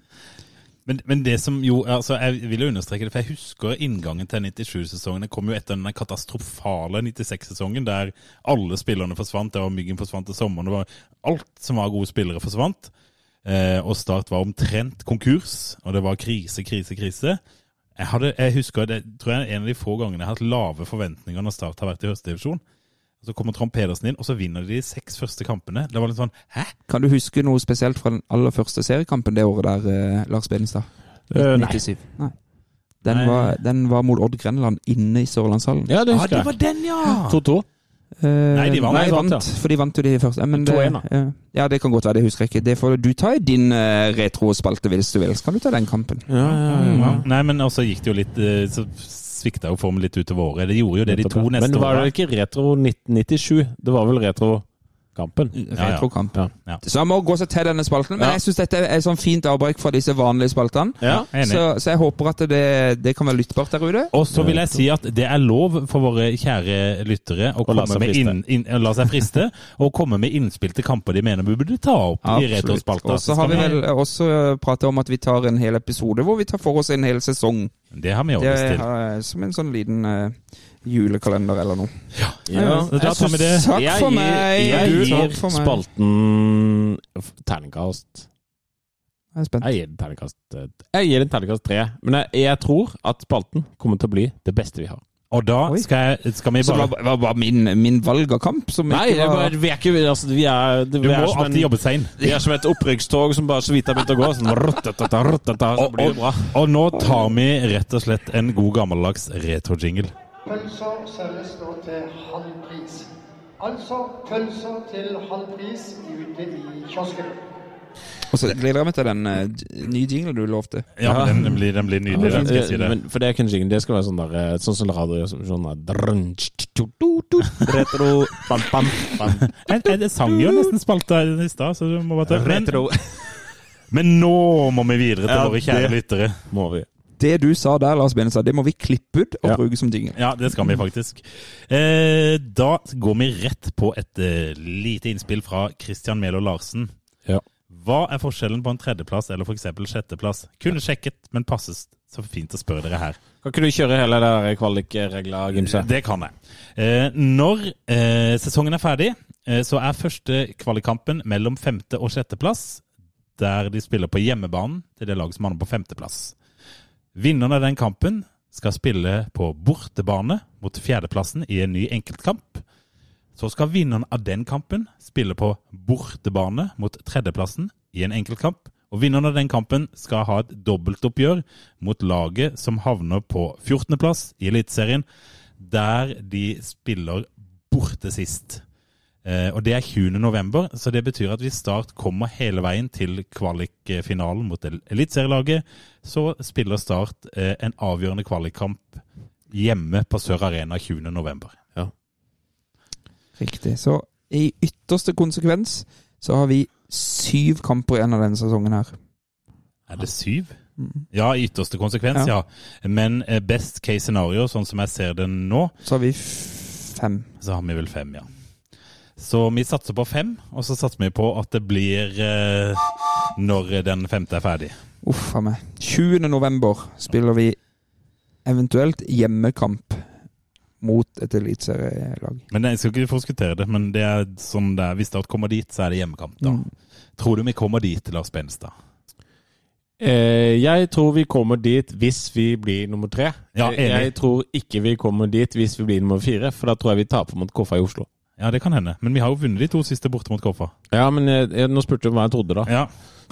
Speaker 4: Men, men det som jo, altså jeg vil jo understreke det, for jeg husker inngangen til 97-sesongen. Det kom jo etter den katastrofale 96-sesongen der alle spillerne forsvant. Det var Myggen forsvant til sommeren. Det var alt som var gode spillere, forsvant. Eh, og Start var omtrent konkurs, og det var krise, krise, krise. Jeg, hadde, jeg husker det tror jeg er en av de få gangene jeg har hatt lave forventninger når Start har vært i høstdivisjon. Så kommer Trond Pedersen inn, og så vinner de de seks første kampene. Det var litt sånn Hæ?
Speaker 5: Kan du huske noe spesielt fra den aller første seriekampen det året der, eh, Lars Benestad?
Speaker 3: Eh, nei.
Speaker 5: 97. Nei. Den,
Speaker 4: Nei.
Speaker 5: Var, den var mot Odd Grenland inne i Sørlandshallen.
Speaker 3: Ja, det
Speaker 4: Ah,
Speaker 3: husker
Speaker 4: det
Speaker 3: jeg.
Speaker 4: var den, ja!
Speaker 3: 2-2.
Speaker 5: Eh,
Speaker 4: Nei, de vant.
Speaker 5: Nei,
Speaker 3: Nei, vant, ja.
Speaker 5: For de vant jo de første. eh, Men det,
Speaker 3: 2-1 da.
Speaker 5: eh, ja, det kan godt være, det husker jeg ikke. Det får du ta i din eh, retrospalte hvis du vil. Så kan du ta den kampen.
Speaker 3: Ja, ja, ja.
Speaker 4: Ja. Nei, men altså gikk det jo litt eh, Så svikta jo formen litt utover året. Det gjorde jo det de to neste
Speaker 3: Men var
Speaker 4: åra.
Speaker 3: det ikke retro 1997? Det var vel retro-kampen?
Speaker 4: ja.
Speaker 5: Retrokamp.
Speaker 3: Ja.
Speaker 4: Ja.
Speaker 5: Så han må gå seg til denne spalten. Men
Speaker 3: Ja.
Speaker 5: jeg syns dette er et sånn fint avbrekk fra disse vanlige spaltene.
Speaker 3: Ja.
Speaker 4: Enig.
Speaker 5: Så, så jeg håper at det, det kan være lyttbart der ute.
Speaker 4: Og så vil jeg si at det er lov for våre kjære lyttere å
Speaker 3: Og la
Speaker 4: komme
Speaker 3: seg
Speaker 4: med
Speaker 3: friste.
Speaker 4: inn, inn, la seg friste [laughs] og komme med innspill til kamper de mener vi burde ta opp i retrospalta.
Speaker 5: Og så har vi vel også eh, pratet om at vi tar en hel episode hvor vi tar for oss en hel sesong.
Speaker 4: Det har vi
Speaker 5: Det
Speaker 4: ordnet til.
Speaker 5: er som en sånn liten eh, julekalender eller noe.
Speaker 3: Ja.
Speaker 4: Så da tar vi det.
Speaker 5: Takk
Speaker 3: Jeg
Speaker 5: for
Speaker 3: gir-
Speaker 5: meg!
Speaker 3: Jeg
Speaker 5: Du,
Speaker 3: gir
Speaker 5: takk for meg.
Speaker 3: spalten f- terningkast
Speaker 5: Jeg er spent.
Speaker 3: Jeg gir den terningkast eh, Jeg gir den terningkast tre. Men jeg, jeg tror at spalten kommer til å bli det beste vi har.
Speaker 4: Og da
Speaker 5: Oi.
Speaker 4: skal, jeg, skal vi
Speaker 5: Så det
Speaker 4: bare
Speaker 5: var, var bare min, min valg av kamp som
Speaker 3: Nei,
Speaker 5: ikke
Speaker 3: jeg
Speaker 5: var
Speaker 3: bare, vi er ikke altså, Vi er, det,
Speaker 4: Du
Speaker 3: vi
Speaker 4: må
Speaker 3: er som
Speaker 4: alltid
Speaker 3: en,
Speaker 4: jobbe seg inn.
Speaker 3: vi er som et opprykkstog som bare så vidt har begynt å gå.
Speaker 4: [laughs]
Speaker 3: Sånn, rottata, rottata, så
Speaker 4: Og-
Speaker 3: blir det bra.
Speaker 4: Og nå tar vi rett og slett en god gammeldags retrojingle.
Speaker 9: Pølser selges nå til halv pris. Altså pølser til halv pris ute i kiosken.
Speaker 5: Og så gleder jeg meg til den eh, j- nye jinglen du lovte.
Speaker 4: Ja,
Speaker 3: Ja.
Speaker 4: Den, den, blir, den blir nydelig, den skal jeg si
Speaker 3: Eh,
Speaker 4: det.
Speaker 3: Men, for det er ikke en jingle, det skal være sånn der eh, Sånn som radio sånn der, drrrn, tsk, tsk, tsk, tsk, tsk, Retro bam, bam, bam.
Speaker 4: Jeg, jeg, jeg sang jo nesten spalta i stad, så du må bare ta men, [laughs] men nå må vi videre til
Speaker 3: Ja,
Speaker 4: våre kjære
Speaker 3: det-
Speaker 4: lyttere.
Speaker 3: Må vi
Speaker 5: Det du sa der, Lars Benestad, det må vi klippe ut og
Speaker 3: Ja.
Speaker 5: bruke som jingle.
Speaker 4: Ja, det skal vi faktisk. Eh, da går vi rett på et eh, lite innspill fra Christian Melo Larsen.
Speaker 3: Ja.
Speaker 4: Hva er forskjellen på en tredjeplass eller f.eks. sjetteplass? Kunne sjekket, men passes. Så fint å spørre dere her.
Speaker 3: Kan ikke du kjøre hele det der kvalikregla, Gimse?
Speaker 4: Det kan jeg. Eh, når eh, sesongen er ferdig, eh, så er første kvalikkampen mellom femte- og sjetteplass, der de spiller på hjemmebanen til det laget som havner på femteplass. Vinneren av den kampen skal spille på bortebane mot fjerdeplassen i en ny enkeltkamp. Så skal vinneren av den kampen spille på bortebane mot tredjeplassen i en enkeltkamp. Og vinneren av den kampen skal ha et dobbeltoppgjør mot laget som havner på 14.plass i Eliteserien, der de spiller borte sist. Eh, og det er 20. november, så det betyr at hvis Start kommer hele veien til kvalikfinalen mot el- eliteserielaget, så spiller Start eh, en avgjørende kvalikkamp hjemme på Sør Arena 20. november.
Speaker 5: Riktig. Så i ytterste konsekvens så har vi syv kamper igjen av denne sesongen her.
Speaker 4: Er det syv?
Speaker 5: Mm.
Speaker 4: Ja, i ytterste konsekvens, ja. Men eh, best case scenario, sånn som jeg ser det nå,
Speaker 5: Så har vi f- fem.
Speaker 4: så har vi vel fem, ja. Så vi satser på fem, og så satser vi på at det blir eh, når den femte er ferdig.
Speaker 5: Uff a meg. 20. november spiller vi eventuelt hjemmekamp mot et eliteserielag.
Speaker 4: Men Jeg skal ikke forskuttere det, men det er sånn det er. Hvis Start kommer dit, så er det hjemmekamp, da.
Speaker 5: Mm.
Speaker 4: Tror du vi kommer dit, Lars Benstad?
Speaker 3: Eh, jeg tror vi kommer dit hvis vi blir nummer tre.
Speaker 4: Ja,
Speaker 3: Eh,
Speaker 4: enig.
Speaker 3: jeg tror ikke vi kommer dit hvis vi blir nummer fire, for da tror jeg vi taper mot KFA i Oslo.
Speaker 4: Ja, det kan hende. Men vi har jo vunnet de to siste borte mot Koffa.
Speaker 3: Ja, men jeg, jeg, nå spurte du hva jeg trodde, da.
Speaker 4: Ja.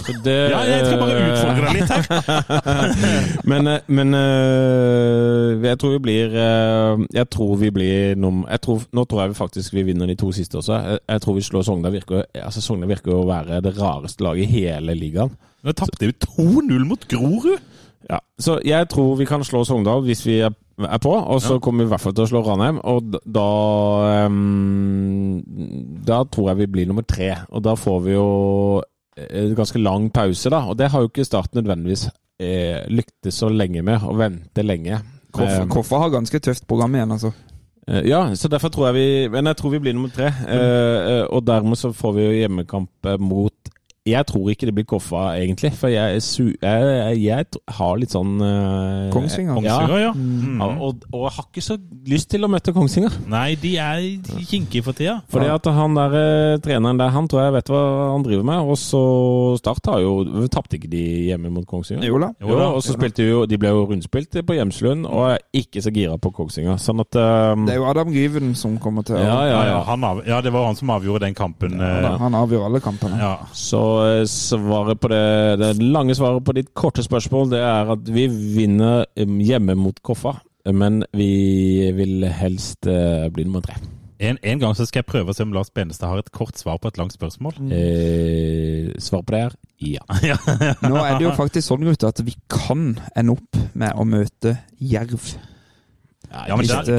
Speaker 3: Så det, [laughs] eh,
Speaker 4: ja, jeg skal bare utfordre deg litt her.
Speaker 3: Men, eh, men eh, jeg tror vi blir eh, Jeg tror vi blir num jeg tror, Nå tror jeg vi faktisk vi vinner de to siste også. Jeg, jeg tror vi slår Sogndal. Virker, altså, Sogndal virker jo å være det rareste laget i hele ligaen.
Speaker 4: Nå tapte vi 2-0 mot Grorud!
Speaker 3: Ja. Så jeg tror vi kan slå Sogndal hvis vi er, er på, og så kommer vi i hvert fall til å slå Ranheim. Og d- da ehm, Da tror jeg vi blir nummer tre. Og da får vi jo eh, ganske lang pause, da. Og det har jo ikke Start nødvendigvis eh, lyktes så lenge med, å vente lenge.
Speaker 5: Koffa,
Speaker 4: Ehm.
Speaker 3: Eh,
Speaker 5: Koffa har ganske tøft program igjen, altså.
Speaker 3: Eh, Ja, så derfor tror jeg vi Men jeg tror vi blir nummer tre. Eh, eh, og dermed så får vi jo hjemmekamp eh, mot Jeg tror ikke det blir Koffa, egentlig. For jeg, er su jeg, jeg, jeg t- har litt sånn eh,
Speaker 5: Kongsvinger.
Speaker 4: Kongsvinger, ja. Mm.
Speaker 3: Ja, og, og jeg har ikke så lyst til å møte Kongsvinger.
Speaker 4: Nei, de er kinkige for tida.
Speaker 3: Fordi at han der eh, treneren der, han tror jeg vet hva han driver med. Og så Start har jo Tapte ikke de hjemme mot Kongsvinger?
Speaker 5: Jo da.
Speaker 4: Jo da,
Speaker 3: og så spilte jo De ble jo rundspilt på Hjemslund, og jeg er ikke så gira på Kongsvinger. Sånn at eh,
Speaker 5: Det er jo Adam Gyven som kommer til å
Speaker 3: ja, ja, ja.
Speaker 4: Han av, ja, det var han som avgjorde den kampen. eh,
Speaker 5: Han avgjør alle kampene.
Speaker 4: Ja.
Speaker 3: Så eh, svaret på det, det lange svaret på ditt korte spørsmål, det er at vi vinner em, hjemme mot Koffa. Men vi vil helst eh, bli nummer tre.
Speaker 4: En, en gang så skal jeg prøve å se om Lars Benestad har et kort svar på et langt spørsmål.
Speaker 3: Eh, svar på det er ja.
Speaker 4: Ja.
Speaker 5: Nå er det jo faktisk sånn, gutter, at vi kan ende opp med å møte Jerv.
Speaker 4: Ja, men
Speaker 5: Hvis,
Speaker 4: det,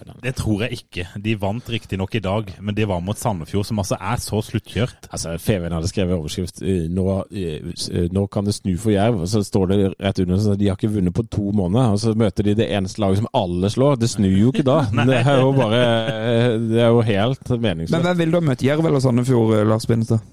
Speaker 5: eh,
Speaker 4: det tror jeg ikke. De vant riktignok i dag, men det var mot Sandefjord, som altså er så sluttkjørt.
Speaker 3: Altså, Feven hadde skrevet overskrift eh, nå, eh, s- eh, 'Nå kan det snu for Jerv', og så står det rett under sånn at de har ikke vunnet på to måneder. Og så møter de det eneste laget som alle slår. Det snur jo ikke da.
Speaker 4: [laughs]
Speaker 3: Det er jo bare eh, Det er jo helt
Speaker 5: Men
Speaker 3: meningsløst.
Speaker 4: eh,
Speaker 5: hvem vil du ha møtt? Jerv eller Sandefjord, eh, Lars Benestad?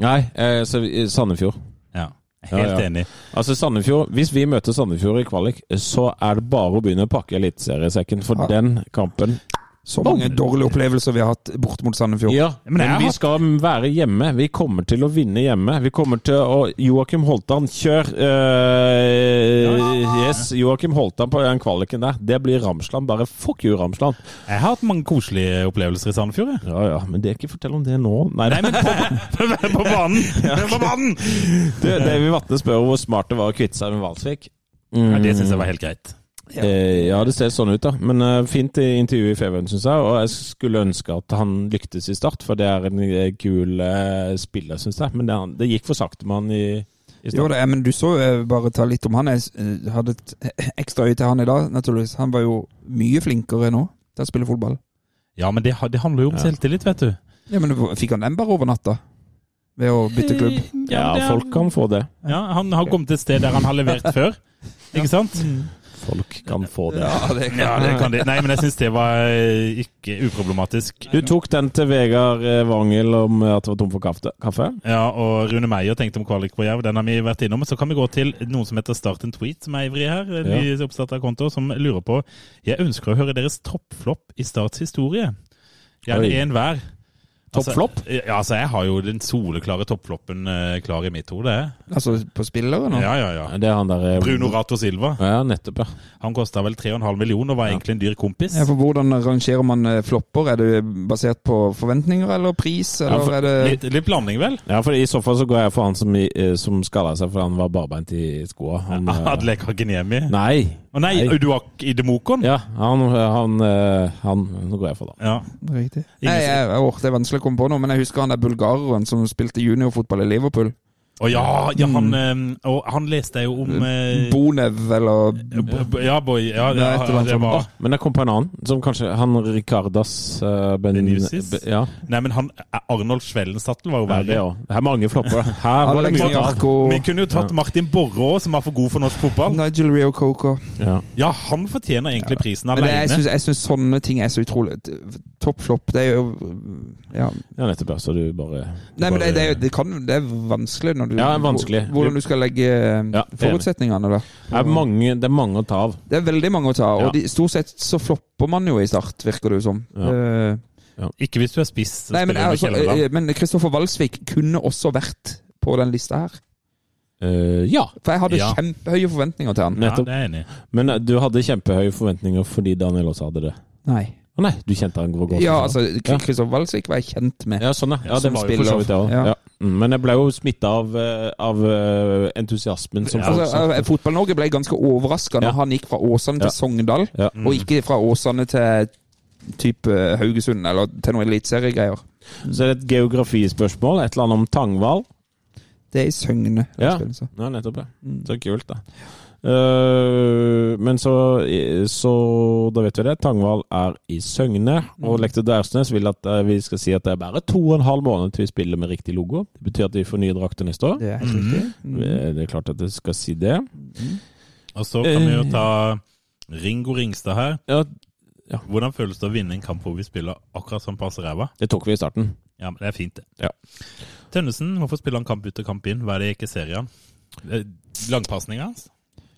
Speaker 3: Nei, eh, så vi- Sandefjord.
Speaker 4: Ja, helt
Speaker 3: Ja, ja.
Speaker 4: enig.
Speaker 3: Altså Sandefjord, Hvis vi møter Sandefjord i kvalik, så er det bare å begynne å pakke eliteseriesekken for
Speaker 5: Ja.
Speaker 3: den kampen.
Speaker 5: Så mange dårlige opplevelser vi har hatt borte mot Sandefjord.
Speaker 3: Ja,
Speaker 4: Men
Speaker 3: Men,
Speaker 4: jeg har
Speaker 3: vi
Speaker 4: hatt-
Speaker 3: skal være hjemme. Vi kommer til å vinne hjemme. Vi kommer til å Joakim Holtan, kjør! Eh, yes, Joakim Holtan på den kvaliken der. Det blir Ramsland. Bare fuck you, Ramsland.
Speaker 4: Jeg har hatt mange koselige opplevelser i Sandefjord, jeg.
Speaker 3: Ja ja, men det ikke fortell om det nå. Nei,
Speaker 4: Nei, men på, [laughs] på banen! På banen!
Speaker 3: du, Davy Vatne spør hvor smart det var å kvitte seg med Valsvik. Mm.
Speaker 4: Ja, det syns jeg var helt greit.
Speaker 3: Eh, ja, det ser sånn ut, da. Men eh, fint i intervju i Feven, syns jeg. Og jeg skulle ønske at han lyktes i Start, for det er en eh, kul eh, spiller, syns jeg. Men det, han- det gikk for sakte med han i, i
Speaker 5: Jo,
Speaker 3: Start.
Speaker 5: det er, men du så eh, bare ta litt om han. Jeg eh, hadde et ekstra øye til han i dag, naturligvis. Han var jo mye flinkere nå til å spille fotball.
Speaker 4: Ja, men det, ha- det handler jo om selvtillit, vet du.
Speaker 5: Ja, men Fikk han den bare over natta? Ved å bytte klubb?
Speaker 3: ja,
Speaker 4: det er-
Speaker 3: folk kan få det.
Speaker 4: Ja, Han har kommet et sted der han har levert før. Ikke sant?
Speaker 3: Folk kan få det.
Speaker 5: det
Speaker 4: Ja, det kan de. Nei, men jeg syns det var eh, ikke uproblematisk.
Speaker 3: Du tok den til Vegard eh, Wangel om at det var tom for kaffe? kaffe.
Speaker 4: Ja, og Rune Meier tenkte om kvalik på Jerv. Den har vi vært innom. Så kan vi gå til noen som heter Start en tweet, som er ivrig her. eh, En ny oppstartet konto, som lurer på Jeg ønsker å høre deres toppflopp i Starts historie. Gjerne
Speaker 3: Oi.
Speaker 4: én hver.
Speaker 3: Toppflopp?
Speaker 4: Altså, ja, altså, jeg har jo den soleklare toppfloppen eh, klar i mitt hode. jeg.
Speaker 5: Altså på spillere nå?
Speaker 4: Ja, ja, ja.
Speaker 3: Det er han der eh,
Speaker 4: Bruno Rato Silva.
Speaker 3: Ja, nettopp, ja.
Speaker 4: Han kosta vel 3,5 millioner og var egentlig en dyr kompis.
Speaker 5: Ja, for Hvordan rangerer man eh, flopper? Er det basert på forventninger eller pris, eller
Speaker 3: for-
Speaker 5: er det
Speaker 4: Litt, litt blanding, vel?
Speaker 3: ja. For i så fall så går jeg for han som, i- eh, som skada seg fordi han var barbeint i skoa.
Speaker 4: [laughs]
Speaker 3: Han, eh,
Speaker 4: Adle Kageniemi. Å
Speaker 3: Nei.
Speaker 4: nei,
Speaker 3: Nei.
Speaker 4: Uduak Idemokon?
Speaker 3: Ja, han, han, eh, han Nå går jeg for det.
Speaker 4: Ja.
Speaker 5: riktig?
Speaker 4: Ingen
Speaker 5: Nei, jeg, jeg, åh, det er vanskelig å komme på noe, men jeg husker han der bulgareren som spilte juniorfotball i Liverpool.
Speaker 4: Og ja, ja
Speaker 5: Mm.
Speaker 4: han, eh, og han leste jeg jo om eh,
Speaker 5: Bonev, eller
Speaker 4: B- b- Ja, boy. Ja,
Speaker 5: Det er et
Speaker 4: ja,
Speaker 5: eller annet
Speaker 4: det
Speaker 5: sånt.
Speaker 4: var
Speaker 5: Åh.
Speaker 3: Men jeg kom på en annen, som kanskje han Ricardas eh, ben,
Speaker 4: Benitez?
Speaker 3: Be- ja.
Speaker 4: Nei, men han eh, Arnold Svellenstattel var jo
Speaker 3: ja, det
Speaker 4: verre.
Speaker 3: òg. Det er mange
Speaker 4: [laughs]
Speaker 3: flopper. Her var det
Speaker 5: Alex
Speaker 3: mye av.
Speaker 5: Jarko,
Speaker 4: Vi kunne jo tatt Martin Borre òg, som var for god for norsk fotball.
Speaker 5: Nigel Rio Coco.
Speaker 3: Ja.
Speaker 4: Ja, han fortjener egentlig prisen
Speaker 5: Men det, jeg
Speaker 4: alene.
Speaker 5: syns- jeg syns sånne ting er så utrolig Topp flopp, det er jo mm, ja.
Speaker 3: ja, nettopp. ja, Så du bare
Speaker 5: Nei, men
Speaker 3: bare-
Speaker 5: det, det, er jo- det, kan, det er vanskelig når du
Speaker 3: Ja, det er vanskelig.
Speaker 5: Hvordan du skal legge eh,
Speaker 3: Ja, enig.
Speaker 5: forutsetningene, da.
Speaker 3: Det er mange, det er mange å ta av.
Speaker 5: Det er veldig mange å ta, og
Speaker 3: Ja.
Speaker 5: de, stort sett så flopper man jo i start, virker det jo som.
Speaker 3: Ja.
Speaker 5: Eh,
Speaker 4: Ikke hvis du er spiss. så
Speaker 5: nei,
Speaker 4: spiller du
Speaker 5: men,
Speaker 4: med
Speaker 5: altså,
Speaker 4: Kjellerland.
Speaker 5: eh, men Kristoffer Walsvik kunne også vært på den lista her.
Speaker 3: Eh, ja,
Speaker 5: For jeg hadde
Speaker 4: Ja.
Speaker 5: kjempehøye forventninger til han.
Speaker 4: Ja,
Speaker 3: nettopp.
Speaker 4: det er jeg enig i.
Speaker 3: Men eh, du hadde kjempehøye forventninger fordi Daniel også hadde det.
Speaker 5: Nei.
Speaker 3: Å nei, du kjente han Gregor
Speaker 5: Ja,
Speaker 3: Gorsen fra-
Speaker 5: altså, Kristoffer Walsvik var jeg kjent med.
Speaker 3: Ja, sånn, ja. ja det
Speaker 5: Som
Speaker 3: var jo for
Speaker 5: spiller.
Speaker 3: så vidt det òg.
Speaker 5: Ja.
Speaker 3: Ja. Mm, Men jeg ble jo smitta av, eh, av eh, entusiasmen som folk
Speaker 5: Altså,
Speaker 3: snakket.
Speaker 5: eh, Fotball-Norge ble ganske overraska
Speaker 3: Ja.
Speaker 5: når han gikk fra Åsane til
Speaker 3: Ja.
Speaker 5: Sogndal,
Speaker 3: Ja.
Speaker 5: og ikke fra Åsane til type Haugesund, eller til noen eliteseriegreier.
Speaker 3: Så er det et geografispørsmål. Et eller annet om Tangvall.
Speaker 5: Det er i Søgne.
Speaker 3: Ja.
Speaker 5: han spiller, så. Mm.
Speaker 3: Ja, nettopp. ja. Så kult, da. Eh, men så, så Da vet vi det. Tangvall er i Søgne.
Speaker 5: Mm.
Speaker 3: Og Lektor Dærsnes vil at eh, vi skal si at det er bare to og en halv måned til vi spiller med riktig logo. Det betyr at vi får nye drakter neste år.
Speaker 5: Det er helt riktig.
Speaker 3: Eh, Det er klart at jeg skal si det.
Speaker 4: Og så kan vi jo
Speaker 5: Eh.
Speaker 4: ta Ringo Ringstad her.
Speaker 3: Ja,
Speaker 4: Hvordan føles det å vinne en kamp hvor vi spiller akkurat som passe ræva?
Speaker 3: det tok vi i starten.
Speaker 4: Ja, men det er fint, det.
Speaker 3: Ja.
Speaker 4: Tønnesen, hvorfor spiller han kamp ut og kamp inn? Hva er det jeg ikke ser i han? Eh, Langpasninga hans?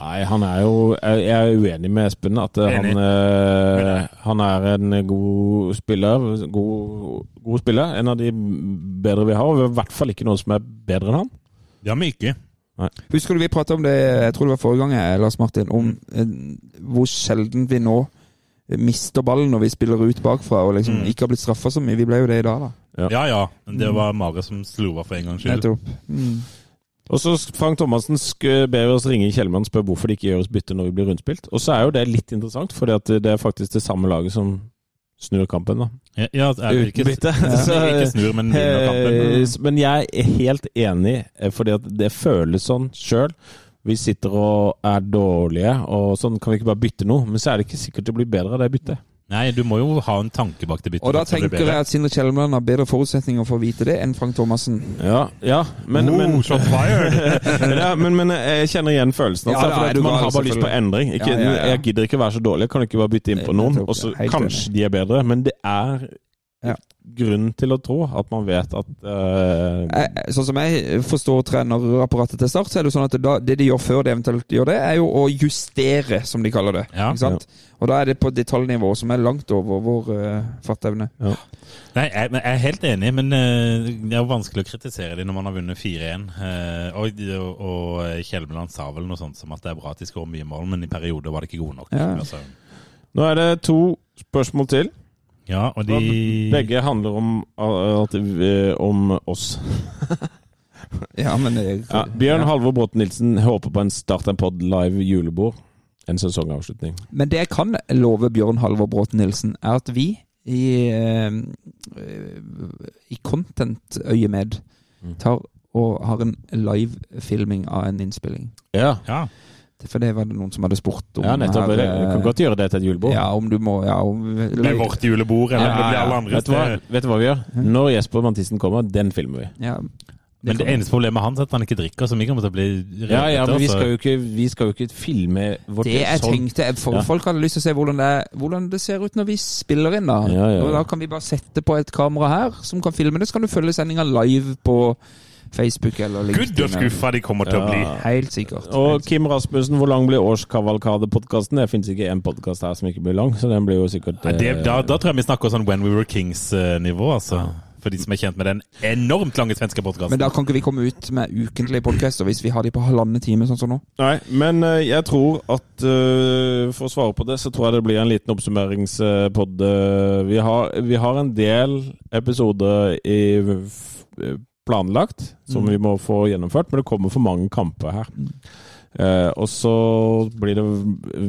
Speaker 3: Nei, han er jo Jeg jeg er uenig med Espen. At eh,
Speaker 4: Enig.
Speaker 3: han, eh, han er en god spiller. God, god spiller. En av de bedre vi har. Og vi har i hvert fall ikke noen som er bedre enn han.
Speaker 4: Det har vi ikke.
Speaker 5: Husker du vi prata om det jeg tror det var forrige gang, jeg, Lars Martin, om eh, hvor sjelden vi nå mister ballen når vi spiller ut bakfra og
Speaker 3: Mhm.
Speaker 5: liksom ikke har blitt straffa så mye. Vi ble jo det i dag, da.
Speaker 4: Ja ja, det var Mare som slo av for en gangs skyld.
Speaker 5: Nettopp. Mm.
Speaker 3: Og så Frank Thomassen sk- ber oss ringe Kjellmann og spørre hvorfor de ikke gjør oss bytte når vi blir rundspilt. Og så er jo det litt interessant, for det er faktisk det samme laget som snur kampen. da.
Speaker 4: Ja, ja, altså, er det ikke,
Speaker 3: Uten bytte. Så-
Speaker 4: ikke snur, men vinner kampen.
Speaker 3: Eh, s- Men jeg er helt enig, eh, fordi at det føles sånn sjøl. Vi sitter og er dårlige, og sånn kan vi ikke bare bytte noe. Men så er det ikke sikkert det blir bedre av det byttet.
Speaker 4: Nei, du må jo ha en tanke bak det byttet.
Speaker 5: Og da
Speaker 4: for at det blir
Speaker 5: tenker
Speaker 4: bedre.
Speaker 5: jeg at Sindre Kjelmeland har bedre forutsetninger for å vite det enn Frank Thomassen.
Speaker 3: Ja, ja men, men,
Speaker 4: oh, shot fired!
Speaker 3: [laughs] ja, men, men eh, jeg kjenner igjen følelsen. Altså,
Speaker 5: Ja, da
Speaker 3: for
Speaker 5: er
Speaker 3: at
Speaker 5: du
Speaker 3: man
Speaker 5: gal,
Speaker 3: har bare lyst på
Speaker 5: selvfølgelig.
Speaker 3: endring. Ikke,
Speaker 5: Ja, ja, ja.
Speaker 3: Jeg gidder ikke være så dårlig, jeg kan ikke bare bytte inn på noen.
Speaker 5: Nettopp,
Speaker 3: Og så
Speaker 5: ja. Helt
Speaker 3: kanskje de er bedre, men det er
Speaker 5: Ja.
Speaker 3: grunn til å tro at man vet at eh,
Speaker 5: Eh, Sånn som jeg forstår trenerapparatet til Start, så er det jo sånn at da, det de gjør før de eventuelt gjør det, er jo å justere, som de kaller det.
Speaker 4: Ja.
Speaker 5: Ikke sant? Og da er det på detaljnivå som er langt over vår eh, fatteevne.
Speaker 4: [laughs] Nei, jeg, men jeg er helt enig, men eh, det er jo vanskelig å kritisere dem når man har vunnet 4-1. eh, og og Kjelmeland sa vel noe sånt som at det er bra at de skårer mye mål, men i perioder var det ikke gode nok.
Speaker 5: Ja.
Speaker 4: Altså,
Speaker 3: Nå er det to spørsmål til.
Speaker 4: ja og de
Speaker 3: Begge handler om, uh, at, vi- om oss.
Speaker 5: Ja, men det,
Speaker 3: Ja, Bjørn Halvor Bråten Nilsen håper på en Start en pod live julebord. En sesongavslutning.
Speaker 5: Men det jeg kan love Bjørn Halvor Bråten Nilsen, er at vi i, eh, eh, i content-øyemed tar og har en live-filming av en innspilling.
Speaker 3: Ja,
Speaker 4: Ja.
Speaker 5: Det- For det var det noen som hadde spurt om.
Speaker 3: ja nettopp.
Speaker 5: her,
Speaker 3: Det-
Speaker 5: eh,
Speaker 3: Vi kan godt gjøre det til et julebord.
Speaker 5: Ja, om du må ja, om,
Speaker 4: Det er vårt julebord, eller
Speaker 5: Ja,
Speaker 4: det blir
Speaker 5: ja.
Speaker 4: alle andres. eh,
Speaker 3: Vet du, hva,
Speaker 4: Det-
Speaker 3: vet du hva vi gjør? Når Jesper Mathisen kommer, den filmer vi.
Speaker 5: Ja.
Speaker 4: Men det eneste problemet hans er at han ikke drikker, så vi kommer til å bli revet
Speaker 3: Ja, ja, men vi
Speaker 4: altså.
Speaker 3: skal jo ikke, vi skal jo ikke filme vårt
Speaker 5: det jeg
Speaker 3: sånn.
Speaker 5: tenkte jeg- for
Speaker 3: Ja.
Speaker 5: Folk hadde lyst til å se hvordan det, hvordan det ser ut når vi spiller inn. Da
Speaker 3: Ja, ja, ja.
Speaker 5: Og da kan vi bare sette på et kamera her som kan filme det. Så kan du følge sendinga live på Facebook eller
Speaker 4: Gud, så
Speaker 5: eller-
Speaker 4: skuffa de kommer til å bli.
Speaker 5: Helt sikkert.
Speaker 3: Og Kim Rasmussen, hvor lang blir årskavalkadepodkasten? Det fins ikke én podkast her som ikke blir lang, så den blir jo sikkert
Speaker 4: Nei, det,
Speaker 3: eh,
Speaker 4: da, da tror jeg vi snakker sånn When We Were Kings-nivå, altså. For de som er kjent med den enormt lange svenske
Speaker 5: Men
Speaker 4: podkasten.
Speaker 5: da kan ikke vi komme ut med ukentlige podcaster hvis vi har de på halvannen time, sånn som nå.
Speaker 3: Nei, men eh, jeg tror at eh, For å svare på det, så tror jeg det blir en liten oppsummeringspod. eh, vi, har, vi har en del episoder i f- eh, planlagt som vi må få gjennomført, men det kommer for mange kamper her. Eh, og så blir det,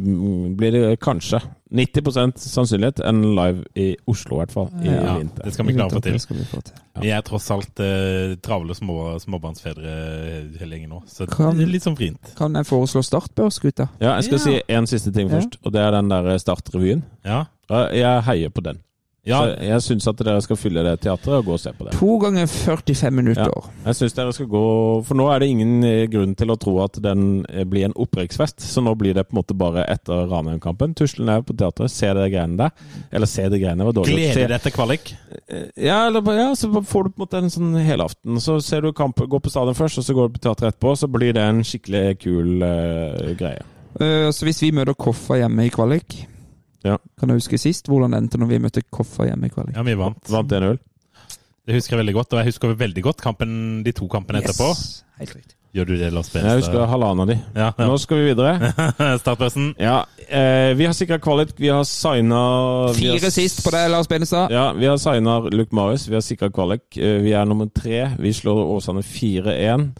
Speaker 3: mm, blir det kanskje 90 sannsynlighet en live i Oslo, i hvert fall. I
Speaker 4: Ja,
Speaker 3: vinter.
Speaker 4: det skal vi klare å få til.
Speaker 5: Det skal vi få til.
Speaker 4: Vi er tross alt eh, travle små, småbarnsfedre eh, hele gjengen nå, så
Speaker 5: Kan-
Speaker 4: det er litt sånn vrient.
Speaker 5: Kan jeg foreslå startbørs, gutta?
Speaker 3: Ja, jeg skal si én siste ting
Speaker 5: Ja.
Speaker 3: først, og det er den der startrevyen.
Speaker 4: Ja.
Speaker 3: Ja, Jeg heier på den.
Speaker 4: ja.
Speaker 3: Så jeg syns at dere skal fylle det teatret og gå og se på det.
Speaker 5: To ganger 45 minutter.
Speaker 3: Jeg synes dere skal gå For nå er det ingen eh, grunn til å tro at den eh, blir en opprykksfest, så nå blir det på en måte bare etter Ranheim-kampen. Tusle ned på teatret, se de greiene der. Eller se de greiene var dårlig. Se-
Speaker 4: Gleder deg til kvalik.
Speaker 3: Ja, eller, bare- ja, så bare får du på en måte en sånn helaften. Så ser du kampen, går på stadion først, og så går du på teatret etterpå. Så blir det en skikkelig kul eh, greie.
Speaker 5: Eh, så hvis vi møter Koffa hjemme i kvalik
Speaker 3: Ja.
Speaker 5: Kan du huske sist hvordan det endte når vi møtte Koffa hjemme i kvalik?
Speaker 4: Ja, vi vant.
Speaker 3: Vant 1-0.
Speaker 4: Det husker jeg veldig godt, og jeg husker veldig godt kampen, de to kampene etterpå.
Speaker 5: Helt riktig.
Speaker 4: Gjør du det, Lars Benstad?
Speaker 3: Jeg husker halvannen av de.
Speaker 4: Ja, ja. [laughs]
Speaker 3: Nå skal vi videre.
Speaker 4: Startplassen.
Speaker 3: Ja, eh, vi har sikra kvalik. Vi har signa
Speaker 5: Fire sist på deg, Lars Benestad.
Speaker 3: Ja, vi har signa Luke Marius. Vi har sikra kvalik. Eh, Vi er nummer tre. Vi slår Åsane 4-1.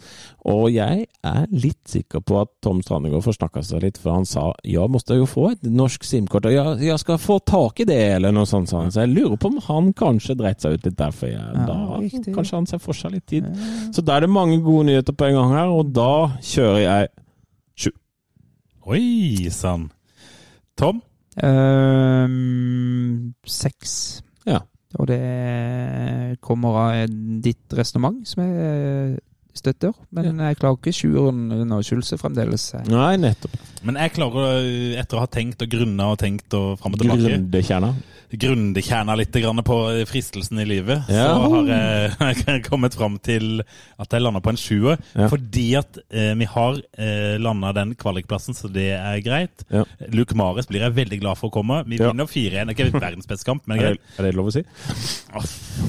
Speaker 3: Og jeg er litt sikker på at Tom Strandegård forsnakka seg litt, for han sa 'jeg måtte jo få et norsk SIM-kort', og jeg, 'jeg skal få tak i det', eller noe sånt, sa han. Så jeg lurer på om han kanskje dreit seg ut litt derfor. Jeg, da
Speaker 5: riktig.
Speaker 3: kanskje han ser for seg litt tid. Så da er det mange gode nyheter på en gang her, og da kjører jeg
Speaker 4: Oi sann. Tom?
Speaker 5: Ehm, seks.
Speaker 3: Ja.
Speaker 5: Og det kommer av ditt resonnement, som jeg støtter. Men jeg klarer ikke sjueren under Schulze fremdeles.
Speaker 3: Nei, nettopp.
Speaker 4: Men jeg klarer, å, etter å ha tenkt og grunna og tenkt og fram og tilbake,
Speaker 3: Grundekjerna.
Speaker 4: grundekjerna litt grann på eh, fristelsen i livet,
Speaker 3: Ja.
Speaker 4: så har jeg [laughs] kommet fram til at jeg landa på en sjuer.
Speaker 3: Ja.
Speaker 4: Fordi at eh, vi har eh, landa den kvalikplassen, så det er greit.
Speaker 3: Ja.
Speaker 4: Luke Mares blir jeg veldig glad for å komme. Vi
Speaker 3: Ja.
Speaker 4: vinner 4-1. Det er ikke verdens beste kamp, men
Speaker 3: Er,
Speaker 4: greit.
Speaker 3: det- er det lov å si?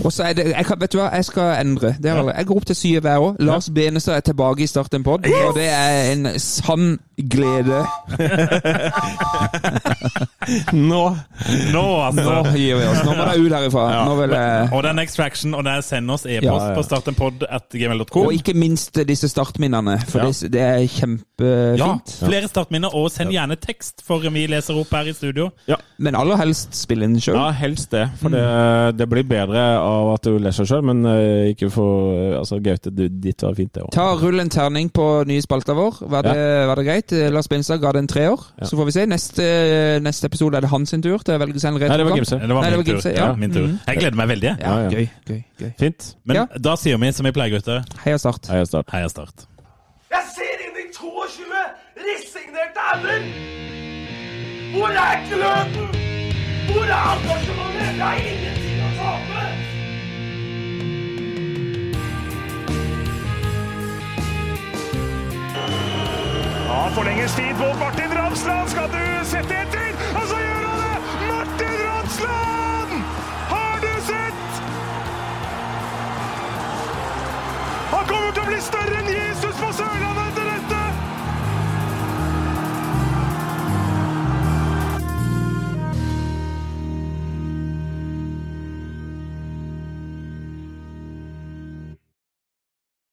Speaker 5: Og så er det jeg kan, Vet du hva, jeg skal endre. Det har jeg aldri- jeg går opp til syv hver òg. Lars Benestad er tilbake i Start en pod, og det er en sann glede.
Speaker 3: Nå
Speaker 4: Nå, altså!
Speaker 5: Nå gir vi oss. Nå må dere ut herifra. Nå vil jeg
Speaker 4: Og den Extraction, og der send oss e-post
Speaker 5: Ja, ja.
Speaker 4: på startenpod.gmail.com.
Speaker 5: Og ikke minst disse startminnene, for
Speaker 4: Ja.
Speaker 5: det, det er
Speaker 4: Ja,
Speaker 5: kjempefint.
Speaker 4: flere startminner, og send gjerne tekst, for vi leser opp her i studio.
Speaker 5: Men aller helst spille inn sjøl.
Speaker 3: Ja, helst det. For det, det blir bedre av at du leser sjøl, men eh, ikke for eh, Altså, Gaute, du, ditt var fint, det òg.
Speaker 5: Ta Rull en terning på nye spalta vår. Var det, var det greit? Eh, Lars Benstad ga det en treår. Så får vi se. Neste, eh, neste episode er det hans sin tur til å velge seg en
Speaker 3: Nei, det var
Speaker 5: retrokamp.
Speaker 3: Gimse.
Speaker 4: Det var
Speaker 5: Nei, det
Speaker 4: min
Speaker 5: var
Speaker 4: tur.
Speaker 5: Gimse,
Speaker 4: Ja,
Speaker 5: ja. Mm.
Speaker 4: min tur. Jeg gleder meg veldig. jeg.
Speaker 5: Ja,
Speaker 3: Ja, ja.
Speaker 5: gøy, gøy, gøy.
Speaker 3: Fint.
Speaker 4: Men
Speaker 5: Ja.
Speaker 4: da sier vi som vi pleier, gutter.
Speaker 5: Heia Start.
Speaker 3: Heia Start.
Speaker 4: Heia Start.
Speaker 1: Jeg ser inn i 22 resignerte ender! Hvor er gløden? Hvor er engasjementet? Det er ingenting å tape!
Speaker 2: Ja, forlenges tid på Martin Ramsland. Skal du sette etter? Og så gjør han det! Martin Ramsland! Har du sett? Han kommer til å bli større